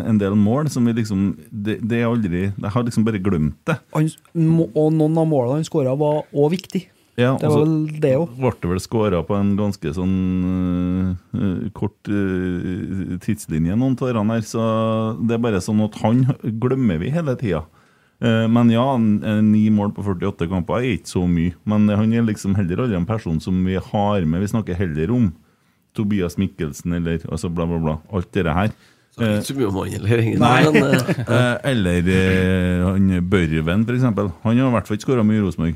en del mål. Som vi liksom det, det er aldri Jeg har liksom bare glemt det.
Han, må- og noen av målene han skåra, var òg viktig.
Ja,
Det
og
var
så-
vel det òg.
ble det vel skåra på en ganske sånn øh, kort øh, tidslinje, noen av årene her. Så det er bare sånn at han glemmer vi hele tida. Eh, men ja, n- eh, ni mål på 48 kamper er ikke så mye. Men han er liksom heller aldri en person som vi har med. Vi snakker heller om Tobias Mikkelsen eller altså bla, bla, bla. Alt det her.
Så det er ikke så mye om han heller, egentlig.
Nei.
Men, eh,
Eh, eller eh, han Børven, f.eks. Han har i hvert fall ikke skåra mye i Rosenborg.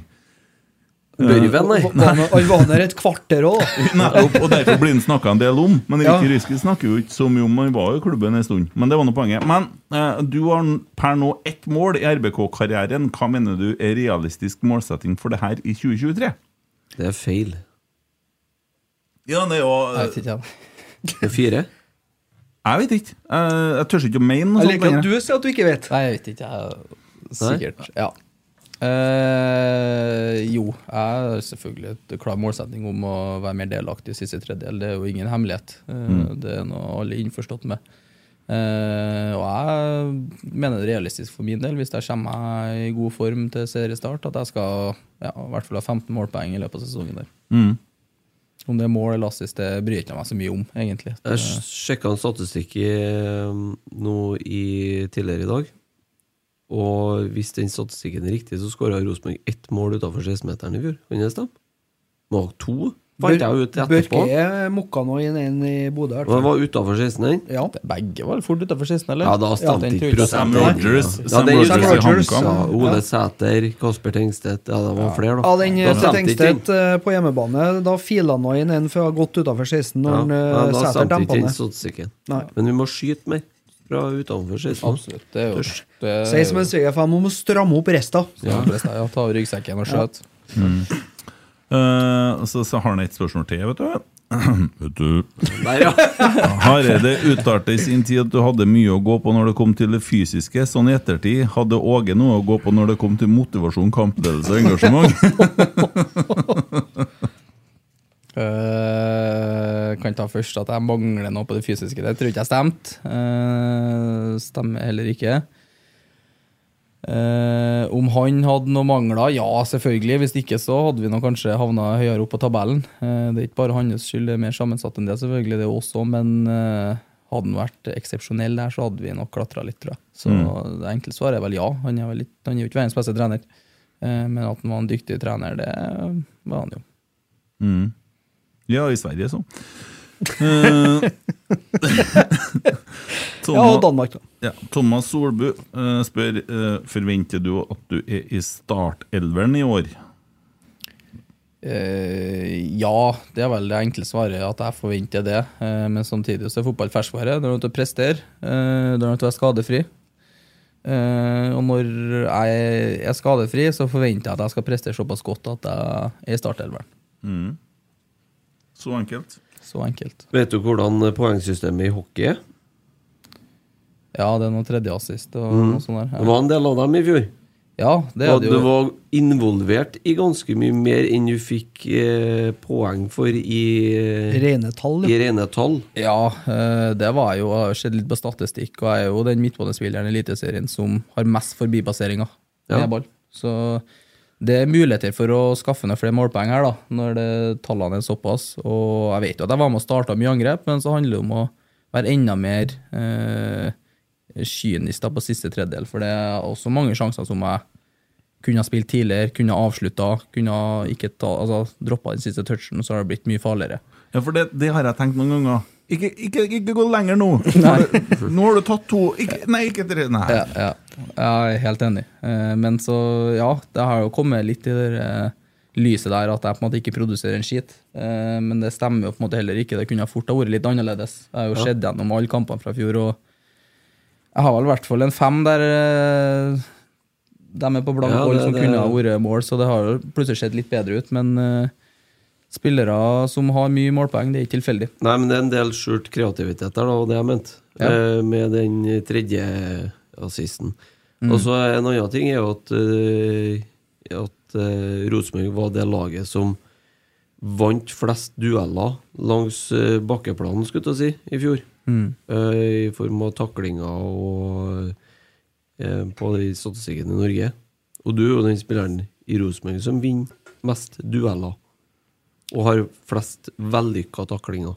Børven, nei.
Han var der et kvarter òg, da.
Nettopp, og derfor blir han snakka en del om. Men
Ja.
Rikke Ryske snakker jo ikke så mye om han var jo i klubben en stund. Men det var noe poenget. Men eh, du har per nå ett mål i RBK-karrieren. Hva mener du er realistisk målsetting for det her i 2023?
Det er feil.
Ja, det er jo eh,
Jeg vet ikke, jeg.
Det er fire.
Jeg vet ikke. Eh, jeg tør ikke å mene noe
Jeg liker at
sånt.
du
lenger.
sier at du ikke vet.
Nei, jeg vet ikke. Jeg, sikkert. Ja. Eh, jo, jeg har selvfølgelig et klar målsetning om å være mer delaktig i siste tredjedel. Det er jo ingen hemmelighet. Eh, Det er noe alle er innforstått med. Eh, og jeg mener det er realistisk for min del, hvis jeg kommer meg i god form til seriestart, at jeg skal ja, i hvert fall ha 15 målpoeng i løpet av sesongen der.
Mm.
Om det er mål eller assist, det bryr jeg ikke meg så mye om, egentlig.
Jeg sjekka en statistikk i, um, nå i tidligere i dag. Og hvis den statistikken er riktig, så skåra Rosenborg ett mål utafor 16-meteren i fjor. Kan det stemme? Må ha to, fant jeg ut etterpå.
Børke mokka nå inn en i Bodø. i hvert
Og det
fall.
var utafor 16 den.
Ja.
Begge var vel fort utafor sisten, eller?
Ja, da stemte
den tror
ikke
jeg
prosenten.
Sam Rogers,
Ja,
Sam
det er
Rogers,
Sam
i
Rogers,
HamKam.
Ja,
Ja.
Ole Sæter, Kasper Tengstedt Ja, det var flere, da.
Ja, den
Da
til
stemte ikke den.
Tengstedt eh, på hjemmebane, da fila han nå inn en for å ha gått utafor 16 når han
Ja,
eh,
ja, da
Sæter
stemte ikke
dempa
den
ned.
statistikken.
Nei.
Men vi må skyte mer fra utenfor 16.
Absolutt. Det er jo
Tørs.
det er
Sier som en svigerfar, man må stramme opp resta.
Ja. ja, ta av ryggsekken og skjøt.
Eh, så, så har han et spørsmål til, vet du. vet du.
Der, ja.
Hareide uttalte i sin tid at du hadde mye å gå på når det kom til det fysiske. Sånn i ettertid hadde Åge noe å gå på når det kom til motivasjon, kampledelse og engasjement.
Eh, kan ta først at jeg mangler noe på det fysiske. Det tror ikke jeg stemte. Eh, stemmer heller ikke. Eh, om han hadde noen mangler? Ja, selvfølgelig. Hvis ikke så hadde vi nå kanskje havna høyere opp på tabellen. Eh, det er ikke bare hans skyld, det er mer sammensatt enn det, selvfølgelig, det er også, men eh, hadde han vært eksepsjonell der, så hadde vi nok klatra litt, tror jeg. Så det enkle svaret er vel ja. Han er, vel litt, han er jo ikke verdens beste trener, Eh, men at han var en dyktig trener, det var han jo.
Mm. Ja, i Sverige, så. Eh,
Ja, og Danmark, da.
Ja, Thomas Solbu eh, spør eh, Forventer du at du er i startelveren i år.
Eh, ja, det er vel det enkle svaret, at jeg forventer det. Eh, men samtidig så er fotball ferskvare. Du er nødt til å prestere, eh, du er nødt til å være skadefri. Eh, og når jeg er skadefri, så forventer jeg at jeg skal prestere såpass godt at jeg er i startelveren.
Mm. Så enkelt.
Så enkelt.
Vet du hvordan eh, poengsystemet i hockey er?
Ja, det er noe tredjeassist og noe sånt
Det
der.
var en del av dem i fjor.
Ja, det er
Mm. og
det
du
jo.
var involvert i ganske mye mer enn du fikk eh, poeng for i, eh,
Rene tall.
i
ja.
rene tall.
Ja, eh, det var jeg jo. Jeg har jo sett litt på statistikk, og jeg er jo den midtbanespilleren i Eliteserien som har mest forbipasseringer
Ja.
med ball. Så det er muligheter for å skaffe ned flere målpoeng her, da, når det, tallene er såpass. Og jeg vet jo at jeg var med og starta mye angrep, men så handler det om å være enda mer eh, kynisk da på siste tredjedel, for det er også mange sjanser som jeg Kunne ha spilt tidligere, kunne ha avslutta, kunne ha ikke ta, altså, droppa den siste touchen, så har det blitt mye farligere.
Ja, for det, det har jeg tenkt noen ganger. Ikke, ikke, ikke gå lenger nå! Nå har du tatt to ikke, Nei, ikke tre. Nei.
Ja, ja. Jeg er helt enig. Eh, Men så, ja, det har jo kommet litt i det eh, lyset der at jeg på en måte ikke produserer en skit. Eh, Men det stemmer jo på en måte heller ikke. Det kunne ha fort ha vært litt annerledes. Jeg har jo sett gjennom alle kampene fra fjor, og jeg har vel i hvert fall en fem der eh, de er på blank
Ja,
hold
det-
som
det-
kunne ha vært mål, så det har jo plutselig sett litt bedre ut. Men eh, spillere som har mye målpoeng, det er ikke tilfeldig.
Nei, men det er en del skjult kreativitet der, da, og det jeg mente.
Ja.
Eh, med den tredje assisten.
Mm.
Og så er en annen ting er jo at, eh, at eh, Rosenborg var det laget som vant flest dueller langs eh, bakkeplanen, skulle jeg til å si, i fjor.
Mm.
Eh, I form av taklinger og eh, på de statistikken i Norge. Og du er jo den spilleren i Rosenborg som vinner mest dueller. Og har flest vellykka taklinger.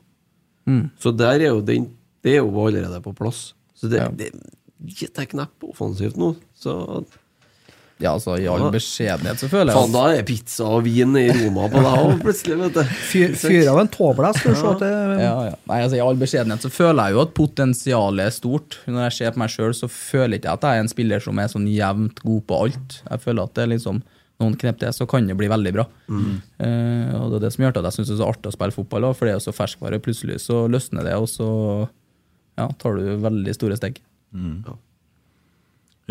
Mm.
Så der er jo den Det er jo allerede på plass. Så det,
Ja.
det, det er knepp offensivt nå. Så
Ja, altså, I all
Ja.
beskjedenhet, så føler jeg
faen, da er det pizza og vin i Roma på deg òg, plutselig, vet du.
Fyr, fyr av en tåble, jeg skal se at det
ja, ja. Nei, altså I all beskjedenhet så føler jeg jo at potensialet er stort. Når jeg ser på meg sjøl, så føler ikke jeg at jeg er en spiller som er sånn jevnt god på alt. Jeg føler at det er liksom noen knep til, så kan det bli veldig bra.
Mm.
Eh, og Det er det som gjør at jeg syns det er så artig å spille fotball, også, for det er jo så ferskvare. Plutselig så løsner det, og så ja, tar du veldig store steg.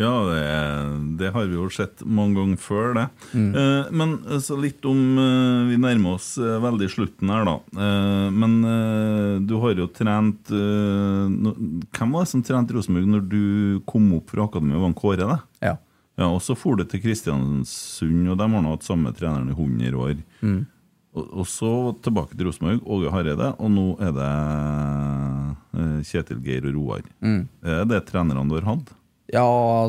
Ja, det, det har vi jo sett mange ganger før, det.
Mm.
Eh, men eh, så litt om eh, Vi nærmer oss eh, veldig slutten her, da. Eh, men eh, du har jo trent eh, nå- Hvem var det som trente Rosenborg når du kom opp fra akademiet? Var han Kåre, det?
Ja.
Ja, og så for du til Kristiansund, og de har nå hatt samme treneren i 100 år. Og, og så tilbake til Rosenborg, Åge Hareide, og nå er det eh, Kjetil Geir og Roar. Er det trenerne du har hatt?
Ja,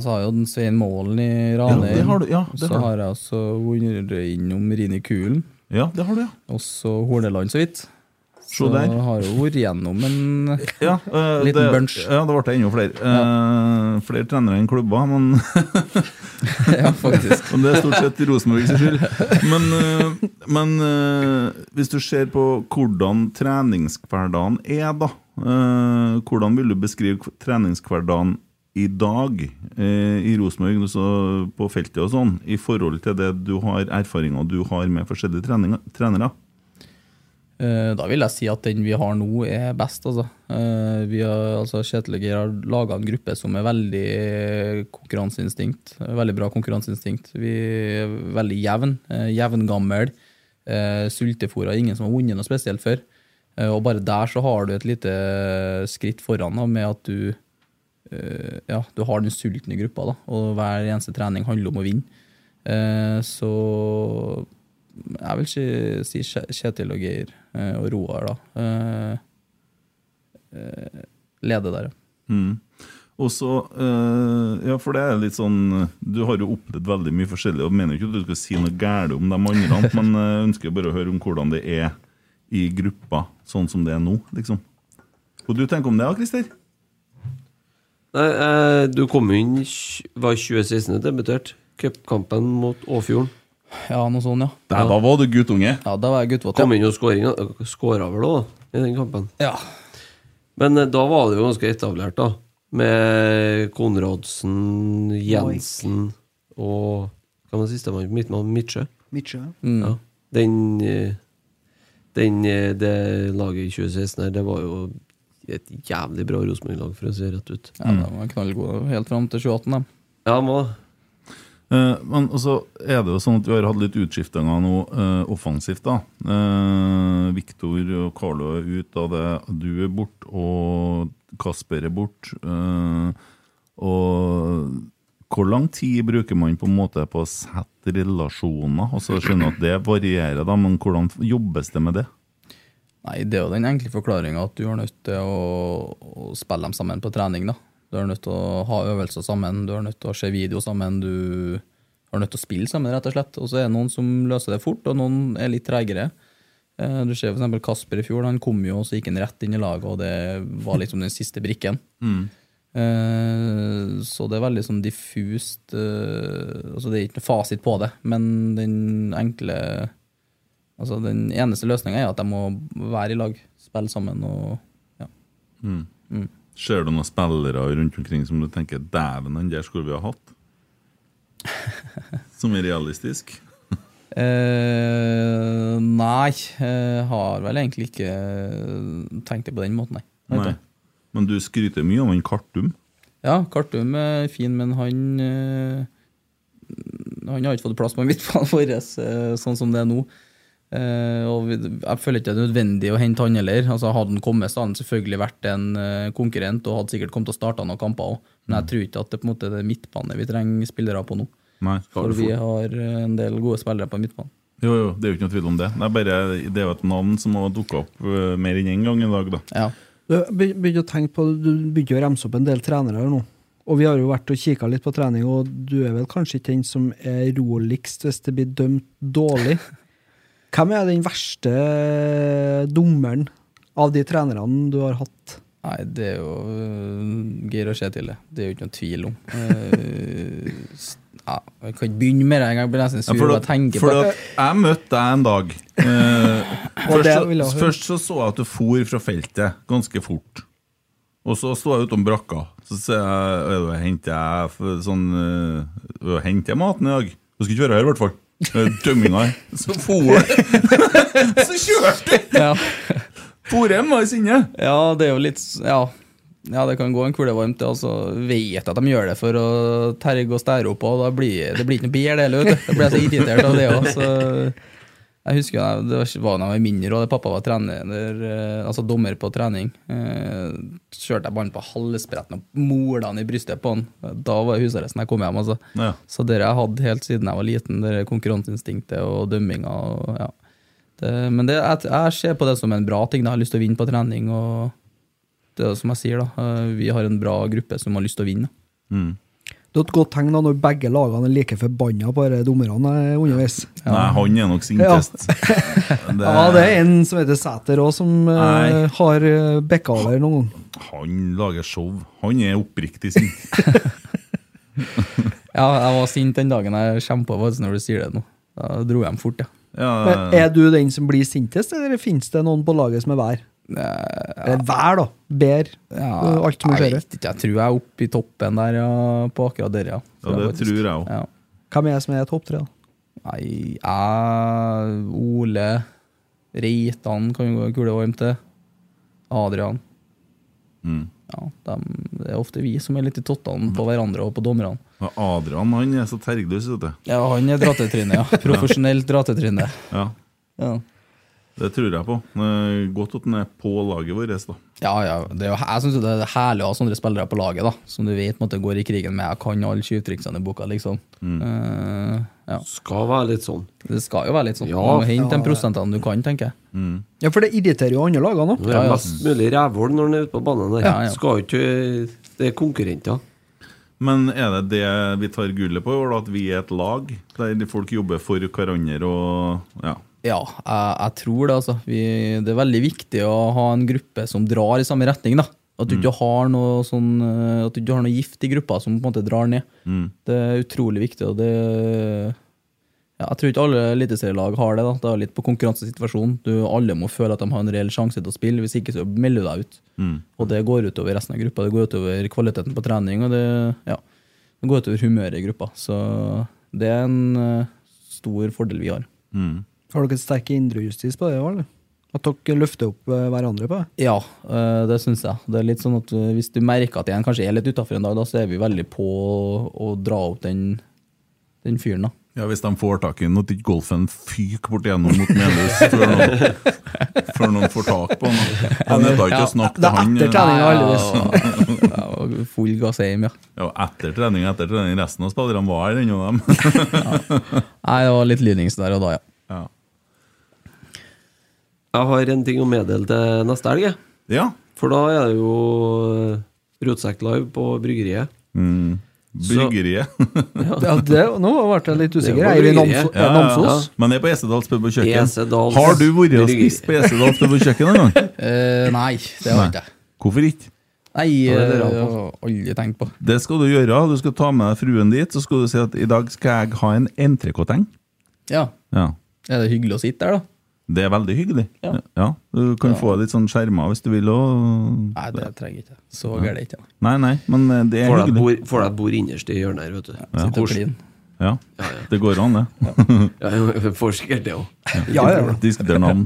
så har jeg jo den Svein Målen i Ranheim.
Ja, det har du- ja, det
så
har du.
har jeg også vært innom Rini Kulen.
Ja, det har du, ja.
Og så Horneland, så vidt.
Se der.
Så har jeg jo vært gjennom en
Ja, eh,
Liten
det,
bunch.
Ja, det ble enda flere. Eh, flere trenere enn klubber, men,
Ja, faktisk.
men det er stort sett Rosenborgs skyld. Men, eh, men eh, hvis du ser på hvordan treningshverdagen er, da eh, Hvordan vil du beskrive treningshverdagen i dag eh, i Rosenborg, altså på feltet og sånn, i forhold til det du har erfaringer du har med forskjellige treninger, trenere?
Eh, Da vil jeg si at den vi har nå, er best, altså. Eh, Vi har, altså Kjetil og Geir har laga en gruppe som er veldig konkurranseinstinkt. eh, Veldig bra konkurranseinstinkt. Vi er veldig jevn, eh, jevngammel. eh, Sultefòra. Ingen som har vunnet noe spesielt før. Eh, Og bare der så har du et lite skritt foran da, med at du eh, ja, du har den sulten i gruppa, da, og hver eneste trening handler om å vinne. Eh, så jeg vil ikke si Kje- Kjetil og Geir eh, og Roar, da. Eh, eh, leder der, ja.
Mm. Og så, eh, ja, for det er litt sånn Du har jo opplevd veldig mye forskjellig, og mener ikke at du skal si noe galt om de andre, men eh, jeg ønsker bare å høre om hvordan det er i gruppa, sånn som det er nå, liksom. Hva du tenker om det, da, Christer?
Nei, eh, du kom jo inn tj- Var 2016 debutert? Cupkampen mot Åfjorden.
Ja, noe sånt, ja.
Der, da var du guttunge.
Ja, Da var jeg guttevåt.
Kom inn og skåra vel òg, i den kampen.
Ja.
Men eh, da var det jo ganske etablert, da. Med Konradsen, Jensen og Hva var det siste man midtmann? Midtsjø?
Midtsjø.
Ja. Den, eh, den eh, Det laget i 2016 her, det var jo et jævlig bra Rosenborg-lag, for å si det rett ut.
ja de var knallgode helt fram til 2018, de.
Ja, han var det.
Eh, men også er det jo sånn at vi har hatt litt utskiftinger nå eh, offensivt. da. Eh, Viktor og Carlo er ut av det. Du er bort, og Kasper er bort. Eh, og hvor lang tid bruker man på en måte på å sette relasjoner? Altså, jeg skjønner at det varierer, da, men hvordan jobbes det med det?
Nei, det er jo den enkle forklaringa at du er nødt til å, å spille dem sammen på trening. da. Du er nødt til å ha øvelser sammen, du er nødt til å se video sammen, du er nødt til å spille sammen, rett og slett. Og så er det noen som løser det fort, og noen er litt tregere. Eh, Du ser f.eks. Kasper i fjor, han kom jo, og så gikk han rett inn i laget, og det var liksom den siste brikken. Eh, så det er veldig sånn diffust. eh, altså Det er ikke noe fasit på det, men den enkle Altså Den eneste løsninga er at de må være i lag, spille sammen og ja.
Ser du noen spillere rundt omkring som du tenker Dæven, den der skulle vi ha hatt? Som er realistisk?
Eh, nei, eh, har vel egentlig ikke tenkt det på den måten, nei. Jeg vet
Nei.
ikke.
Men du skryter mye av han Kartum.
Ja, Kartum er fin, men han eh, Han har ikke fått plass på midtbanen vår eh, sånn som det er nå. Eh, og vi, jeg føler ikke det er nødvendig å hente han heller. Altså, hadde han kommet, så hadde han selvfølgelig vært en eh, konkurrent og hadde sikkert kommet til å starte noen kamper òg. Men jeg tror ikke at det på en måte er det midtbane vi trenger spillere på nå.
Nei.
For vi har eh, en del gode spillere på midtbanen.
Jo, jo, det er jo ikke noe tvil om det. Det er bare det er jo et navn som har dukka opp eh, mer enn én en gang i dag, da.
Ja.
Du be- begynte å tenke på Du begynte å remse opp en del trenere her nå. Og vi har jo vært og kikka litt på trening, og du er vel kanskje ikke den som er roligst hvis det blir dømt dårlig. Hvem er den verste eh, dommeren av de trenerne du har hatt?
Nei, det er jo øh, Geir og Kjetil, det. Det er jo ikke noen tvil om. Eh, s- ja, jeg kan ikke begynne med det engang, jeg blir nesten
Ja,
sur
for
av å
at-
tenke på
for
det.
at jeg møtte deg en dag. Eh,
Og
først,
det
så,
vil jeg høre.
først så så jeg at du for fra feltet ganske fort. Og så sto jeg utom brakka. Så sier jeg «Øy, da henter jeg f- sånn eh, «Øy, Henter jeg maten i dag? Du skal ikke være her, i hvert fall. Eh, Dømminga her. Så for jeg. så kjørte jeg!
Ja,
For hjem, var jeg sinne.
ja, det er jo litt s- Ja, ja det kan gå en kule varmt. det, Altså, vet at de gjør det for å terge og stære opp, og da blir det blir ikke noe bedre, det heller. vet du. Da blir jeg så irritert av det òg, så Jeg husker jeg, det var- var da jeg var mindre, og det pappa var trener, eh, altså dommer på trening. Eh, kjørte jeg ballen på halsbretten og mola han i brystet på han. Da var det husarresten jeg kom hjem. altså.
Ja.
Så det har jeg hatt helt siden jeg var liten, det der konkurranseinstinktet og dømminga. Og, ja. det, men det, jeg, jeg ser på det som en bra ting. da. Jeg har lyst til å vinne på trening. og det er jo som jeg sier da, eh, Vi har en bra gruppe som har lyst til å vinne.
Det er et godt tegn da når begge lagene er like forbanna på disse dommerne eh, underveis.
Nei, han er nok sintest. Det-
Ja, det er en som heter Sæter òg, som eh,
Nei.
har eh, bekka over noen ganger.
Han lager show. Han er oppriktig sint.
Ja, Jeg var sint den dagen jeg kjempa, når du sier det nå. Da dro jeg hjem fort, ja.
Ja,
Men eh, Er du den som blir sintest, eller finnes det noen på laget som er vær? Eller vær, da. Ber.
Eh, Ja,
alt som
jeg
skjer.
vet ikke, jeg tror jeg er oppe i toppen der ja, på akkurat der, ja.
ja, det tror jeg òg.
Ja.
Hvem er jeg som er topp tre? da?
Nei, jeg, Ole, Reitan kan jo gå kule varmt til. Adrian. Ja, dem- det er ofte vi som er litt i tottene på hverandre og på dommerne.
Ja, Adrian han er så tergløs, vet du.
Ja, han er dratetryne, ja. Profesjonelt dratetryne.
Ja,
Ja.
det tror jeg på. Eh, Godt at han er på laget vårt. da
Ja, ja. Det er jo, jeg syns det er herlig å ha sånne spillere på laget, da. Som du vet måtte går i krigen med. Jeg kan alle tjuvtriksene i boka, liksom. Eh, ja.
Skal være litt sånn.
Det skal jo være litt sånn.
Ja.
Du må hente de prosentene du kan, tenker jeg.
Ja, for det irriterer jo andre lagene òg.
Det er mest mulig rævhål når han er ute på banen. Der.
Ja, ja.
Skal jo ikke Det er konkurrenter.
Men er det det vi tar gullet på i år, da? at vi er et lag der folk jobber for hverandre og ja.
Ja, jeg, jeg tror det, altså. Vi, det er veldig viktig å ha en gruppe som drar i samme retning, da. At du ikke har noe sånn eh, At du ikke har noe gift i gruppa som på en måte drar ned. Det er utrolig viktig, og det ja, Jeg tror ikke alle eliteserielag har det. da Det er litt på konkurransesituasjonen. Du, alle må føle at de har en reell sjanse til å spille, hvis ikke så melder du deg ut. Og det går utover resten av gruppa. Det går utover kvaliteten på trening, og det, ja, det går utover humøret i gruppa. Så det er en eh, stor fordel vi har.
Har dere sterk indrejustis på det? Eller? At dere løfter opp eh, hverandre på det?
Ja, øh, det syns jeg. Det er litt sånn at øh, Hvis du merker at en kanskje er litt utafor en dag, da, så er vi veldig på å dra opp den, den fyren. da.
ja, hvis de får tak i den, at ikke golfen fyker bort igjennom mot Melhus før, noen- før noen får tak på den. Han er da ikke å snakke
Det er
til han. eh.
etter trening,
Ja,
heldigvis.
ja, og full gass hjem, ja.
Ja, etter trening, etter trening. Resten av spillerne var her, ennå dem.
Nei, det var litt lynings der og da, ja.
Ja.
Jeg har en ting å meddele til neste helg. jeg.
ja.
For da er det jo eh, Rotsekk Live på bryggeriet.
Bryggeriet.
Ja, det, nå ble jeg litt usikker.
Det var
Er vi i
bryggeriet.
Namso- er Namsos?
Men det er på Esedals pub og kjøkken.
Esedals
Har du vært og
bryggeri.
spist på Esedals pub og kjøkken en gang?
Eh, nei, det var ikke jeg.
Hvorfor ikke?
Nei,
Ja, det
det
lurer jeg
har
på.
aldri tenkt på.
Det skal du gjøre. Du skal ta med deg fruen dit, så skal du si at i dag skal jeg ha en entrecôteng.
Ja,
Ja.
Er det hyggelig å sitte der, da?
Det er veldig hyggelig.
Ja.
Du kan få litt sånn skjermer hvis du vil òg.
Nei, det trenger jeg ikke. Så gærent er det ikke. da.
Nei, nei, men eh, det er
Får deg et
hyggelig.
bord- får deg et bord innerst i hjørnet her, vet du.
Sitte og
Koselig.
klin.
Ja. Det går an, det.
Ja, jeg får sikkert det òg.
Ja, ja.
Diskutere navn.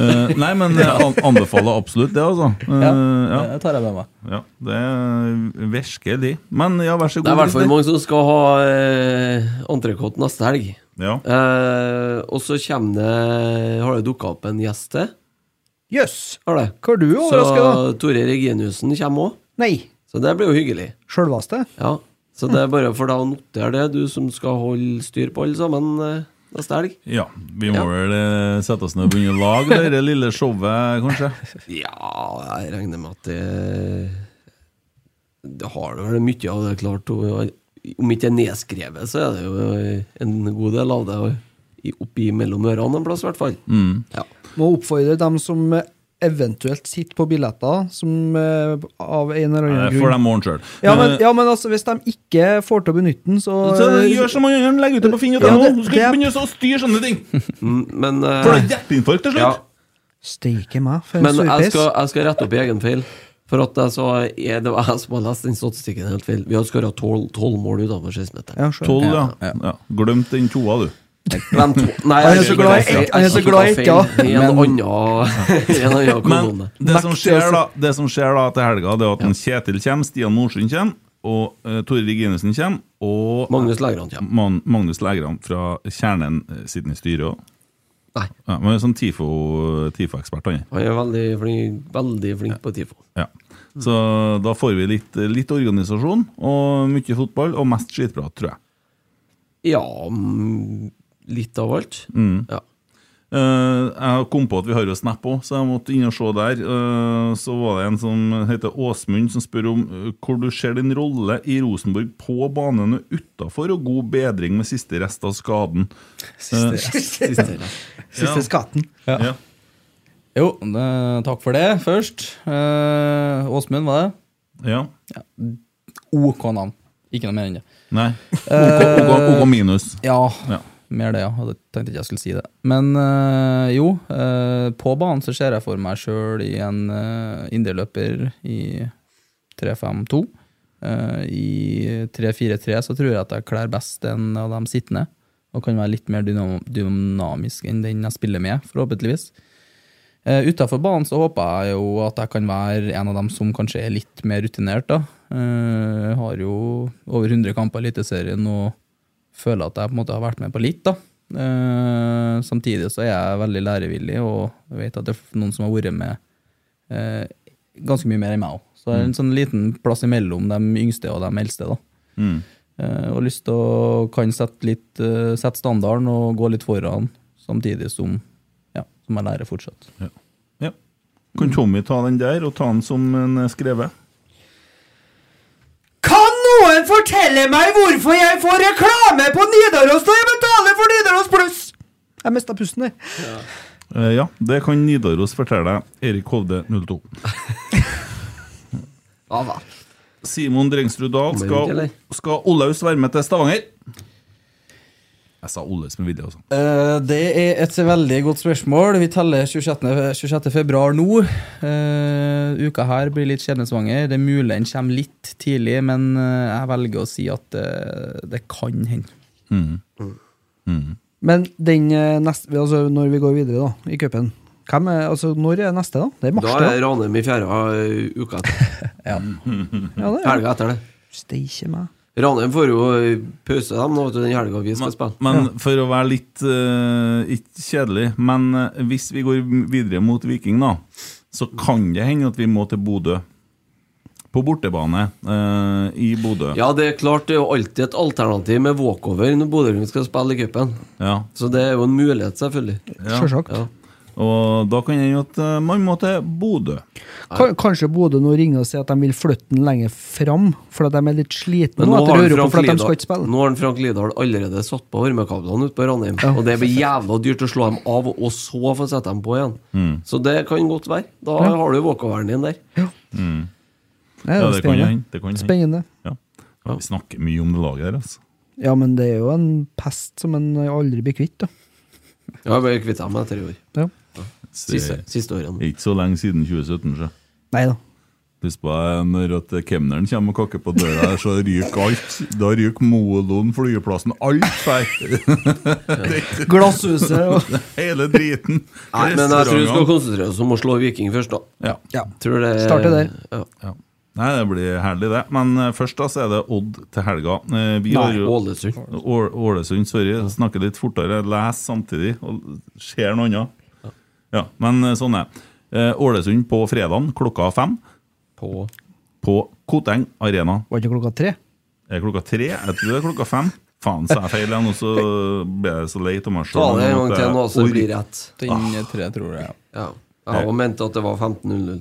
Eh, nei, men jeg an- anbefaler absolutt det, altså. Eh,
Ja,
ja.
det tar jeg med meg.
Ja, det er virkelig. Men ja, vær så god.
Det er i hvert fall
Christer.
mange som skal ha eh, entrecôte neste helg.
Ja.
Eh, og så kommer det Har det dukka opp en gjest til?
Jøss!
Har det?
Hva er du overraska, da?
Så Tore Reginiussen kommer òg.
Nei,
Så det blir jo hyggelig.
sjølvaste?
Ja. Så det er bare for deg å notere det, du som skal holde styr på alle sammen eh, neste helg.
ja, vi må
Ja.
vel eh, sette oss ned og begynne å lage det der lille showet, kanskje.
Ja, jeg regner med at det Det har det vel mye av det, klart. og Om ikke det er nedskrevet, så er det jo en god del av det i- oppi mellom ørene en plass, i hvert fall.
Mm.
Ja.
Må oppfordre dem som eh, eventuelt sitter på billetter, som eh, av en eller
Eh,
annen
Får
grunn
dem ordne sjøl.
ja men, ja, men altså, hvis de ikke får til å benytte den, så,
Eh, Så gjør som han andre, legg ut det på Finn.no!
Ja, det-
Du skal ikke
det-
begynne å styre sånne ting!
Mm, Men, eh,
Får du hjerteinfarkt til
ja,
slutt?
Steike meg, for en
men jeg,
surpris.
skal, jeg skal rette opp i egen feil. For at jeg sa, jeg- det var jeg som har lest den statistikken helt feil. Vi har skåra tolv mål utenfor 16-meteren.
Ja, skjønner.
Tolv, ja.
Ja.
ja. Glemt den toa, du.
Hvem to- Nei,
Han er
jeg
så
kikket
glad i-
feil. Jeg
han er så
kikket
glad i
feil
ekka.
I en annen i en annen
Men
kolonne.
det som,
Makt til å
skjer da, det som skjer da til helga, det er at en Kjetil kommer, Stian Norsund kommer, og eh, Tore Reginussen kommer, og
Magnus Lægran
Mm.
kommer.
Man, Magnus Lægran fra Kjernen eh, sitter i styret òg.
Nei.
Ja, men sånn TIFO- TIFO-ekspert, han er.
Han er veldig flink, veldig flink på TIFO.
Ja. Så da får vi litt, litt organisasjon og mye fotball, og mest skitprat, tror jeg.
Ja, mm, litt av alt.
Mm.
Ja.
Eh, jeg kom på at vi har jo Snap òg, så jeg måtte inn og se der. Eh, så var det en som heter Åsmund, som spør om eh, hvor du ser din rolle i Rosenborg på banen og utafor, og god bedring med siste rest av skaden.
Siste
Eh,
rest.
Ja.
Siste skatten.
Ja.
Jo, eh, takk for det, først. Eh, Åsmund, var det?
ja.
OK navn. Ikke noe mer enn det.
Nei.
Eh,
OK, OK, OK minus.
Ja,
Ja.
mer det, ja. Jeg tenkte ikke jeg skulle si det. Men eh, jo, eh, på banen så ser jeg for meg sjøl i en uh, indreløper i 3-5-2. Eh, I 3-4-3 så tror jeg at jeg kler best en av dem sittende. Og kan være litt mer dynam dynamisk enn den jeg spiller med, forhåpentligvis. Uh, Utafor banen så håper jeg jo at jeg kan være en av dem som kanskje er litt mer rutinert. da. Eh, jeg har jo over 100 kamper i Eliteserien og føler at jeg på en måte har vært med på litt. da. Eh, samtidig så er jeg veldig lærevillig og jeg vet at det er noen som har vært med eh, ganske mye mer enn meg òg. Så det er en sånn liten plass imellom de yngste og de eldste. da.
Mm.
Eh, og lyst til å kan sette, litt, eh, sette standarden og gå litt foran, samtidig som, ja, som jeg lærer fortsatt.
Ja. Kan Tommy ta den der, og ta den som en eh, skrevet?
Kan noen fortelle meg hvorfor jeg får reklame på Nidaros når jeg betaler for Nidaros Pluss? Jeg mista pusten, jeg.
Eh, ja, det kan Nidaros fortelle deg. Erik Hovde 02.
Ja vel.
Simon Drengsrud Dahl
Kommer ut,
skal,
eller?
skal Olaus være med til Stavanger? Jeg sa Olaus med vilje, altså.
Eh, Det er et veldig godt spørsmål. Vi teller 26. 26. februar nå. Eh, uka her blir litt skjebnesvanger. Det er mulig den kommer litt tidlig, men eh, jeg velger å si at eh, det kan hende.
Men den eh, neste, altså når vi går videre da, i cupen hvem er, altså Når er neste, da? Det er mars,
Da
det.
er Ranheim i fjerde eh, uka etter.
da. Ja, det er.
Helga etter det.
Steike meg.
Ranheim får jo eh, pause dem nå, vet du, den helga vi skal spille.
Men for å være litt eh, ikke kjedelig, men eh, hvis vi går videre mot Viking, da, så kan det hende at vi må til Bodø. På bortebane eh, i Bodø.
Ja, det er klart, det er jo alltid et alternativ med walkover når Bodø-Glimt skal spille i cupen.
Ja,
Så det er jo en mulighet, selvfølgelig.
ja.
Sjølsagt.
Ja.
Og da kan det hende at eh, man må til Bodø.
Ka- Kanskje Bodø nå ringer og sier at de vil flytte den lenger fram, fordi de er litt slitne
Men
nå
nå
etter
har, han
Europa
Frank
fordi de skal ikke
Lidahl,
spille.
nå har han Frank Lidahl allerede satt på varmekablene ute på Ranheim.
Ja.
Og det blir jævla dyrt å slå dem av, og så få sette dem på igjen. Så det kan godt være. Da har du walkoveren din der.
Nei,
Ja, det
det
kan
er spennende.
hende. Det kan hende.
Spennende.
Ja, Vi snakker mye om det laget der. altså.
Ja, men det er jo en pest som en aldri blir kvitt, da.
Ja, jeg ble kvitt dem etter i år.
Så
Siste,
Det
siste årene.
er ikke så lenge siden 2017. Så.
Nei da.
Husk på eh, når at kemneren kommer og kakker på døra, her, så ryker alt. Da ryker moloen, flyplassen, alt feil.
Glasshuset og
Hele driten.
Nei, men jeg tror vi skal konsentrere oss om å slå Viking først, da.
ja.
Ja.
Tror det,
Starte der.
Ja.
Ja. Nei, det blir herlig, det. Men eh, først da, så er det Odd til helga. Eh, Vi har
Nei,
jo-
Ålesund.
Å- Ålesund, sorry. Jeg snakker litt fortere, leser samtidig og ser noe annet. Ja, men eh, sånn er det. Eh, Ålesund på fredag klokka fem
På
på Koteng Arena.
Var ikke klokka tre?
Er det klokka tre? Jeg tror det er klokka fem. Faen, sa jeg feil igjen, og så ble jeg så lei av meg
Ta det en gang
eh,
til nå, så det blir
det
rett.
Den eh, tre, tror jeg.
Ja. Jeg òg mente at det var 15.00.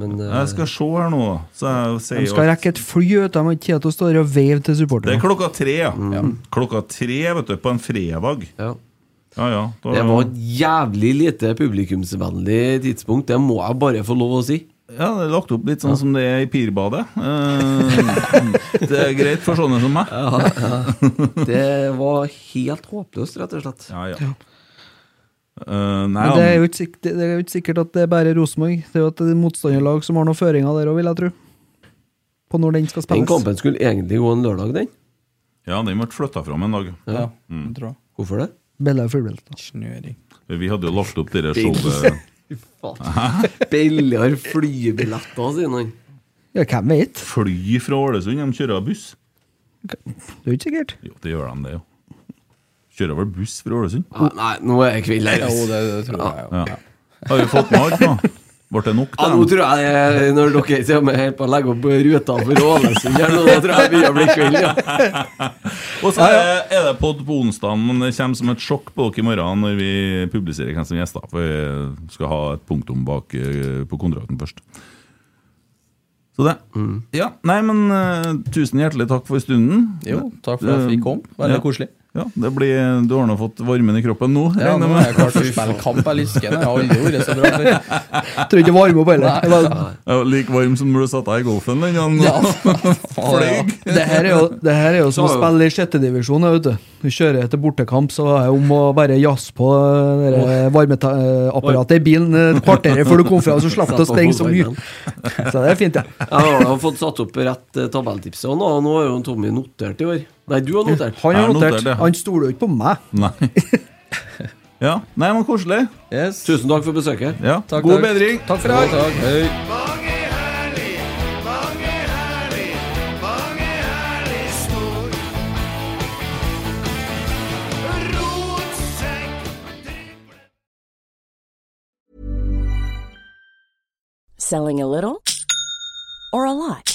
Men eh,
Jeg skal se her nå, så jeg
De
sier
skal rekke et fly ut, de har ikke tid til å stå der og veive til
Det er
supporterne.
klokka tre, ja.
Mm.
Klokka tre, vet du, på en fredag.
eh, ja.
Ja, ja. Da-
Det var et jævlig lite publikumsvennlig tidspunkt, det må jeg bare få lov å si.
Ja, det er lagt opp litt sånn som det er i Pirbadet. Eh, det er greit for sånne som meg.
Det var helt håpløst, rett og slett.
Ja, ja. Eh, nei,
Men det er, jo ikke sikkert, det er jo ikke sikkert at det er bare Rosenborg. Det er jo at det er motstanderlag som har noen føringer der òg, vil jeg tro. På når den skal
Den
spilles.
kampen skulle egentlig gå en lørdag, den.
ja, den ble flytta fram en dag.
Ja, jeg tror jeg.
Hvorfor det?
Bella er fullbildet.
Snøring.
Vi hadde jo lagt opp det der showet
Billigere flybilletter, sier han.
Ja, hvem vet?
Fly fra Ålesund, de kjører buss.
Det er jo ikke sikkert.
Jo, det gjør de, det, jo. Kjører vel buss fra Ålesund?
Ja, nei, nå er det kveld her.
Jo,
ass.
det, det tror jeg.
Ja. Har vi fått med alt nå? Ble det nok,
Ja, nå
da?
tror jeg det er- når dere kommer helt på å legge opp ruta for Ålesund her, nå, da tror jeg det begynner å bli kveld, ja.
Og så er er det pod på onsdag, men det kommer som et sjokk på dere i morgen når vi publiserer hvem som er gjester. For vi skal ha et punktum bak eh, på kontrakten først. Så det. Ja, nei, men eh, tusen hjertelig takk for stunden.
Jo, takk for at vi kom. Veldig
Ja.
koselig.
Ja, det blir, Du har nå fått varmen i kroppen nå?
Ja,
regner
nå
jeg
er jeg
med.
klar til å spille kamp, jeg lisker det. Jeg har aldri vært så bra før.
Jeg tror ikke det varmer opp heller.
Jeg var like varm som når du satt deg i golfen den gangen.
Ja.
Fløy.
Det her er jo, det her er jo som å
Så-
spille i sjettedivisjon. Du kjører etter bortekamp, så er det om å bare jazze på varmeapparatet i bilen eh, et kvarter før du kom fra, så slapp du å stenge så mye. Så det er fint, ja.
Jeg har da fått satt opp rett eh, tabelltipset, og nå, nå har jo Tommy notert i år. Nei, du har notert.
Han
Jeg
har
har
notert.
notert det.
Han stoler jo ikke på meg.
Nei. Ja, nei, men koselig.
Yes.
Tusen takk for besøket.
Ja,
Takk,
God
takk.
bedring.
Takk for i dag. Takk. Hei.
Mange herlig, mange herlig, mange herlig snor. Rotsekk, dyp
Selling a little or a lot?